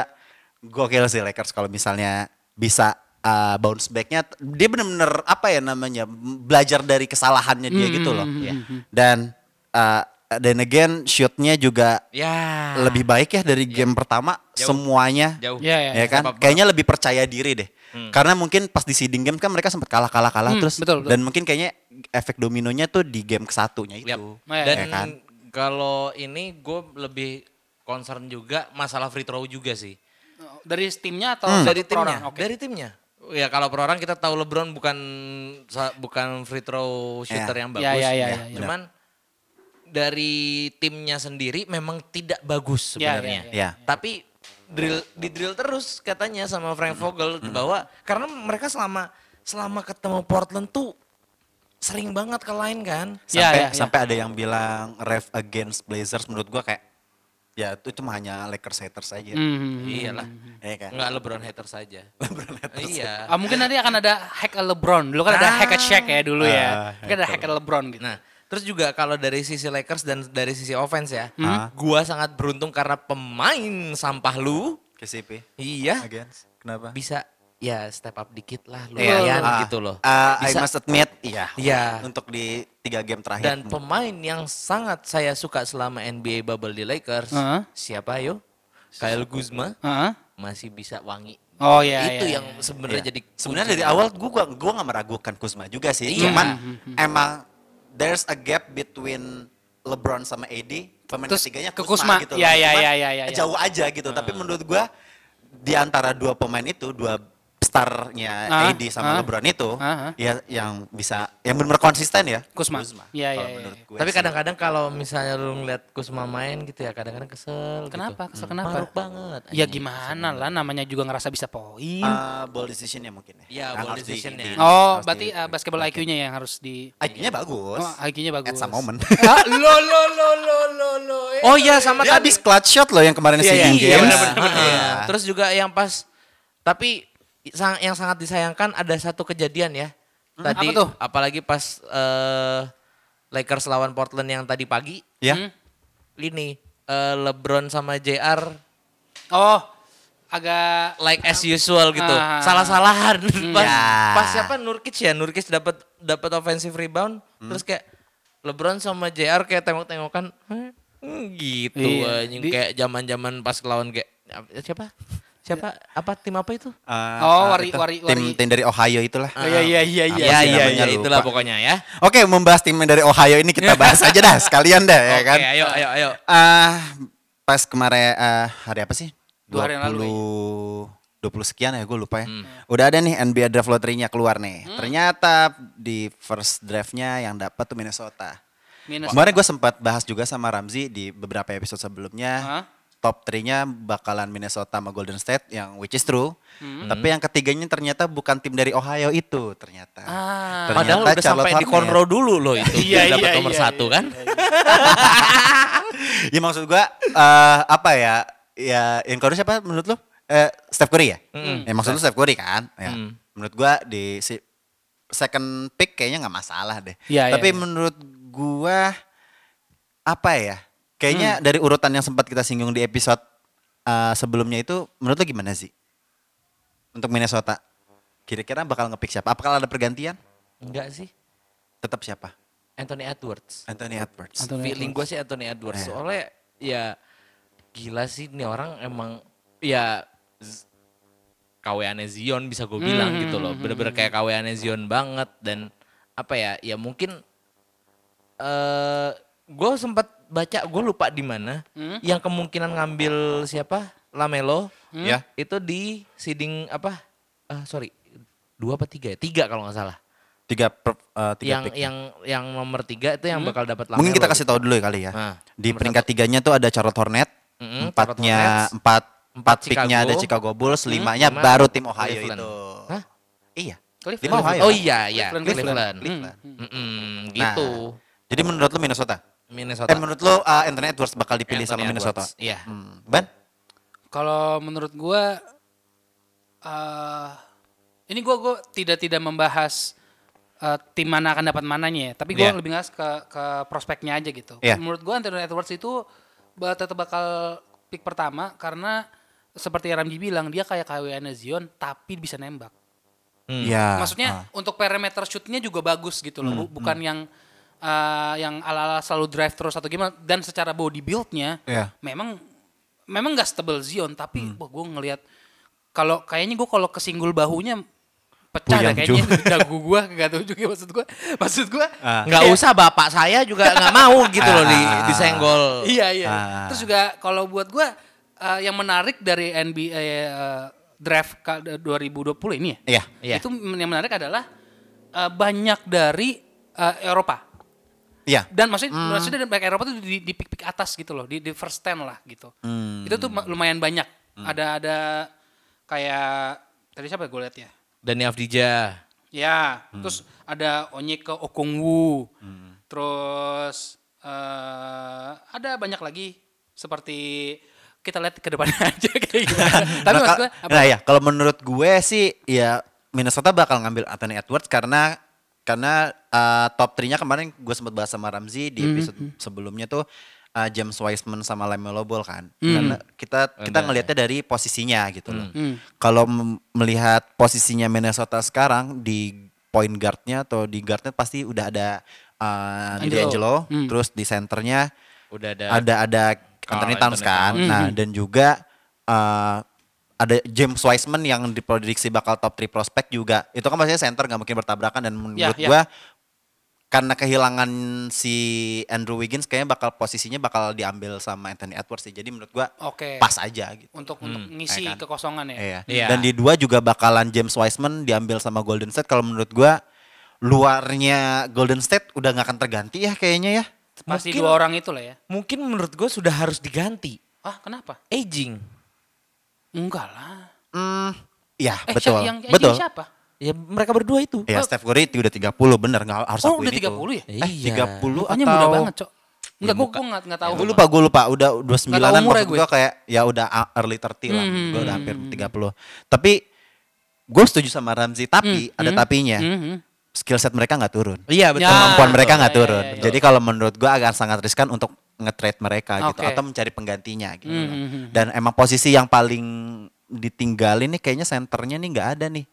S2: gokil sih Lakers kalau misalnya bisa uh, bounce backnya dia bener-bener apa ya namanya m- belajar dari kesalahannya dia gitu loh.
S3: Iya.
S1: hmm,
S2: Ya. Dan uh, then again shootnya juga
S1: Ya.
S2: lebih baik ya dari game pertama
S1: Iya. Jauh.
S2: semuanya
S1: jauh. Hmm.
S3: Iya,
S2: ya
S3: iya.
S2: kan
S1: Apa-apa.
S2: kayaknya lebih percaya diri deh karena mungkin pas di seeding game kan mereka sempat kalah kalah kalah
S3: Hmm,
S2: terus
S3: betul, betul.
S2: dan mungkin kayaknya efek dominonya tuh di game kesatunya itu
S1: Yap.
S3: Ya,
S1: Dan
S2: ya kan?
S1: kalau ini gue lebih concern juga masalah free throw juga sih.
S3: Oh, Dari timnya atau
S2: Hmm.
S3: satu
S1: Dari
S3: per
S1: timnya,
S3: orang? Oke.
S1: dari timnya. Hmm. Ya kalau per orang kita tahu LeBron bukan sa- bukan free throw shooter
S2: Ya.
S1: yang
S3: Ya,
S1: bagus.
S3: ya, ya,
S2: ya, ya.
S1: Cuman dari timnya sendiri memang tidak bagus
S3: Ya, ya,
S1: sebenarnya.
S2: ya, ya.
S1: Tapi drill di drill terus katanya sama Frank Vogel bahwa karena mereka selama selama ketemu Portland tuh sering banget kalahin kan.
S2: sampai
S3: ya, ya.
S2: sampai ada yang bilang ref against Blazers menurut gua kayak ya itu cuma hanya Lakers haters aja
S3: Hmm.
S1: Iyalah.
S2: ya kan
S1: Enggak LeBron hater saja.
S2: LeBron haters.
S1: iya.
S3: Ah, mungkin nanti akan ada hack a LeBron. Dulu kan ada
S1: Ah.
S3: hack a Shaq ya dulu
S2: Ah,
S3: ya. Mungkin ada
S2: hack
S3: hack
S2: a
S3: a LeBron gitu.
S1: Nah, terus juga kalau dari sisi Lakers dan dari sisi offense ya, gua sangat beruntung karena pemain sampah lu,
S2: KCP
S1: iya,
S2: against kenapa
S1: bisa ya step up dikit lah
S2: Iya,
S1: lumayan
S2: ah,
S1: gitu loh.
S2: ah, I
S1: Bisa.
S2: must admit iya
S1: Iya.
S2: untuk di tiga game terakhir
S1: Dan pemain yang sangat saya suka selama NBA bubble di Lakers,
S3: Heeh.
S1: siapa yo? Kyle Kuzma
S3: Heeh.
S1: masih bisa wangi.
S3: Oh iya.
S1: Itu
S3: iya,
S1: yang
S3: iya.
S1: sebenarnya
S2: Iya.
S1: jadi
S2: sebenarnya
S1: kunci.
S2: dari awal gue gua gua nggak meragukan Kuzma juga sih.
S1: Iya.
S2: Cuman
S3: Hmm,
S2: emang there's a gap between LeBron sama AD pemain
S3: Terus
S2: ketiganya
S3: ke
S2: Kuzma,
S3: Kuzma.
S2: gitu.
S3: Iya, iya,
S2: Cuman
S3: iya, iya, iya.
S2: Jauh aja gitu. Tapi menurut gue di antara dua pemain itu, dua starnya
S3: Ah,
S2: AD sama
S3: ah,
S2: LeBron itu,
S3: ah, ah.
S2: ya yang bisa yang benar-benar konsisten ya.
S3: Kusma. Iya, iya,
S2: Kalau
S3: iya.
S2: menurut gue
S1: Tapi
S2: sih.
S1: kadang-kadang kalau misalnya lu ngeliat Kusma main gitu ya kadang-kadang kesel. Gitu.
S3: Kenapa? Kesel kenapa?
S1: Maruk banget.
S3: Ya gimana lah namanya juga ngerasa bisa poin.
S2: Ah, ball decision ya mungkin ya.
S1: Iya,
S2: Yang
S1: ball
S2: harus di-
S1: decision-nya.
S2: di-
S3: oh,
S2: harus
S3: berarti
S2: di-
S3: uh, basketball IQ-nya yang harus di
S2: IQ-nya bagus.
S3: Oh, IQ-nya bagus.
S2: At some moment.
S3: (laughs)
S1: Ah, lo lo lo lo lo lo. eh.
S3: Oh iya sama
S2: Dia
S3: tadi.
S2: habis clutch shot loh yang kemarin
S1: Iya,
S2: si
S1: iya,
S2: Game.
S1: iya, benar,
S2: Ah,
S1: benar, benar.
S2: iya.
S1: Terus juga yang pas tapi sang- yang sangat disayangkan ada satu kejadian ya. Tadi
S3: Apa tuh?
S1: apalagi pas eh, Lakers lawan Portland yang tadi pagi
S2: Ya.
S3: Hmm.
S1: ini eh, LeBron sama JR
S3: Oh, agak
S1: like as usual gitu.
S3: Ah. Iya.
S1: Salah-salahan. (laughs) pas,
S2: Ya.
S1: pas siapa Nurkic ya? Nurkic dapat dapat offensive rebound
S2: Hmm.
S1: terus kayak LeBron sama JR kayak tengok-tengokan "Hah?" Hmm, gitu
S3: Iya.
S1: anjing
S3: Di-
S1: kayak zaman-zaman pas lawan kayak siapa? Siapa? Apa tim apa itu?
S2: Ah,
S3: Oh,
S2: ah,
S3: wari-
S2: itu.
S3: wari-
S2: tim
S3: wari-
S2: tim dari Ohio itulah.
S3: Oh, iya iya
S2: Ah,
S3: iya iya.
S1: ya,
S2: iya,
S1: ya,
S2: namanya
S1: ya,
S2: lupa.
S1: itulah pokoknya ya.
S2: Oke, membahas tim dari Ohio ini
S3: Iya.
S2: kita bahas aja dah sekalian dah ya
S1: Oke,
S2: kan.
S1: ayo ayo ayo.
S2: Ah, pas kemarin ah, hari apa sih?
S3: Dua hari yang lalu, iya. Hmm.
S2: 20 sekian ya gue lupa ya. Udah ada nih NBA draft lottery-nya keluar nih. Ternyata di first draft-nya yang dapat tuh Minnesota.
S3: Minus.
S2: Kemarin gue sempat bahas juga sama Ramzi di beberapa episode sebelumnya.
S3: Hah?
S2: Top 3-nya bakalan Minnesota sama Golden State yang which is true.
S3: Hmm.
S2: Tapi yang ketiganya ternyata bukan tim dari Ohio itu ternyata.
S3: Ah.
S2: Ternyata
S1: Padahal udah
S2: Charlotte
S1: sampai di
S2: Hornets.
S1: Conroe dulu loh itu.
S3: Iya,
S1: dapat
S3: iya,
S1: nomor
S3: iya,
S1: satu
S3: iya,
S1: kan?
S2: Ya maksud gua eh, apa ya? Ya yang kedua siapa menurut lu? Eh, Steph Curry ya? Ya maksud lu Steph Curry kan? Ya. Menurut gua di si second pick kayaknya nggak masalah deh.
S3: Iya,
S2: Tapi
S3: iya, iya.
S2: menurut gua apa ya? Kayaknya dari urutan yang sempat kita singgung di episode eh, sebelumnya itu menurut lu gimana sih? Untuk Minnesota. Kira-kira bakal ngepick siapa? Apakah ada pergantian?
S1: Enggak sih.
S2: Tetap siapa?
S1: Anthony Edwards.
S2: Anthony Edwards. Iya.
S3: Anthony
S1: feeling gue sih Anthony Edwards soalnya ya gila sih nih orang emang ya z- KW-annya Zion bisa gue bilang
S2: Hmm,
S1: gitu loh bener-bener kayak KW-annya Zion banget dan apa ya ya mungkin eh gue sempat baca gue lupa di mana
S2: Hmm?
S1: yang kemungkinan ngambil siapa Lamelo
S2: Ya.
S1: itu di seeding apa Ah, sorry dua apa tiga ya tiga kalau nggak salah
S2: Tiga per- eh, tiga
S1: yang
S2: pick. Hmm?
S1: yang yang nomor tiga itu yang bakal dapat Lamelo
S2: Mungkin kita
S1: gitu.
S2: kasih tahu dulu ya kali ya.
S1: Nah,
S2: di peringkat tiganya tuh ada Charlotte Hornet,
S1: Mm-mm, Charlotte
S2: empatnya
S1: Hornets.
S2: empat
S1: Empat
S2: empat picknya
S1: Chicago.
S2: ada Chicago Bulls, limanya
S1: lima
S2: baru tim Ohio
S1: Cleveland.
S2: itu.
S1: Hah?
S2: Iya.
S3: Cleveland.
S2: Lima Ohio.
S1: Oh iya iya
S3: Cleveland,
S1: Cleveland.
S2: Cleveland.
S1: Mm-mm,
S2: Nah,
S1: gitu.
S2: Jadi menurut lu Minnesota?
S1: Minnesota.
S2: Eh menurut lu uh, Anthony Edwards bakal dipilih
S1: Anthony
S2: sama Minnesota?
S1: Edwards, iya.
S2: Hmm. Ban?
S3: Kalau menurut gua eh ini gua gua tidak tidak membahas eh, tim mana akan dapat mananya ya, tapi
S2: Iya.
S3: gua lebih ngas ke ke prospeknya aja gitu.
S2: Iya.
S3: Menurut gua Anthony Edwards itu ba- tetap bakal pick pertama karena seperti Ramji bilang dia kayak KWN Zion tapi bisa nembak.
S1: Hmm.
S2: Iya.
S3: Maksudnya
S2: ah. Hmm,
S3: untuk perimeter shootnya juga bagus gitu loh, Bu- bukan yang eh, yang ala-ala selalu drive terus atau gimana. Dan secara body buildnya,
S2: Iya. Hmm.
S3: memang memang nggak stable Zion, tapi wah gue ngelihat kalau kayaknya gue kalau kesinggul bahunya pecah deh
S2: Puyang,
S3: kayaknya
S2: Ju.
S3: (laughs) dagu gue nggak tahu juga maksud gue maksud gue
S2: Ah.
S1: Nggak usah bapak saya juga nggak mau gitu loh di
S2: Ah.
S1: disenggol.
S3: Iya iya.
S2: Ah.
S3: Terus juga kalau buat gue yang menarik dari NBA eh, draft ka- 2020 ini ya.
S2: Iya.
S1: Iya.
S3: Itu yang menarik adalah eh, banyak dari eh, Eropa.
S2: Iya.
S3: Dan maksudnya maksudnya dari banyak Eropa tuh di, di pick-pick atas gitu loh, di, di first ten lah gitu.
S2: Hmm.
S3: Itu tuh ma- lumayan banyak. Ada ada kayak tadi siapa gue lihat ya?
S1: Dani Avdija.
S3: Ya,
S2: Hmm.
S3: terus ada Onyeka Okongwu. Terus eh ada banyak lagi seperti kita lihat ke depannya (laughs) aja kayak gitu. Tapi
S2: Nah,
S3: maksud
S2: kal-
S3: gue apa?
S2: Nah ya, kalau menurut gue sih ya Minnesota bakal ngambil Anthony Edwards karena karena uh, top 3-nya kemarin gue sempat bahas sama Ramzi
S3: Hmm,
S2: di episode sebelumnya tuh uh, James Wiseman sama Lamelo Ball kan.
S3: Hmm.
S2: Karena kita
S1: Oh,
S2: kita
S1: ya.
S2: ngelihatnya dari posisinya gitu loh.
S3: Hmm.
S2: Kalau mem- melihat posisinya Minnesota sekarang di point guardnya atau di guardnya pasti udah ada uh,
S3: Angelo. Hmm.
S2: D'Angelo, terus di centernya
S1: Udah ada.
S2: ada ada Anthony
S1: Carl
S2: Towns
S1: Anthony
S2: kan.
S1: Towns.
S2: Nah,
S3: Mm-hmm.
S2: dan juga eh, ada James Wiseman yang diprediksi bakal top 3 prospek juga. Itu kan maksudnya center nggak mungkin bertabrakan dan menurut
S3: ya.
S2: gua karena kehilangan si Andrew Wiggins kayaknya bakal posisinya bakal diambil sama Anthony Edwards sih. Jadi menurut gua
S3: Oke.
S2: pas aja gitu.
S3: Untuk untuk ngisi
S2: ya kan?
S3: kekosongan ya.
S2: Iya.
S1: Iya.
S2: Dan di dua juga bakalan James Wiseman diambil sama Golden State kalau menurut gua luarnya Golden State udah nggak akan terganti ya kayaknya ya.
S3: Pasti
S1: Mungkin-
S3: dua orang itu lah ya.
S1: Mungkin menurut gue sudah harus diganti.
S3: Ah, kenapa?
S1: Aging.
S3: Enggak lah.
S2: Hmm, iya,
S3: Eh,
S2: betul.
S3: Yang, yang
S2: betul.
S3: siapa?
S1: Ya mereka berdua itu.
S2: Ya, Steph Curry itu udah 30 bener nggak harus
S3: Oh,
S2: akuin
S3: udah
S2: itu.
S3: 30 ya?
S2: Eh,
S1: Iya.
S2: 30
S3: Pokoknya
S2: atau
S3: muda banget, Cok. Enggak, gua
S2: muka-
S3: gua enggak enggak tahu.
S2: Gue lupa, gue lupa. Udah 29-an
S3: umurnya
S2: maksud
S3: gue. Hmm.
S2: gue kayak ya udah a- early 30 lah. Gue udah hampir 30. Tapi gue setuju sama Ramzi. Tapi
S3: Hmm,
S2: ada tapinya.
S3: Mhm.
S2: Skill set mereka nggak turun.
S1: Iya betul.
S3: Ya.
S2: Kemampuan mereka
S3: betul,
S2: nggak
S3: iya,
S2: turun.
S3: iya, iya.
S2: Jadi kalau menurut gue agak sangat riskan untuk nge-trade mereka gitu.
S3: Oke.
S2: Atau mencari penggantinya gitu.
S3: Mhm,
S2: loh.
S3: mhm.
S2: Dan emang posisi yang paling ditinggalin nih kayaknya senternya nih nggak ada nih.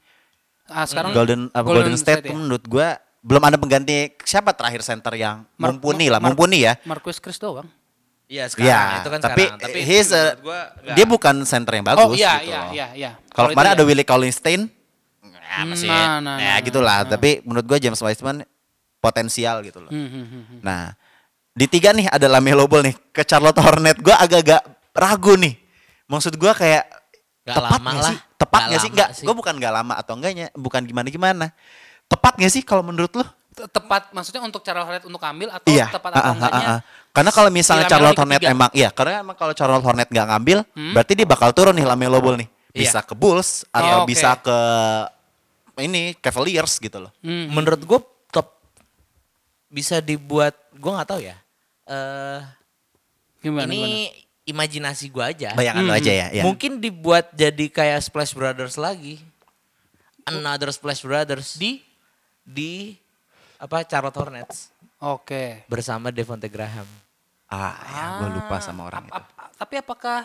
S3: Ah, sekarang
S2: Hmm. Golden apa, Golden, State,
S3: ya?
S2: menurut gue belum ada pengganti siapa terakhir center yang
S3: Mar-
S2: mumpuni lah,
S3: Mar-
S2: mumpuni ya.
S3: Marquis Chris doang.
S1: Iya sekarang
S2: Iya,
S1: itu kan
S2: tapi,
S1: sekarang. Tapi
S2: he's a-
S1: menurut gua nggak.
S2: dia bukan center yang bagus
S3: oh, iya,
S2: gitu
S3: iya,
S2: loh.
S3: iya, iya.
S2: Kalau
S3: itu
S2: kemarin
S3: iya.
S2: ada Willie Collins-Stein, ya masih,
S3: Nah, nah,
S2: ya
S3: nah,
S2: gitulah. Tapi menurut gue James Wiseman potensial gitu loh.
S3: Hmm, hmm, hmm, hmm.
S2: Nah, di tiga nih ada Lamelo Ball nih ke Charlotte Hornet. Gue agak-agak ragu nih. Maksud gue kayak
S1: Gak
S2: tepat
S1: lama
S2: nggak
S1: lah.
S2: sih? Tepat
S1: Gak
S2: nggak sih?
S1: lama
S2: Enggak,
S1: sih.
S2: gue bukan nggak lama atau enggaknya, bukan gimana-gimana. Tepat nggak sih kalau menurut lo?
S3: Te- Tepat maksudnya untuk cara Harriet untuk ambil atau tepat
S2: ah, ah,
S3: atau
S2: ah,
S3: enggaknya?
S2: ah. Karena kalau misalnya
S3: si Lamelo
S2: Charlotte
S3: di
S2: Hornet
S3: ketiga.
S2: emang iya, karena emang kalau Charlotte Hornet nggak ngambil, berarti dia bakal turun nih Lamelo Ball nih. Bisa ke Bulls atau
S3: oke.
S2: bisa ke ini Cavaliers gitu loh.
S1: Hmm. Menurut gue top bisa dibuat gua nggak tahu ya. Eh
S3: Gimana,
S1: ini imajinasi gua aja.
S2: Bayangan lo aja ya, ya.
S1: Mungkin dibuat jadi kayak Splash Brothers lagi. Another Splash Brothers di di apa Charlotte Hornets
S3: gimana? Oke.
S1: bersama Devonte Graham.
S2: Ah, ya, gue lupa sama orang Iya,
S3: Ap- ap- tapi apakah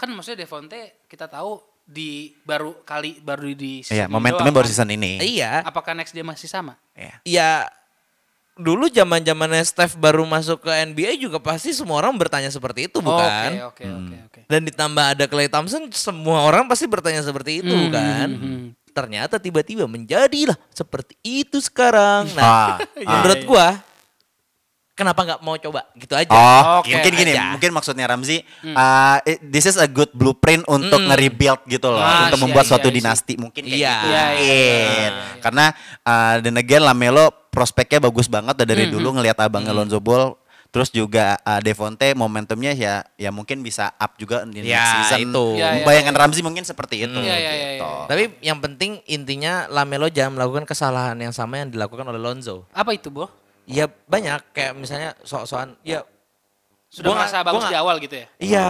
S3: kan maksudnya Devonte kita tahu di baru kali baru di
S2: itu. Iya,
S3: ini
S2: momentumnya
S3: doang,
S2: baru
S3: kan?
S2: season ini.
S1: Iya.
S3: Apakah next dia masih sama?
S2: Iya.
S1: ya dulu zaman zamannya Steph baru masuk ke NBA juga pasti semua orang bertanya seperti itu bukan?
S3: Oke, oke, oke,
S2: Hmm.
S3: oke.
S1: Dan ditambah ada Clay Thompson, semua orang pasti bertanya seperti itu kan? Ternyata tiba-tiba menjadilah seperti itu sekarang. Nah,
S3: (laughs)
S2: Ah,
S3: ya
S1: menurut gua kenapa nggak mau coba gitu aja?
S2: Oh,
S3: Oke, Hmm.
S2: mungkin gini,
S1: aja.
S2: mungkin maksudnya Ramzi, uh, it- this is a good blueprint untuk nge-rebuild gitu loh,
S3: Ah,
S2: untuk
S3: iya,
S2: membuat
S3: iya,
S2: suatu
S3: iya.
S2: dinasti mungkin kayak
S1: Iya.
S2: gitu.
S3: Iya, iya, iya,
S2: Mungkin. Karena uh, dan again Lamelo prospeknya bagus banget udah
S3: Hmm,
S2: dari dulu ngelihat abangnya Lonzo Ball, terus juga uh, Devonte momentumnya ya ya mungkin bisa up juga di
S1: Ya,
S2: next season. Hmm,
S1: itu.
S3: Iya, iya,
S2: Bayangan Ramzi mungkin seperti itu
S3: Iya, iya, iya,
S2: gitu.
S3: iya.
S1: Tapi yang penting intinya Lamelo jangan melakukan kesalahan yang sama yang dilakukan oleh Lonzo.
S3: Apa itu, Bo?
S1: Ya banyak kayak misalnya sok-sokan ya
S3: Sudah
S1: Gua nggak-
S3: merasa
S1: gua
S3: bagus
S1: nggak-
S3: di awal gitu ya?
S1: Iya,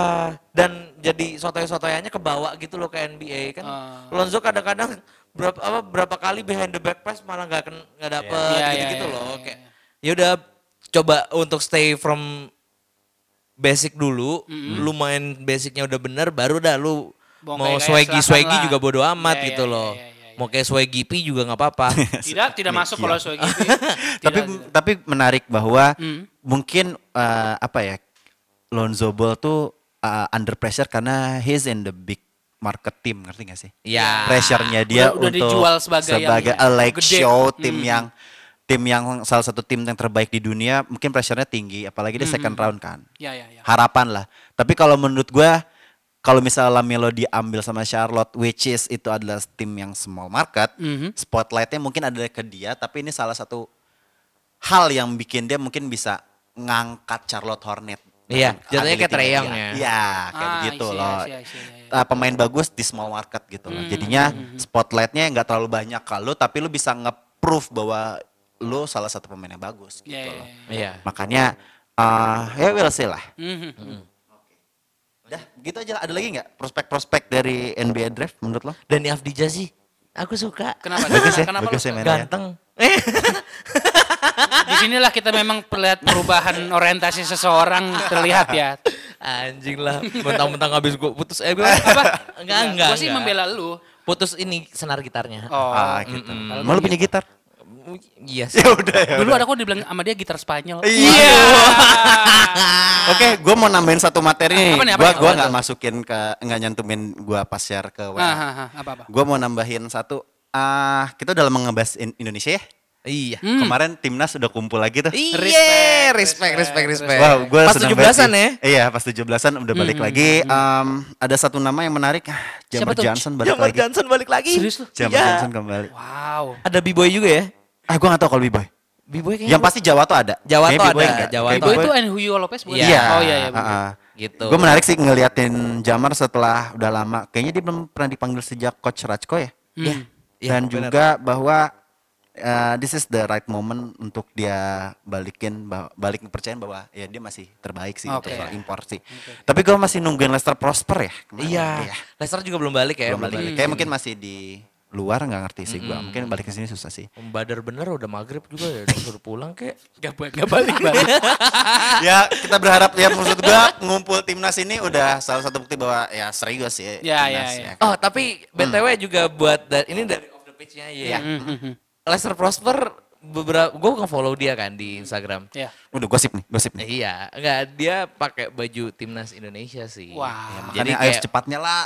S1: dan jadi sotoy-sotoyannya kebawa gitu loh ke NBA kan.
S3: Ah.
S1: Lonzo kadang-kadang berapa apa, berapa kali behind the back pass malah nggak ken- nggak dapet
S3: Iya, iya,
S1: gitu-gitu
S3: iya,
S1: loh.
S3: iya,
S1: Kayak ya udah coba untuk stay from basic dulu. Lu main basicnya udah bener baru dah lu
S3: Mau
S1: mau
S3: kayak- kayak
S1: swaggy swaggy
S3: silakan
S1: juga
S3: lah.
S1: bodo amat
S3: Iya,
S1: gitu
S3: iya,
S1: loh.
S3: iya, iya, iya.
S1: Mau kayak swaggy pi juga nggak
S3: (laughs)
S1: apa-apa.
S3: Tidak, tidak masuk kalau
S2: (laughs)
S3: soal gitu.
S2: Iya. tapi tapi menarik bahwa
S3: Hmm.
S2: mungkin uh, apa ya Lonzo Ball tuh uh, under pressure karena he's in the big market team ngerti gak sih?
S1: Ya.
S2: Pressure-nya dia
S3: Udah-
S2: untuk
S3: udah dijual sebagai yang-
S2: a like
S3: gede. Hmm.
S2: show tim yang tim yang salah satu tim yang terbaik di dunia mungkin pressure-nya tinggi apalagi dia second round kan.
S3: Ya, ya, ya.
S2: Harapan lah. Tapi kalau menurut gua kalau misalnya Lamelo diambil sama Charlotte, which is itu adalah tim yang small market,
S3: Mhm.
S2: spotlightnya mungkin ada ke dia, tapi ini salah satu hal yang bikin dia mungkin bisa ngangkat Charlotte Hornet.
S1: Iya, jatuhnya kayak
S2: Ability-nya
S1: Trae
S2: dia.
S1: Young ya.
S2: Iya, kayak
S3: Ah, I
S2: begitu
S3: see, I
S2: loh.
S3: see, I see, Mhm, iya, iya.
S2: Ah, pemain bagus di small market gitu loh. Jadinya spotlightnya nggak terlalu banyak kalau tapi lu bisa nge-proof bahwa lu salah satu pemain yang bagus gitu
S3: Iya, iya,
S2: loh.
S1: Iya.
S2: Makanya ah, ya we'll see lah.
S3: Mhm.
S2: Dah, gitu aja lah. Ada lagi nggak prospek-prospek dari NBA draft menurut lo?
S1: Dani Afdija sih, aku suka.
S3: Kenapa?
S2: Bagus ya,
S3: Kenapa lu
S2: bagus ya, men.
S1: Ganteng.
S3: Di sinilah kita memang melihat perubahan orientasi seseorang terlihat ya.
S1: Anjing lah, mentang-mentang habis gue putus eh gue
S3: Apa?
S1: Enggak, enggak.
S3: Gue sih
S1: enggak.
S3: membela
S2: Oh.
S3: lu.
S1: putus ini senar gitarnya.
S3: Oh.
S2: ah, gitu.
S3: mm-mm.
S2: Mau lu punya gitar?
S1: Iya sih.
S2: Ya udah ya.
S3: Dulu ada kok dibilang sama dia gitar Spanyol.
S2: Iya. (laughs) Oke, gue mau nambahin satu materi nih.
S3: Apa nih, apa
S2: Gue
S3: nih?
S2: gua
S3: Apa
S2: nggak
S3: tuh?
S2: masukin ke nggak nyantumin gue pas share ke
S3: Ah,
S2: WA.
S3: ah, ah, apa apa.
S2: Gue mau nambahin satu. Ah, kita udah lama ngebahas in- Indonesia ya?
S1: Iya.
S2: Kemarin timnas udah kumpul lagi tuh.
S1: Iya, respect, respect, respect.
S2: Wow, gue
S1: Pas 17-an ya.
S2: Iya, pas 17-an udah balik lagi. Em, ada satu nama yang menarik. Ah, Jamar
S3: Siapa tuh?
S2: Johnson balik
S1: Jamar
S2: lagi.
S1: Johnson balik lagi.
S3: Serius lu?
S2: Jamar
S1: Iya.
S2: Johnson kembali.
S3: Wow.
S1: Ada B-boy juga ya?
S2: Ah, gue gak tau kalau B-Boy.
S1: B-boy kayaknya.
S3: Iya.
S2: Yang pasti Jawa tuh ada.
S1: Jawa tuh
S2: Kayaknya B-Boy
S1: ada,
S2: enggak.
S1: Jawa
S2: Kayak
S1: tuh
S3: Ibu
S1: Boy-
S3: itu Enhuyo Lopez bukan?
S1: Iya.
S3: Oh iya iya. bener.
S1: Gitu.
S2: Gue menarik sih ngeliatin Jamar setelah udah lama. Kayaknya dia belum pernah dipanggil sejak Coach Rajko ya.
S1: Iya. Iya,
S2: Dan
S1: benar.
S2: juga bahwa eh, this is the right moment untuk dia balikin bah- balik kepercayaan bahwa ya dia masih terbaik sih untuk
S3: Oke.
S2: soal impor sih. Tapi gue masih nungguin Leicester prosper ya. kemarin.
S1: Iya. Leicester juga belum balik Hmm. ya.
S2: Belum balik. Kayak mungkin masih di luar nggak ngerti sih gue. Mungkin balik ke sini susah sih.
S1: Membadar bener udah maghrib juga ya. Suruh pulang kek.
S3: Gak, ba- gak balik
S2: (laughs)
S3: balik.
S2: ya kita berharap ya maksud gue ngumpul timnas ini udah salah satu bukti bahwa ya serius ya.
S3: Ya,
S2: timnas
S3: ya, ya.
S2: kan.
S1: Oh tapi BTW juga buat da- ini dari off the page-nya ya.
S3: Hmm,
S1: Lester Prosper beberapa gue nge follow dia kan di Instagram.
S3: Iya.
S2: Oh, Udah gosip nih, gosip nih.
S1: Iya, enggak dia pakai baju timnas Indonesia sih.
S2: Iya,
S3: Wah.
S1: Ya, jadi
S2: Makanya ayo
S1: kayak,
S2: secepatnya lah.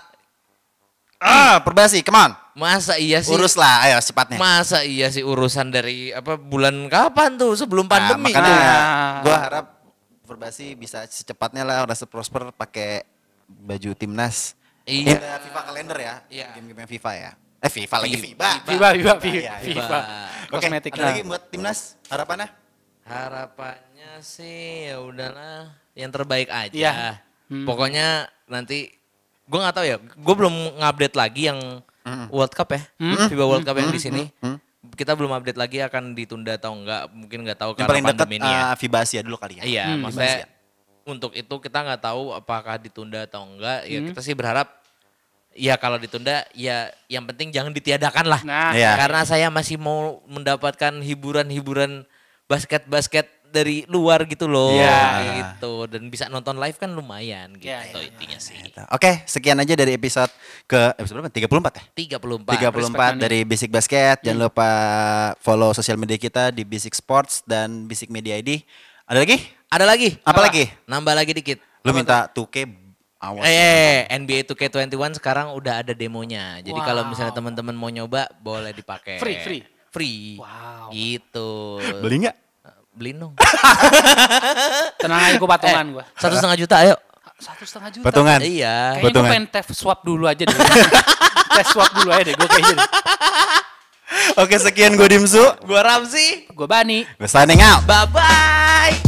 S2: Ah, perbasi, come on.
S1: masa iya sih?
S2: Urus lah, ayo secepatnya.
S1: Masa iya sih urusan dari apa bulan kapan tuh sebelum
S2: Nah,
S1: pandemi?
S2: makanya
S3: Ah.
S2: gua harap perbasi bisa secepatnya lah udah prosper pakai baju timnas. Ini
S1: Iya.
S2: ada FIFA kalender ya.
S1: Iya.
S2: Game-game yang FIFA ya. Eh FIFA lagi FIBA.
S3: Viva viva viva.
S2: Iya, iya.
S3: viva.
S2: Oke,
S3: Kosmetik. nah.
S2: ada lagi buat timnas harapannya?
S1: Harapannya sih ya udahlah yang terbaik aja.
S3: Iya.
S1: Hmm. Pokoknya nanti gue nggak tahu ya, gue belum ngupdate lagi yang
S2: Hmm.
S1: World Cup ya, FIBA World Cup yang di sini. Kita belum update lagi akan ditunda atau enggak, mungkin nggak tahu
S2: Yang
S1: karena
S2: paling dekat
S1: pandemi ini ya.
S2: eh, FIBA Asia dulu kali ya.
S1: Iya,
S2: Asia.
S1: maksudnya untuk itu kita nggak tahu apakah ditunda atau enggak. Ya kita sih berharap ya kalau ditunda ya yang penting jangan ditiadakan lah.
S3: Nah.
S2: Iya.
S1: Ah, Karena saya masih mau mendapatkan hiburan-hiburan basket-basket dari luar gitu loh.
S2: Iya.
S1: Gitu dan bisa nonton live kan lumayan gitu
S3: Iya, iya,
S1: intinya sih.
S2: Gitu. Oke, sekian aja dari episode ke episode berapa? 34 ya?
S1: 34.
S2: 34 dari Basic Basket.
S1: Iya.
S2: Jangan lupa follow sosial media kita di Basic Sports dan Basic Media ID. Ada lagi?
S1: Ada lagi?
S2: Apa lagi?
S1: Nambah lagi dikit.
S2: Lu minta 2K awas.
S1: Eh, NBA 2K21 sekarang udah ada demonya. Jadi kalau
S3: Wow.
S1: misalnya teman-teman mau nyoba boleh dipakai.
S3: Free, free.
S1: Free.
S3: Wow.
S1: Gitu.
S2: Beli nggak?
S1: Beliin dong.
S3: Tenang aja gue patungan gue.
S1: Satu setengah juta ayo.
S3: Satu setengah juta.
S2: Eh. Patungan.
S1: Iya.
S3: Kayaknya gue
S2: Patungan.
S3: pengen tes swab dulu aja deh. (laughs) tes swab dulu aja deh gue kayaknya. deh.
S2: Oke, sekian gue Dimsu.
S1: Gua Ramzi.
S3: Gue bani.
S2: Gue signing out.
S1: Bye bye.